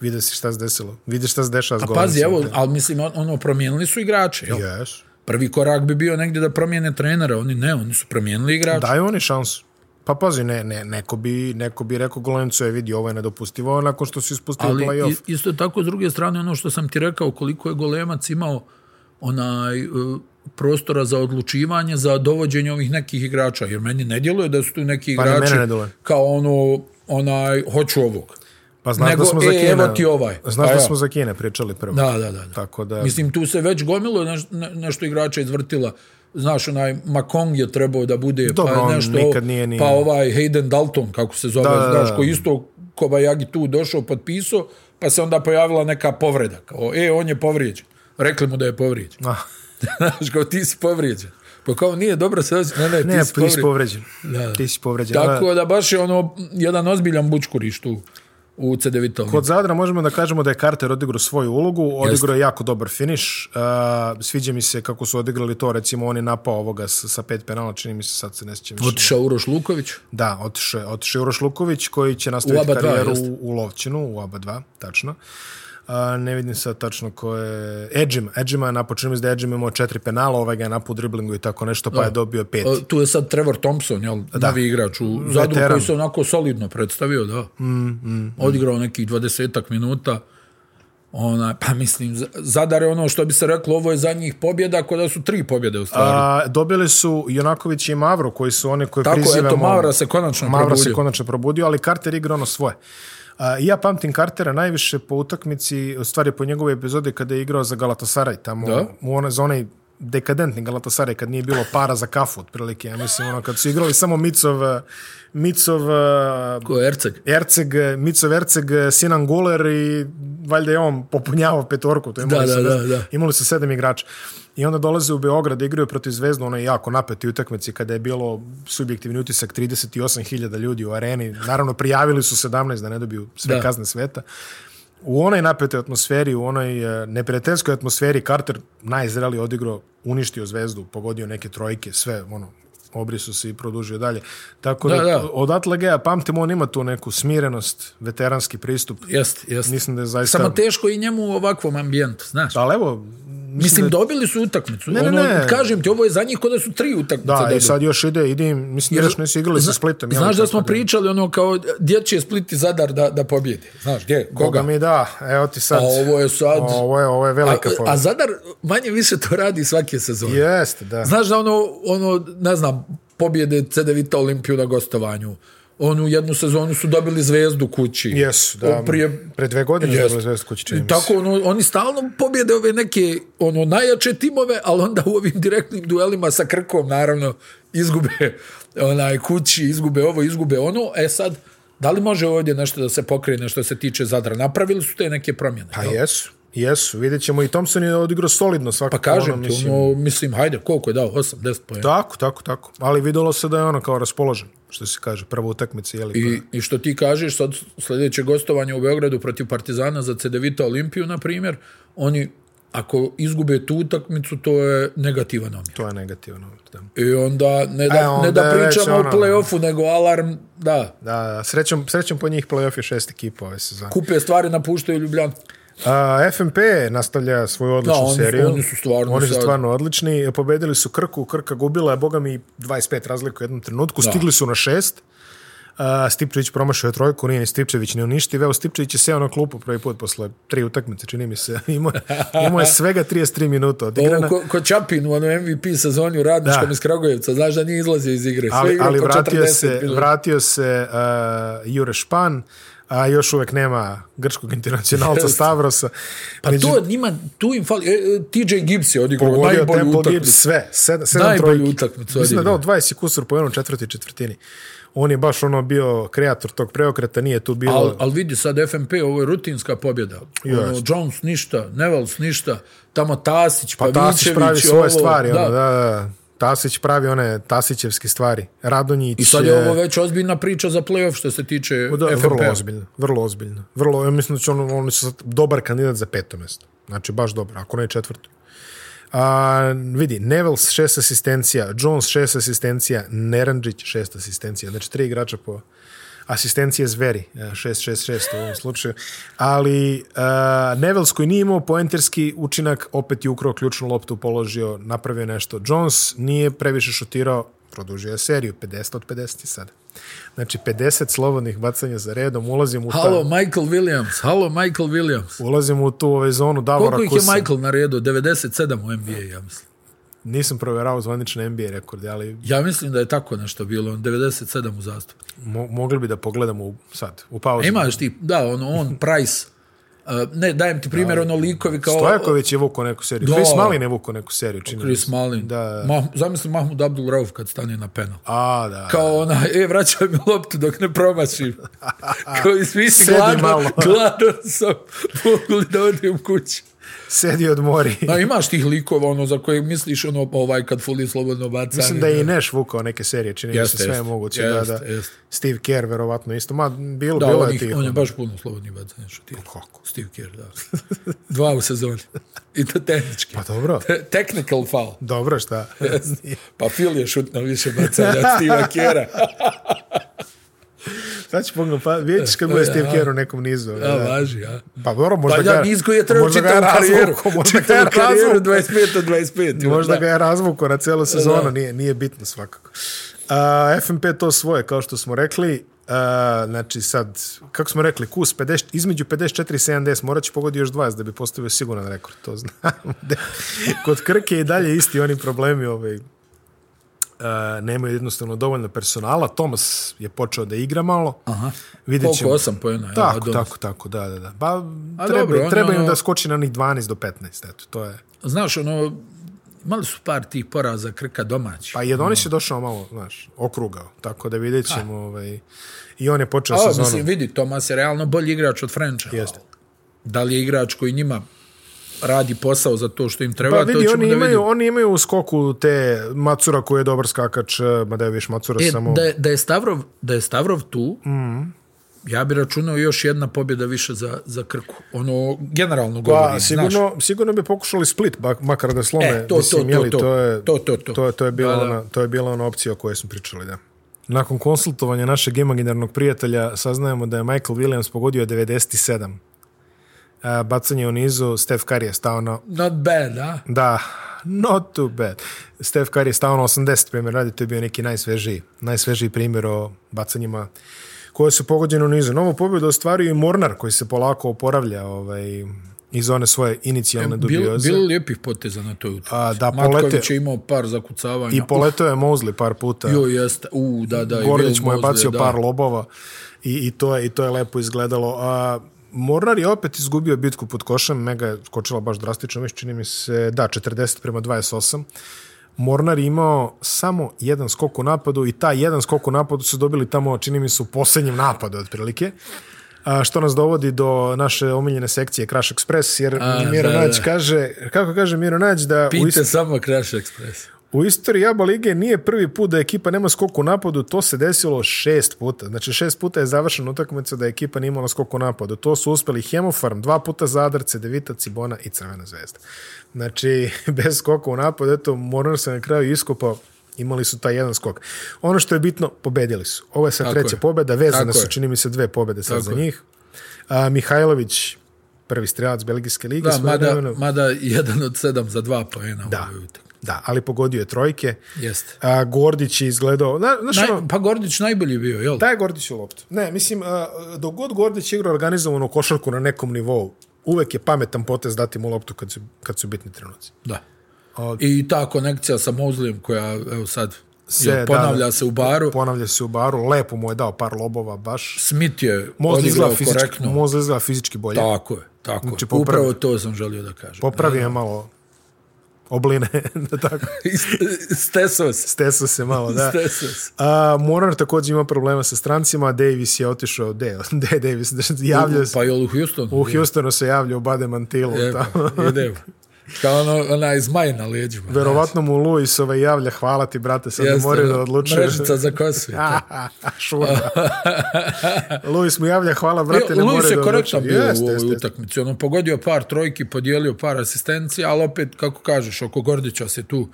S1: Vide se šta se desilo. Vidiš šta se dešava s
S2: Pazi,
S1: govornicom.
S2: evo, ali mislim, on- ono, promijenili su igrače, jel?
S1: Yes.
S2: Prvi korak bi bio negdje da promijene trenera, oni ne, oni su promijenili igrača.
S1: Daju oni šansu. Pa pazi, ne, ne, neko, bi, neko bi rekao Golencu je vidi, ovo je nedopustivo nakon što si ispustio
S2: Ali
S1: play-off.
S2: i- isto tako, s druge strane, ono što sam ti rekao, koliko je Golemac imao onaj e, prostora za odlučivanje, za dovođenje ovih nekih igrača, jer meni ne djeluje da su tu neki
S1: ni
S2: igrači
S1: Pa mene ne djeluje.
S2: kao ono, onaj, hoću ovog.
S1: Pa znaš
S2: nego,
S1: da smo za
S2: e,
S1: Kine.
S2: evo ti ovaj.
S1: Znaš
S2: Pa
S1: da
S2: ja.
S1: smo za Kine pričali prvo.
S2: Da, da, da. da.
S1: Tako da,
S2: Mislim, tu se već gomilo neš, ne, nešto igrača izvrtila. Znaš, onaj Makong je trebao da bude,
S1: Dobro, on
S2: pa nešto,
S1: nikad nije ni-
S2: pa ovaj Hayden Dalton, kako se zove,
S1: Da, da, da.
S2: znaš, koji isto Kobajagi tu došao, potpisao, pa se onda pojavila neka povreda. Kao, e, on je povrijeđen. Rekli mu da je povrijeđen. [LAUGHS]
S1: Ah,
S2: znaš, kao, ti si povrijeđen. Pa kao, nije dobro se osjeća, ne, ne, ti
S1: ne, pa
S2: si
S1: ti si
S2: povrijeđen.
S1: povređen.
S2: Da.
S1: Ti si E, povređen.
S2: Tako da baš je ono, jedan ozbiljan bučkuriš tu u CD-Vitovi.
S1: Kod Zadra možemo da kažemo da je Carter odigrao svoju ulogu, odigrao je jako dobar finiš. Uh, sviđa mi se kako su odigrali to, recimo on je napao ovoga s- sa pet penala, čini mi se sad se ne sjećam više.
S2: Otišao Uroš Luković.
S1: Da, otišao je, otišao je Uroš Luković koji će nastaviti
S2: U ABA dva,
S1: karijeru
S2: jeste.
S1: u, u Lovćinu, u ABA 2, tačno. A, ne vidim sad tačno ko je... Edžima. Edžima je napočinu mislim da je Edžima imao četiri penala, ovaj ga je napao u driblingu i tako nešto, pa je dobio pet.
S2: E, Tu je sad Trevor Thompson, jel, da. novi igrač u Zadru
S1: Veteran.
S2: koji se onako solidno predstavio, da. Mm, mm, Odigrao nekih 20 minuta. Ona, pa mislim, Z- Zadar je ono što bi se reklo, ovo je za njih pobjeda, ako da su tri pobjede u stvari.
S1: A, dobili su Jonaković i Mavro, koji su one koje
S2: Tako,
S1: prizivamo...
S2: eto, Mavra se konačno
S1: Mavra se
S2: probudio.
S1: konačno probudio, ali Carter igra ono svoje. A, i ja pamtim Cartera najviše po utakmici, u stvari po njegovoj epizodi kada je igrao za Galatasaray, tamo
S2: Da.
S1: u one, za onaj dekadentni Galatasaray kad nije bilo para za kafu otprilike, ja mislim ono kad su igrali samo Micov eh, Micov eh,
S2: Ko je Erceg?
S1: Erceg, Micov Erceg, Sinan Guler i valjda je on popunjavao petorku. To imali
S2: Da,
S1: su,
S2: da, da, da.
S1: Imali su sedam igrača. I onda dolaze u Beograd, igraju protiv Zvezdu, onoj jako napeti utakmici kada je bilo subjektivni utisak 38.000 ljudi u areni. Naravno, prijavili su 17 da ne dobiju sve
S2: Da.
S1: kazne sveta. U onoj napetoj atmosferi, u onoj e, neprijateljskoj atmosferi, Carter najzreli odigrao, uništio Zvezdu, pogodio neke trojke, sve, ono, obrisu se i produžio dalje. Tako da,
S2: Da, da.
S1: odatle ga ja pamtim, on ima tu neku smirenost, veteranski pristup.
S2: Jest, jest.
S1: Mislim da je zaista...
S2: Samo teško i njemu u ovakvom ambijentu, znaš.
S1: Ali evo,
S2: Mislim, dobili su utakmicu.
S1: ne,
S2: ono,
S1: ne.
S2: Kažem ti, ovo je za njih kod da su tri utakmice
S1: da, i
S2: dobili.
S1: sad još ide, ide, im, mislim da još nisu igrali sa
S2: Zna-
S1: Splitom. jel?
S2: Znaš da smo
S1: Tako
S2: pričali ono kao gdje će Split i Zadar da, da pobjede. Znaš, gdje,
S1: Boga
S2: koga?
S1: mi da, evo ti sad.
S2: A ovo je sad...
S1: Ovo je, ovo je velika
S2: a, a
S1: pobjeda.
S2: Zadar manje više to radi svake sezone.
S1: Jeste, da.
S2: Znaš da ono, ono, ne znam, pobjede CD Vita Olimpiju na gostovanju. Onu jednu sezonu su dobili zvezdu kući.
S1: Jesu, da.
S2: O, Prije,
S1: Pre dve godine
S2: Jeste.
S1: je bilo zvezda kući, čini mi se.
S2: Tako, ono, oni stalno pobjede ove neke ono najjače timove, ali onda u ovim direktnim duelima sa Krkom, naravno, izgube onaj kući, izgube ovo, izgube ono. E sad, da li može ovdje nešto da se pokrene što se tiče Zadra? Napravili su te neke promjene.
S1: Pa jesu, jesu. Vidjet ćemo i Thompson je odigrao solidno svakako.
S2: Pa kažem
S1: ono,
S2: ti,
S1: mislim,
S2: ono, mislim, hajde, koliko je dao? 8, 10 pojena.
S1: Tako, tako, tako. Ali videlo se da je ono kao raspoložen, što se kaže, prva utakmica, je li?
S2: I, I što ti kažeš, sad sljedeće gostovanje u Beogradu protiv Partizana za CDVita Olimpiju, na primjer, oni, ako izgube tu utakmicu, to je negativan omjer.
S1: To je negativno. Da.
S2: I onda ne da,
S1: E, onda
S2: ne da
S1: je već
S2: pričamo
S1: ono-
S2: o play-offu, nego alarm, da,
S1: Da, da, srećom, srećom po njih playoff je šest ekipa ove sezone.
S2: kupe stvari, napuštaju Ljubljanu.
S1: A, FNP nastavlja svoju odličnu
S2: Da, oni-
S1: seriju.
S2: oni su stvarno
S1: Oni su
S2: sad-
S1: stvarno odlični. E, Pobedili su Krku, Krka gubila je, boga mi, 25 razliku u jednom trenutku. Stigli su na šest. A, Stipčević promašio je trojku, nije ni Stipčević ni uništiv. Evo, Stipčević je seo na klupu prvi put posle tri utakmice, čini mi se. [LAUGHS] Imao je, imao je svega 33 minuta
S2: Ovo
S1: odigrana.
S2: ko, ko Čapin ono, u onom MVP sezoni u radničkom
S1: Da.
S2: iz Kragujevca, znaš da nije izlazio iz igre. Sve
S1: ali,
S2: igrao
S1: ali
S2: po
S1: vratio,
S2: 40
S1: se,
S2: minuta.
S1: vratio se uh, Jure Špan, a još uvek nema grčkog
S2: [LAUGHS]
S1: internacionalca Stavrosa.
S2: Pa to njima, tu im fali, e, e, TJ Gibbs je odigrao
S1: Pogodio
S2: najbolju
S1: Temple
S2: utakmicu.
S1: Gibbs sve, sedam, sedam
S2: Najbolju
S1: trojki.
S2: utakmicu
S1: Mislim da je dao
S2: odigrao.
S1: 20 kusur po jednom četvrti četvrtini. On je baš ono bio kreator tog preokreta, nije tu bilo...
S2: Ali al vidi sad FNP, ovo je rutinska pobjeda. Ono,
S1: Jeste.
S2: Jones ništa, Nevels ništa, tamo Tasić,
S1: pa Tasić
S2: Pavićević,
S1: pravi svoje
S2: ovo,
S1: stvari,
S2: da.
S1: ono, da, da. Tasić pravi one Tasićevske stvari. Radonjić
S2: I sad je ovo već ozbiljna priča za play-off što se tiče
S1: Da,
S2: FNP.
S1: E, vrlo ozbiljno, vrlo ozbiljno. Vrlo, ja mislim da će on, on će sad dobar kandidat za peto mjesto. Znači, baš dobar, ako ne i četvrto. A, vidi, Nevels šest asistencija, Jones šest asistencija, Neranđić šest asistencija. Znači, tri igrača po... asistencije zveri, e, 6-6-6 u ovom slučaju, ali uh, Nevels koji nije imao poenterski učinak, opet je ukrao ključnu loptu, položio, napravio nešto. Jones nije previše šutirao, produžio je seriju, 50 od 50 sada. Znači, 50 slobodnih bacanja za redom, ulazim u,
S2: Halo,
S1: ta,
S2: Michael Williams, halo, Michael Williams.
S1: ulazim u tu ovaj zonu Davora
S2: Koliko ih je
S1: Kusa.
S2: Michael naredio? 97 u NBA, ja mislim.
S1: Nisam provjerao zvanične NBA rekorde, ali
S2: Ja mislim da je tako nešto bilo, on 97 u zastupu.
S1: mo mogli bi da pogledamo u, sad, u pauzu.
S2: Imaš ti, da, ono,
S1: [LAUGHS]
S2: on, Price, uh, ne, dajem ti primjer, ono, likovi kao...
S1: Stojaković je vukao neku seriju.
S2: Da.
S1: Chris Malin je vukao neku seriju. Čini mi
S2: Chris
S1: se.
S2: Malin.
S1: Da.
S2: Mah, zamisli Mahmud Abdul Rauf kad stane na penal.
S1: A, da.
S2: Kao ona, e, vraćaj mi loptu dok ne
S1: [LAUGHS]
S2: promašim. Kao i svi si
S1: Sedi
S2: gladan, [LAUGHS]
S1: malo.
S2: gladan sam, mogu li da odim kući.
S1: Sedi odmori.
S2: [LAUGHS] Da, imaš tih likova, ono, za koje misliš, ono, ovaj, kad fuli slobodno bacanje.
S1: [LAUGHS] Mislim da je i Neš vukao neke serije, čini mi se
S2: Jeste,
S1: sve je
S2: jeste.
S1: moguće.
S2: Jeste,
S1: da, da.
S2: jeste.
S1: Steve Kerr, verovatno isto. Ma, bilo,
S2: Da,
S1: bilo
S2: on,
S1: je
S2: ih,
S1: tih. ono.
S2: on je baš puno slobodnih bacanja šutirao.
S1: Kako?
S2: Steve Kerr, da. Dva u sezoni. I to tehnički.
S1: Pa
S2: [LAUGHS]
S1: dobro.
S2: Te- Technical foul.
S1: Dobro, šta?
S2: Pa Phil je šutno više bacanja od Steve Kerra.
S1: [LAUGHS] Sad ću pogledati, pa vidjet ćeš
S2: [LAUGHS]
S1: kad bude Steve Kerr u nekom nizu.
S2: Da,
S1: Da.
S2: važi, a?
S1: Pa dobro, možda
S2: Pa
S1: ga...
S2: ja niz koji je trebao
S1: možda ga
S2: čitavu
S1: razvukao,
S2: karijeru.
S1: Možda ga je
S2: Čitavu karijeru
S1: razvukao.
S2: 25 od 25. ima,
S1: Možda
S2: da.
S1: ga je razvukao na celu sezonu, nije, nije bitno svakako. Uh, FNP to svoje, kao što smo rekli, uh, znači sad, kako smo rekli, kus 50, između 54 i 70, morat će pogodi još 20 da bi postavio siguran rekord, to znamo. [LAUGHS] De- Kod Krke je i dalje isti oni problemi ovaj, Uh, nemaju jednostavno dovoljno personala. Tomas je počeo da igra malo. Aha. Vidjet
S2: Koliko?
S1: ćemo.
S2: Osam pojena, jel,
S1: Tako,
S2: Adonis?
S1: tako, tako, da, da, da. Ba,
S2: A
S1: treba,
S2: dobro, on
S1: treba im
S2: ono-
S1: da skoči na onih 12 do 15, eto, to je.
S2: Znaš, ono, imali su par tih poraza Krka domaći.
S1: Pa Jedonis je došao malo, znaš, okrugao, tako da vidjet ćemo. Ovaj, I on je počeo
S2: A,
S1: sezonu.
S2: mislim, vidi, Tomas je realno bolji igrač od Frenča.
S1: Jeste.
S2: Da li je igrač koji njima radi posao za to što im treba,
S1: Pa vidi,
S2: to ćemo
S1: oni
S2: da
S1: imaju,
S2: vidimo.
S1: oni imaju u skoku te Macura koji je dobar skakač, eh, mada je viš Macura
S2: E,
S1: samo...
S2: da, je, da, je Stavrov, da je Stavrov tu, mm. ja bi računao još jedna pobjeda više za, za Krku. Ono, generalno govorim,
S1: Pa,
S2: znaš.
S1: sigurno, sigurno bi pokušali split, bak, makar da slome.
S2: E, to,
S1: mislim,
S2: to,
S1: jeli,
S2: to,
S1: to, je,
S2: to, to, to.
S1: To, je- to, je bila
S2: Da, da.
S1: ona, to je bila ona opcija o kojoj smo pričali, da. Nakon konsultovanja našeg imaginarnog prijatelja saznajemo da je Michael Williams pogodio 97. A, bacanje u nizu, Steph Curry je stao na
S2: Not bad, a?
S1: Da, not too bad. Steph Curry je stao na 80 primjer radi, to je bio neki najsvežiji, najsvežiji primjer o bacanjima koje su pogođene u nizu. Novu pobjedu ostvario i Mornar koji se polako oporavlja ovaj, iz one svoje inicijalne
S2: Bilo,
S1: dubioze.
S2: bilo lijepih poteza na toj utakmici.
S1: A, da,
S2: Matković
S1: polete-
S2: je imao par zakucavanja.
S1: I poletao je Mosley par puta.
S2: Jo, jeste. U, da, da. i
S1: Gorlić
S2: Will
S1: mu je bacio
S2: Mosley, da.
S1: par lobova i, i, to je, i to je lepo izgledalo. A, Mornar je opet izgubio bitku pod košem, Mega je skočila baš drastično, mislim, čini mi se, da, 40 prema 28. Mornar je imao samo jedan skok u napadu i taj jedan skok u napadu su dobili tamo, čini mi se, u posljednjem napadu, otprilike. A, što nas dovodi do naše omiljene sekcije Crash Express, jer A, Miro
S2: da,
S1: Nađ
S2: da.
S1: kaže, kako kaže Miro Nađ, da u,
S2: Pite
S1: ist,
S2: samo Crash Express.
S1: U istoriji Aba Lige nije prvi put da ekipa nema skok u napadu, to se desilo šest puta. Znači šest puta je završena utakmica da ekipa nije imala skok u napadu. To su uspeli Hemofarm, dva puta Zadar, Cedevita, Cibona i Crvena zvezda. Znači, [LAUGHS] bez skoka u napadu, eto, Mornar se na kraju iskopao, imali su taj jedan skok. Ono što je bitno, pobedili su. Ovo je sad
S2: Tako
S1: treća
S2: je.
S1: pobeda, vezane
S2: Tako
S1: su,
S2: je.
S1: čini mi se, dve pobede sad
S2: Tako
S1: za
S2: je.
S1: njih. A, Mihajlović, prvi strelac Belgijske lige.
S2: Da, mada,
S1: svojevremeno.
S2: mada jedan od sedam za dva poena ovaj da. u ovoj utakmici.
S1: da, ali pogodio je trojke.
S2: Jeste.
S1: A, Gordić je izgledao... Na, znaš,
S2: Naj,
S1: ono,
S2: pa Gordić najbolji je bio, jel?
S1: daje Gordiću loptu. Ne, mislim, a, dok god Gordić igra organizovanu košarku na nekom nivou, uvek je pametan potez dati mu loptu kad su, kad su bitni trenuci.
S2: Da.
S1: A-
S2: I ta konekcija sa Mozlijem koja, evo sad,
S1: Se,
S2: se, jel, ponavlja
S1: da, da.
S2: se u baru.
S1: Ponavlja se u baru, lepo mu je dao par lobova, baš.
S2: Smith je
S1: Mozli
S2: odigrao
S1: izgleda fizički,
S2: korektno.
S1: mozli izgleda fizički bolje.
S2: Tako je, tako je.
S1: Znači, popravi-
S2: Upravo to sam želio da kažem. [LAUGHS]
S1: Popravio je malo obline, [LAUGHS] da tako.
S2: Steso se.
S1: Stesa se malo,
S2: [LAUGHS]
S1: da.
S2: Stesao se.
S1: A, Moran također ima problema sa strancima, Davis je otišao, [LAUGHS] gde gde je Davis, javlja se,
S2: Pa je li u Houstonu?
S1: u Houstonu se javlja u Bademantilu, [LAUGHS]
S2: Evo,
S1: tamo.
S2: idemo. Kao ono, ona iz Maja na leđima.
S1: Verovatno mu Luis ovaj javlja, hvala ti brate, sad ne
S2: Jeste,
S1: moraju da
S2: ono,
S1: odlučuje.
S2: Mrežica za kosu.
S1: A, a, a, [LAUGHS] Šura. Luis mu javlja, hvala brate, ne
S2: E, Luis
S1: moraju da
S2: je korektno
S1: odlučuje.
S2: bio
S1: Jeste,
S2: u
S1: jeste,
S2: ovoj
S1: jeste.
S2: utakmici. Ono, pogodio par trojki, podijelio par asistencija, ali opet, kako kažeš, oko Gordića se tu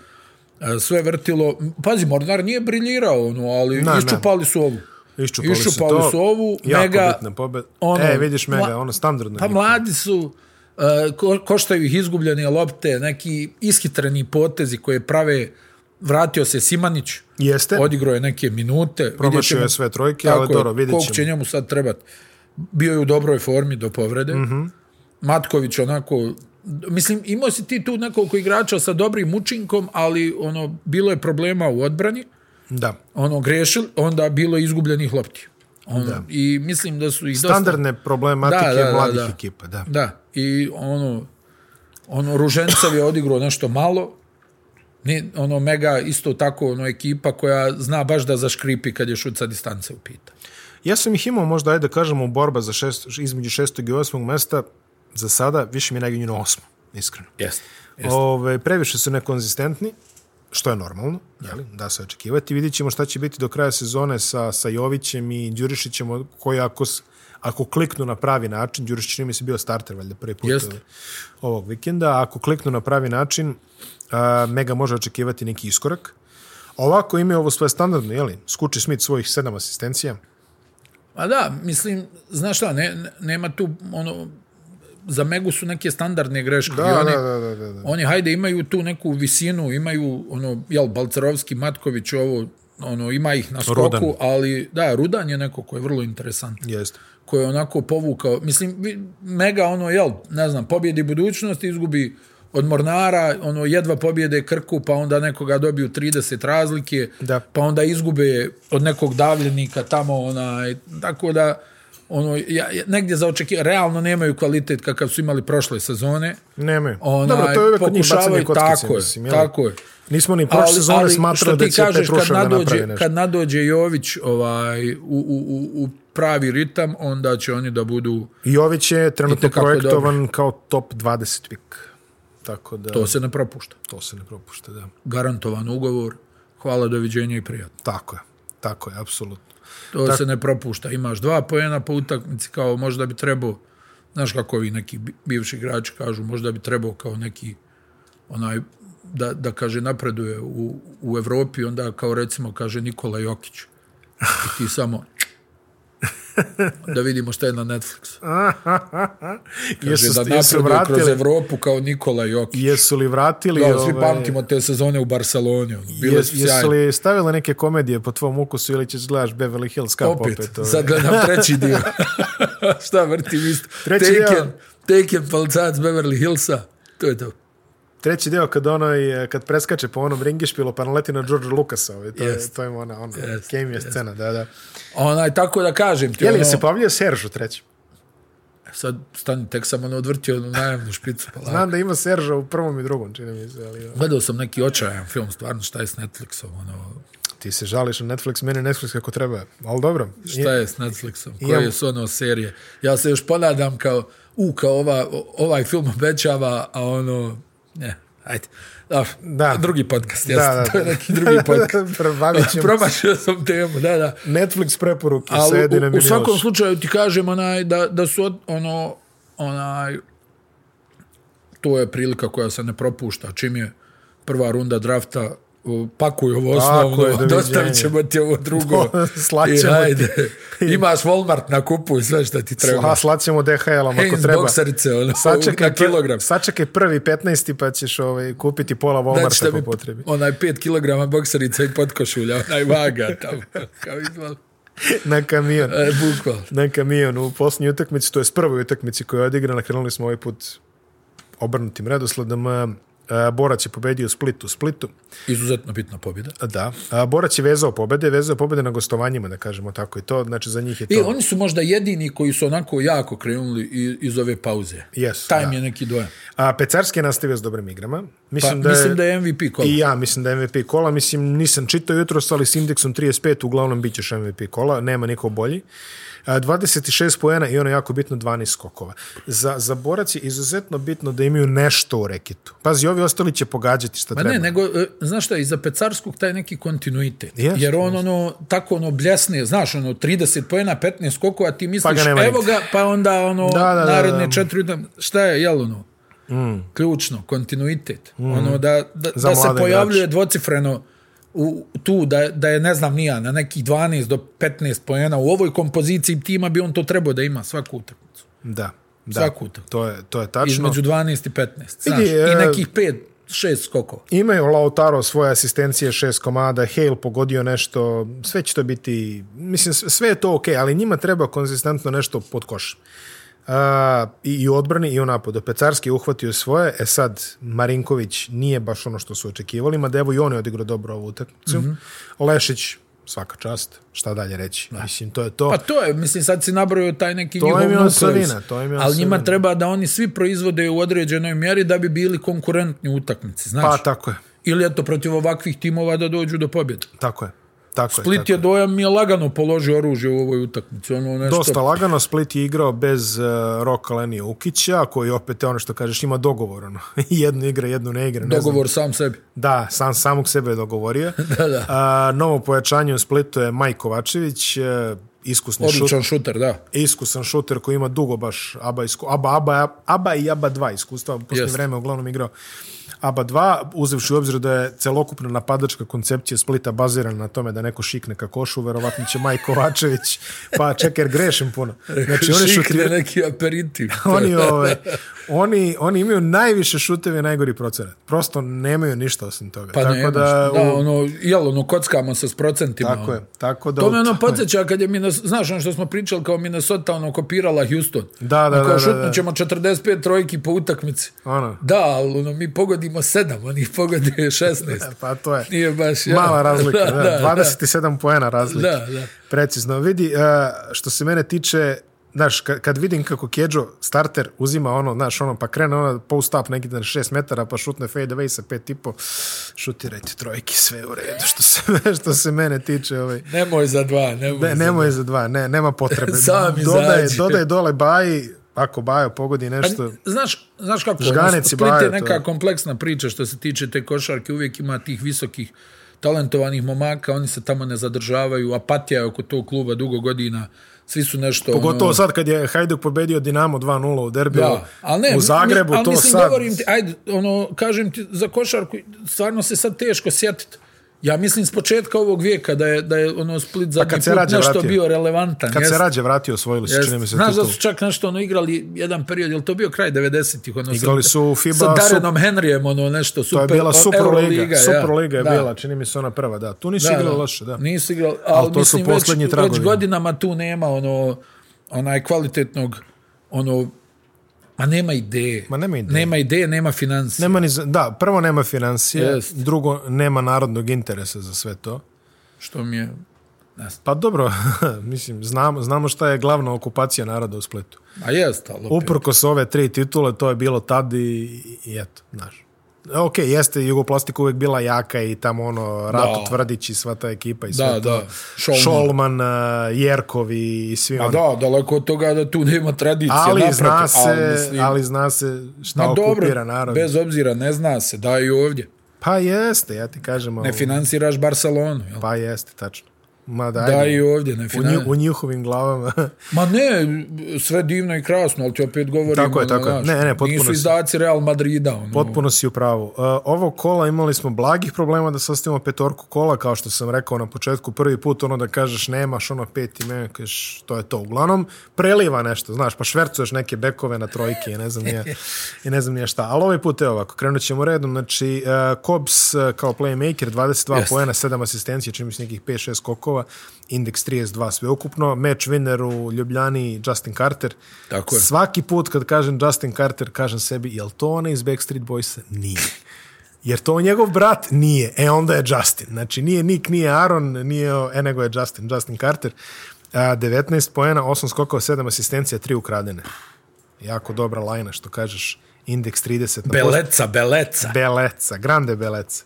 S2: e, sve vrtilo. Pazi, Mornar nije briljirao, ono, ali
S1: Ne, ne.
S2: iščupali su ovu. Pa
S1: Iščupali,
S2: Iščupali
S1: to.
S2: su ovu,
S1: jako
S2: mega-
S1: bitna pobjeda.
S2: ono,
S1: e, vidiš mega,
S2: mla-
S1: ono standardno.
S2: Pa mladi su, uh, ko, koštaju ih izgubljene lopte, neki ishitreni potezi koje prave, vratio se Simanić,
S1: Jeste.
S2: odigrao je neke minute.
S1: Promašio
S2: vidjet ćemo-
S1: je sve trojke,
S2: Tako
S1: ali
S2: je,
S1: dobro, vidjet
S2: koliko
S1: ćemo.
S2: će njemu sad trebati. Bio je u dobroj formi do povrede.
S1: Mhm.
S2: Matković onako, mislim, imao si ti tu nekoliko igrača sa dobrim učinkom, ali ono, bilo je problema u odbrani
S1: Da.
S2: ono grešili, onda bilo je izgubljenih lopti. Ono, da. I mislim da su i dosta...
S1: Standardne problematike
S2: Da, da, da,
S1: mladih
S2: da.
S1: ekipa, da.
S2: Da, i ono, ono Ružencev je odigrao nešto malo, ne, ono mega isto tako ono ekipa koja zna baš da zaškripi kad je šut sa distance u pita.
S1: Ja sam ih imao možda, ajde da kažemo, borba za šest, između šestog i osmog mesta, za sada više mi je naginju na osmo, iskreno.
S2: Jeste.
S1: Ove, previše su nekonzistentni, što je normalno, jeli, da se očekivati. Vidjet ćemo šta će biti do kraja sezone sa, sa Jovićem i Đurišićem, koji ako, s- ako kliknu na pravi način, Đurišić nije mi se bio starter, valjda prvi put
S2: Jeste.
S1: ovog vikenda, ako kliknu na pravi način, a, Mega može očekivati neki iskorak. Ovako imaju ovo svoje standardno, jeli? Skuči Smith svojih sedam asistencija.
S2: A Pa da, mislim, znaš šta, ne, ne- nema tu ono, za Megu su neke standardne greške.
S1: Da,
S2: i oni,
S1: da, da, da, da, da.
S2: Oni, hajde, imaju tu neku visinu, imaju, ono, jel, Balcarovski, Matković, ovo, ono, ima ih na skoku,
S1: Rudan.
S2: ali, da, Rudan je neko koji je vrlo interesantan,
S1: Jeste.
S2: koji je onako povukao, mislim, vi- mega, ono, jel, ne znam, pobjedi budućnost, izgubi od Mornara, ono, jedva pobjede Krku, pa onda nekoga dobiju 30 razlike,
S1: Da.
S2: pa onda izgube od nekog davljenika tamo, onaj, tako da, ono, ja, ja- negdje za očekivanje, realno nemaju kvalitet kakav su imali prošle sezone,
S1: Nemaju.
S2: Onaj,
S1: Dobro, to je uvek kod njih bacanje
S2: pokušavaju,
S1: kockice,
S2: tako je,
S1: mislim. jel?
S2: tako je.
S1: Nismo ni prošle sezone smatrali da će Petrušev da napravi nešto.
S2: Kad nadođe Jović ovaj, u, u, u, u pravi ritam, onda će oni da budu...
S1: Jović je trenutno
S2: Itekako
S1: projektovan dobro. kao top 20 pik. Tako da
S2: To
S1: to,
S2: se ne propušta.
S1: to se ne propušta, da.
S2: Garantovan ugovor, hvala, doviđenja i prijatno.
S1: Tako je. Tako je, apsolutno.
S2: To se ne propušta. Imaš dva pojena po utakmici, kao možda bi trebao, znaš kako ovi neki bi- bivši igrači kažu, možda bi trebao kao neki onaj da, da kaže napreduje u, u Evropi, onda kao recimo kaže Nikola Jokić. I ti samo da vidimo šta je na Netflixu. [LAUGHS] Kaže,
S1: Jesu,
S2: da
S1: jesu,
S2: napreduje kroz
S1: vratili,
S2: Evropu kao Nikola Jokić.
S1: jesu li vratili...
S2: Da, svi
S1: ovaj,
S2: pamtimo te sezone u Barceloni. ono, Bile
S1: Jes,
S2: su
S1: jesu
S2: sjajne.
S1: li stavili neke komedije po tvom ukusu ili ćeš gledaš Beverly Hills Cup opet?
S2: Pa Opet,
S1: opet ovaj?
S2: sad gledam treći dio. [LAUGHS] Šta vrtim isto?
S1: Treći
S2: Taken,
S1: dio.
S2: Taken, Palcac, Beverly Hillsa, to je to.
S1: Treći deo kad ono i, kad preskače po onom ringišpilu pa naleti na George Lucasa, ovaj, to, je,
S2: Jest.
S1: to je ona, ona
S2: Jest,
S1: game je scena, da, da.
S2: Onaj, tako da kažem ti,
S1: Je li
S2: ono,
S1: se pavljio Serž u trećem?
S2: sad stani, tek sam ono odvrtio onu najavnu špicu. Pa, lako.
S1: Znam da ima Serža u prvom i drugom, čini mi se, ali...
S2: Gledao sam neki očajan film, stvarno, šta je s Netflixom, ono,
S1: Ti se žališ na Netflix, meni Netflix kako treba, ali dobro.
S2: šta je s Netflixom,
S1: Imam-
S2: koje su ono serije. Ja se još ponadam kao, u, kao ova, o- ovaj film obećava, a ono, ne, ajde. Da,
S1: Da.
S2: Drugi podcast,
S1: Da,
S2: jasno,
S1: da,
S2: to je
S1: da.
S2: neki
S1: [LAUGHS]
S2: drugi podcast.
S1: Probavit ćemo
S2: Promašio sam temu, da, da.
S1: Netflix preporuke
S2: Ali
S1: sa Edinem
S2: u, u
S1: Milošem.
S2: svakom slučaju ti kažem onaj, da, da su od, ono, onaj, to je prilika koja se ne propušta. Čim je prva runda drafta, o, pakuj ovo osnovno,
S1: je, doviđenja.
S2: dostavit ćemo ti ovo
S1: [LAUGHS]
S2: drugo.
S1: Slaćemo ti.
S2: I ajde, imaš Walmart na kupu i sve šta ti
S1: Sla,
S2: treba.
S1: slaćemo DHL-om ako
S2: Heinz
S1: treba.
S2: bokserice, ono,
S1: Sačekaj,
S2: na kilogram.
S1: Sačekaj prvi 15. pa ćeš ovaj, kupiti pola
S2: Daći
S1: Walmarta
S2: da
S1: po
S2: mi
S1: potrebi. [LAUGHS]
S2: onaj 5 kg bokserica i potkošulja, onaj vaga tamo.
S1: [LAUGHS]
S2: Kao izvali.
S1: Na kamion.
S2: E, bukval.
S1: Na kamion u posljednjoj utakmici, to je s prvoj utakmici koja je odigrana, krenuli smo ovaj put obrnutim redosledom. E, Borac je pobedio Split u Splitu.
S2: Izuzetno bitna pobjeda.
S1: Da. A, Borac je vezao pobede, vezao pobede na gostovanjima, da kažemo tako i to. Znači, za njih je to...
S2: I E, oni su možda jedini koji su onako jako krenuli i- iz ove pauze.
S1: Jesu,
S2: Taj
S1: da.
S2: mi je neki dojam.
S1: A Pecarski je nastavio s dobrim igrama.
S2: Pa,
S1: Mislim,
S2: mislim,
S1: da, je,
S2: da je MVP kola.
S1: I ja mislim da je MVP kola. Mislim, nisam čitao jutro, ali s indeksom 35 uglavnom bit ćeš MVP kola. Nema niko bolji. A, 26 poena i ono jako bitno 12 skokova. Za, za borac je izuzetno bitno da imaju nešto u reketu. Pazi, ovi ostali će pogađati šta
S2: Ma
S1: treba.
S2: ne, nego, e, znaš šta, iza Pecarskog taj neki kontinuitet.
S1: Jeste,
S2: Jer on ono, tako ono bljesne, znaš, ono 30 pojena, 15 skokova, ti misliš,
S1: ga nema
S2: evo
S1: nigde.
S2: ga, pa onda ono,
S1: Da, da, da,
S2: naredne
S1: da.
S2: četiri, utam- šta je, jel ono, mm. ključno, kontinuitet. Mm. Ono, da, da,
S1: Za
S2: da se
S1: mlade
S2: pojavljuje dvocifreno u, tu da, da je, ne znam, nija na nekih 12 do 15 pojena u ovoj kompoziciji tima bi on to trebao da ima svaku utakmicu.
S1: Da. Da,
S2: Svaku utakmicu.
S1: to je, to je tačno.
S2: Između 12 i 15. Znaš,
S1: Vidi, e,
S2: I nekih 5, 6 skokova.
S1: Imaju Lautaro svoje asistencije šest komada, Hale pogodio nešto, sve će to biti, mislim, s- sve je to ok, ali njima treba konzistentno nešto pod koš. Uh, i, I u odbrani i u napadu. Pecarski je uhvatio svoje, e sad Marinković nije baš ono što su očekivali, mada evo i on je odigrao dobro ovu utakmicu.
S2: Mhm.
S1: Mm -hmm. Lešić, svaka čast, šta dalje reći. Mislim, to je to.
S2: Pa to je, mislim, sad si nabrojio taj neki
S1: To
S2: njihov
S1: im je
S2: nukleus.
S1: osovina, to im je
S2: Ali njima
S1: osovina.
S2: treba da oni svi proizvode u određenoj mjeri da bi bili konkurentni u utakmici, znaš?
S1: pa tako je,
S2: Ili eto, protiv ovakvih timova da dođu do pobjede.
S1: tako je. Tako je,
S2: Split je dojam mi je lagano položio oružje u ovoj utakmici. Ono nešto,
S1: Dosta lagano, Split je igrao bez uh, Roka Lenija Ukića, koji opet je ono što kažeš, ima dogovor, ono. [LAUGHS] jednu igra, jednu ne igra. Ne znam.
S2: dogovor sam sebi. [LAUGHS]
S1: Da, sam, samog sebe je dogovorio.
S2: Da, da.
S1: Uh, novo pojačanje u Splitu je Maj Kovačević, uh, iskusni šut,
S2: Odličan šuter, da.
S1: iskusan šuter koji ima dugo baš Aba, isku, Aba, Aba, Aba i Aba 2 iskustva, posle
S2: Jeste.
S1: vreme uglavnom igrao Aba 2, uzevši u obzir da je celokupna napadačka koncepcija Splita bazirana na tome da neko šikne ka košu, verovatno će Maj Kovačević, pa čekaj, jer grešim puno. Znači, oni
S2: Šikne
S1: šutiraju,
S2: neki
S1: [LAUGHS]
S2: aperitiv.
S1: oni, ove, oni, oni imaju najviše šuteve i najgori procenat. Prosto nemaju ništa osim toga.
S2: Pa
S1: tako
S2: ne,
S1: da,
S2: da,
S1: u,
S2: da, ono, jel, ono, kockamo se s procentima.
S1: tako
S2: ono.
S1: je, tako da
S2: To
S1: u
S2: me ono
S1: tome-
S2: podsjeća kad je Minnesota, znaš ono što smo pričali kao Minnesota ono kopirala Houston.
S1: Da, da,
S2: Ono,
S1: da, da,
S2: kao
S1: da.
S2: Šutnućemo 45 trojki po utakmici.
S1: Ono.
S2: Da, ali ono, mi pogodimo 7, oni pogode [LAUGHS] 16.
S1: Pa to je.
S2: Nije baš ja. [LAUGHS]
S1: Mala razlika, da,
S2: da, da,
S1: 27 poena razlike.
S2: Da, da.
S1: Precizno. Vidi, uh, što se mene tiče, znaš, ka- kad vidim kako Keđo starter uzima ono, znaš, ono, pa krene ono post up neki na 6 metara, pa šutne fade away sa pet i po, šutirajte trojki, sve u redu, što se, [LAUGHS] što se mene tiče, ovaj.
S2: Nemoj za dva, nemoj.
S1: Ne,
S2: za
S1: nemoj za dva, ne, nema potrebe.
S2: [LAUGHS] Sam
S1: dodaj,
S2: izađi.
S1: dodaj dole baji, ako bajo pogodi nešto,
S2: Pa, Znaš, znaš kako,
S1: Žganec
S2: ono,
S1: i
S2: Split
S1: Bajo,
S2: je
S1: to
S2: neka
S1: je.
S2: kompleksna priča što se tiče te košarke, uvijek ima tih visokih talentovanih momaka, oni se tamo ne zadržavaju, apatija je oko tog kluba dugo godina, svi su nešto...
S1: Pogotovo
S2: ono,
S1: sad kad je Hajduk pobedio Dinamo 2-0 u derbiju
S2: Da, ali ne,
S1: u Zagrebu,
S2: ali
S1: to
S2: mislim,
S1: sad...
S2: govorim ti, ajde, ono, kažem ti, za košarku stvarno se sad teško sjetiti. Ja mislim s početka ovog vijeka da je, da je ono Split zadnji
S1: Pa kad
S2: put
S1: se Rađa
S2: nešto
S1: vratio.
S2: bio relevantan.
S1: Kad
S2: jest,
S1: se Rađe vratio, osvojili su,
S2: jest.
S1: čini mi se
S2: Znaš
S1: titul.
S2: da su čak nešto ono igrali jedan period, je li to bio kraj 90-ih? Ono, sa-
S1: Igrali su u FIBA
S2: Sa
S1: sup-
S2: Darenom Henryjem, ono nešto
S1: To
S2: super.
S1: je bila
S2: o,
S1: Superliga.
S2: Euroliga,
S1: Superliga
S2: ja.
S1: je
S2: Da,
S1: bila, čini mi se ona prva, da. Tu nisu
S2: da,
S1: igrali
S2: da.
S1: loše, da.
S2: Nisu igrali, ali,
S1: to su
S2: mislim,
S1: posljednji
S2: već,
S1: tragovi.
S2: već godinama tu nema ono, onaj kvalitetnog, ono, ma nema ideje.
S1: Ma nema ideje.
S2: Nema ideje, nema financije.
S1: Nema ni, za- da, prvo nema financije,
S2: Jest.
S1: drugo nema narodnog interesa za sve to.
S2: što mi je...
S1: Pa dobro, [LAUGHS] mislim, znamo, znamo šta je glavna okupacija naroda u Splitu.
S2: A jest, ali opet.
S1: Uprkos ove tri titule, to je bilo tad i, i eto, znaš. Ok, jeste, Jugoplastika uvek bila jaka i tamo ono, Rato
S2: Da.
S1: Tvrdić i sva ta ekipa i sve
S2: Da,
S1: to.
S2: da. Šolman.
S1: Šolman, a, Jerkov i i svi
S2: A
S1: oni.
S2: da, daleko od toga da tu nema tradicije.
S1: ali
S2: naprotiv,
S1: zna se, ali,
S2: mislim,
S1: zna se šta
S2: ma
S1: okupira
S2: dobro,
S1: narod.
S2: bez obzira, ne zna se, da i ovdje.
S1: Pa jeste, ja ti kažem.
S2: Ne
S1: ali-
S2: financiraš Barcelonu, jel?
S1: Pa jeste, tačno. Ma daj,
S2: Da i ovdje, ne
S1: Pa u, nju,
S2: financiraš.
S1: u njihovim glavama. [LAUGHS]
S2: Ma ne, sve divno i krasno, ali ti opet govorim.
S1: Tako je,
S2: ono,
S1: tako je.
S2: znaš,
S1: Ne, ne, potpuno
S2: Nisu
S1: si-
S2: izdaci Real Madrida. Ono.
S1: Potpuno si u pravu. E, Ovo kola imali smo blagih problema da sastavimo petorku kola, kao što sam rekao na početku, prvi put ono da kažeš nemaš ono pet imena, kažeš to je to. Uglavnom, preliva nešto, znaš, pa švercuješ neke bekove na trojke i ne znam nije, i ne znam nije šta. Ali ovaj put je ovako, krenut ćemo redom, znači e, Kobs e, kao playmaker, 22 yes.
S2: Jeste.
S1: pojena, 7 asistencije, čini mi se nekih 5-6 skokova, indeks 32 sveukupno, match winner u Ljubljani Justin Carter,
S2: Tako je.
S1: Svaki put kad kažem Justin Carter, kažem sebi, jel to ona iz Backstreet Boysa? Nije. Jer to njegov brat? Nije. E, onda je Justin. Znači, nije Nick, nije Aaron, nije, e, nego je Justin, Justin Carter. A, 19 poena, 8 skokova, 7 asistencija, 3 ukradene. Jako dobra lajna, što kažeš. Indeks 30. Na post-
S2: Beleca, beleca.
S1: Beleca, grande Beleca.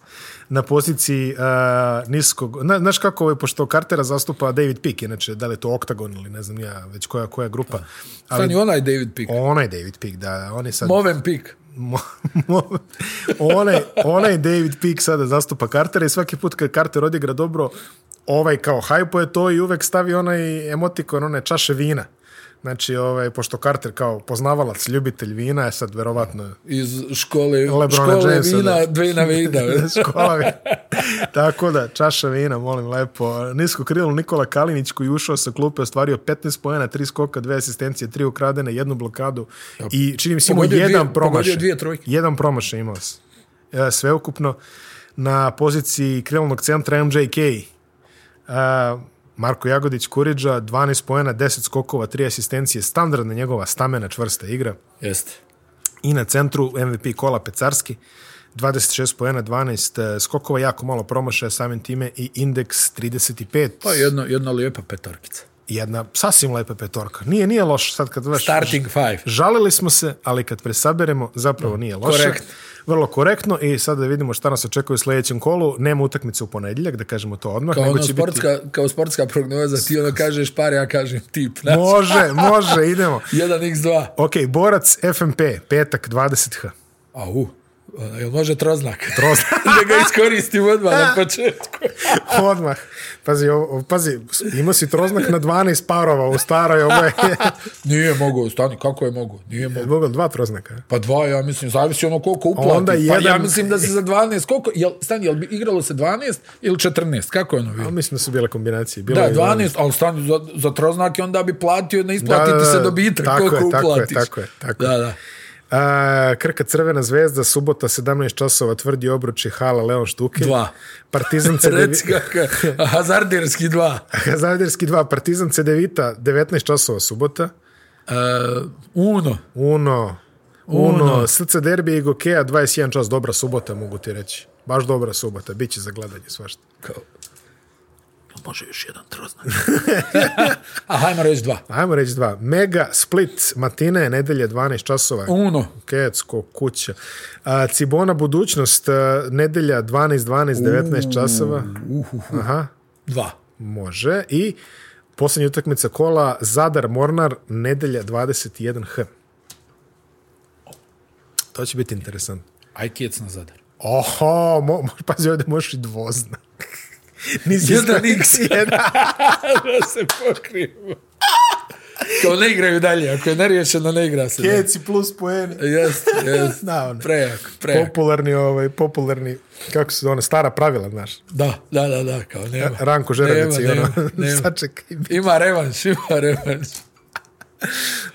S1: Na poziciji uh, niskog... Na, znaš kako, ovaj, pošto Cartera zastupa David Peak, inače, da li je to Octagon ili ne znam ja, već koja, koja grupa.
S2: Stani onaj David Pick.
S1: Onaj David Peak, da, on je sad...
S2: Moven Pick.
S1: Mo, mo, onaj, onaj David Peak sada zastupa Cartera i svaki put kad Carter odigra dobro, ovaj kao hajpo je to i uvek stavi onaj emotikon, one čaše vina. Znači, ovaj, pošto Carter kao poznavalac, ljubitelj vina, je sad verovatno
S2: Iz škole,
S1: Lebrona
S2: škole
S1: Jamesa, da.
S2: [LAUGHS] vina, Dvejna Vejda.
S1: škola vina. Tako da, čaša vina, molim lepo. Nisko krilo Nikola Kalinić koji je ušao sa klupe, ostvario 15 pojena, 3 skoka, 2 asistencije, 3 ukradene, jednu blokadu i čini mi se imao
S2: Pogodio dvije-
S1: jedan promašaj.
S2: pogodio dvije trojke.
S1: Jedan promašaj imao se. E, Sveukupno na poziciji krilnog centra MJK. Uh, Marko Jagodić Kuriđa, 12 pojena, 10 skokova, 3 asistencije, standardna njegova stamena čvrsta igra
S2: Jeste.
S1: i na centru MVP kola Pecarski, 26 pojena, 12 eh, skokova, jako malo promašaja samim time i indeks 35.
S2: Pa jedno, jedna lijepa petarkica.
S1: Jedna sasvim lepa petorka. Nije, nije loš sad kad veš,
S2: Starting five.
S1: Žalili smo se, ali kad presaberemo, zapravo
S2: Mm,
S1: nije loše.
S2: korekt.
S1: Vrlo korektno i sada da vidimo šta nas očekuje u sljedećem kolu. Nema utakmice u ponedjeljak, da kažemo to odmah.
S2: Kao,
S1: nego
S2: ono
S1: će biti-
S2: sportska, kao sportska prognoza, ti ono kažeš par, ja kažem tip. Znači,
S1: Može, može, idemo.
S2: 1x2.
S1: Ok, borac FMP, petak 20H.
S2: Au, a, jel može troznak?
S1: Troznak.
S2: [LAUGHS] da ga iskoristim odmah
S1: [LAUGHS]
S2: na početku.
S1: Odmah. Pazi, ovo, ovo- pazi, imao si troznak na 12 parova u staroj, ovo
S2: [LAUGHS]
S1: je...
S2: Nije mogo, stani, kako je mogo? Nije mogo.
S1: Mogu dva troznaka?
S2: Pa dva, ja mislim, zavisi ono koliko uplati.
S1: Onda jedan-
S2: Pa ja mislim da se za 12, koliko, jel, stani, jel bi igralo se 12 ili 14? Kako je ono bilo?
S1: A mislim da su bile kombinacije. Bilo
S2: Da,
S1: je
S2: 12, ali stani, za, za troznake onda bi platio, ne isplatiti
S1: Da, da, da,
S2: se dobitak,
S1: tako je,
S2: koliko
S1: tako je,
S2: uplatiš.
S1: tako je, tako je.
S2: Da,
S1: [LAUGHS]
S2: da.
S1: A, Krka Crvena zvezda, subota 17 časova, tvrdi obruči Hala Leon Štuke.
S2: Dva. [LAUGHS]
S1: Partizan [LAUGHS]
S2: Reci
S1: CDVita.
S2: kakav, hazarderski dva.
S1: Zadarski 2, Partizan CDVita, 19 časova subota.
S2: Uh, uno,
S1: Uno. Uno. Uno. SC Derbi i Gokeja, 21 čas, dobra subota, mogu ti reći. Baš dobra subota, bit će za gledanje svašta.
S2: kao, "Jel može još jedan troznak. [LAUGHS] A hajmo reći dva.
S1: Ajmo reći dva. Mega Split, Matine, nedelje, 12 časova.
S2: Uno.
S1: Kecko, kuća. A, Cibona budućnost, a, nedelja 12, 12, 19 časova. Aha,
S2: Dva.
S1: može. I posljednja utakmica kola, Zadar Mornar, nedelja 21H. To će biti interesantno.
S2: Aj kjec na zadar. [LAUGHS]
S1: Oho, mo, mo, pazi, ovdje možeš i dvozna. [LAUGHS] Nisi
S2: Jedan
S1: sta-
S2: X.
S1: [LAUGHS]
S2: [LAUGHS]
S1: jedan.
S2: da se pokrivamo. Kao ne igraju dalje. Ako je neriješeno, ne igra se. dalje.
S1: Keci plus
S2: [LAUGHS]
S1: poeni.
S2: Jeste, jeste.
S1: Da, ono.
S2: Prejak, prejak.
S1: Popularni, ovaj, popularni, kako se ona stara pravila, znaš.
S2: Da, da, da, da, kao nema.
S1: Ranko Žeradić i
S2: Nema,
S1: ono, [LAUGHS]
S2: nema, nema.
S1: sačekaj.
S2: Ima revanš, ima revanš.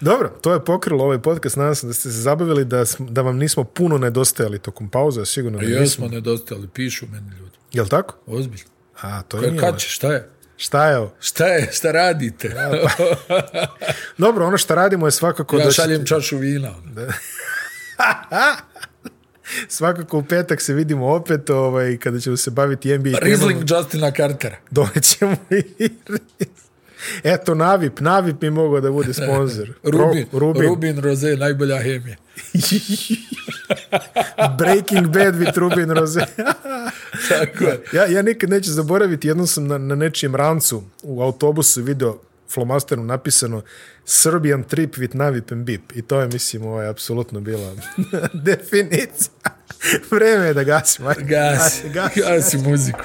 S1: Dobro, to je pokrilo ovaj podcast. Nadam se da ste se zabavili, da, sm- da vam nismo puno nedostajali tokom pauze, a sigurno da nismo.
S2: Jesmo nedostali, pišu meni ljudi.
S1: Jel tako?
S2: Ozbiljno.
S1: A, to je
S2: Ka-
S1: nije
S2: Pa Kad
S1: loše.
S2: će, šta je?
S1: Šta je ovo?
S2: Šta je, šta radite?
S1: Dobro, ono što radimo je svakako
S2: Ja
S1: da
S2: šaljem čašu vina. ono.
S1: ćete- svakako u petak se vidimo opet ovaj, kada ćemo se baviti NBA temom.
S2: Riesling Justina Cartera.
S1: Donećemo i Eto, Navip. Navip mi mogao da bude sponsor.
S2: [LAUGHS] Rubin,
S1: Ro-
S2: Rubin. Rubin Rose, najbolja hemija.
S1: Breaking Bad with Rubin Rose.
S2: [LAUGHS] Tako je.
S1: Ja, ja nikad neću zaboraviti, jednom sam na, na nečijem rancu u autobusu video flomasterom napisano Serbian trip with Navip and Bip i to je, mislim, ovaj, apsolutno bila [LAUGHS] definicija. Vreme je da gasimo. ajde.
S2: Gasi,
S1: Ajde, gasi.
S2: gasi muziku.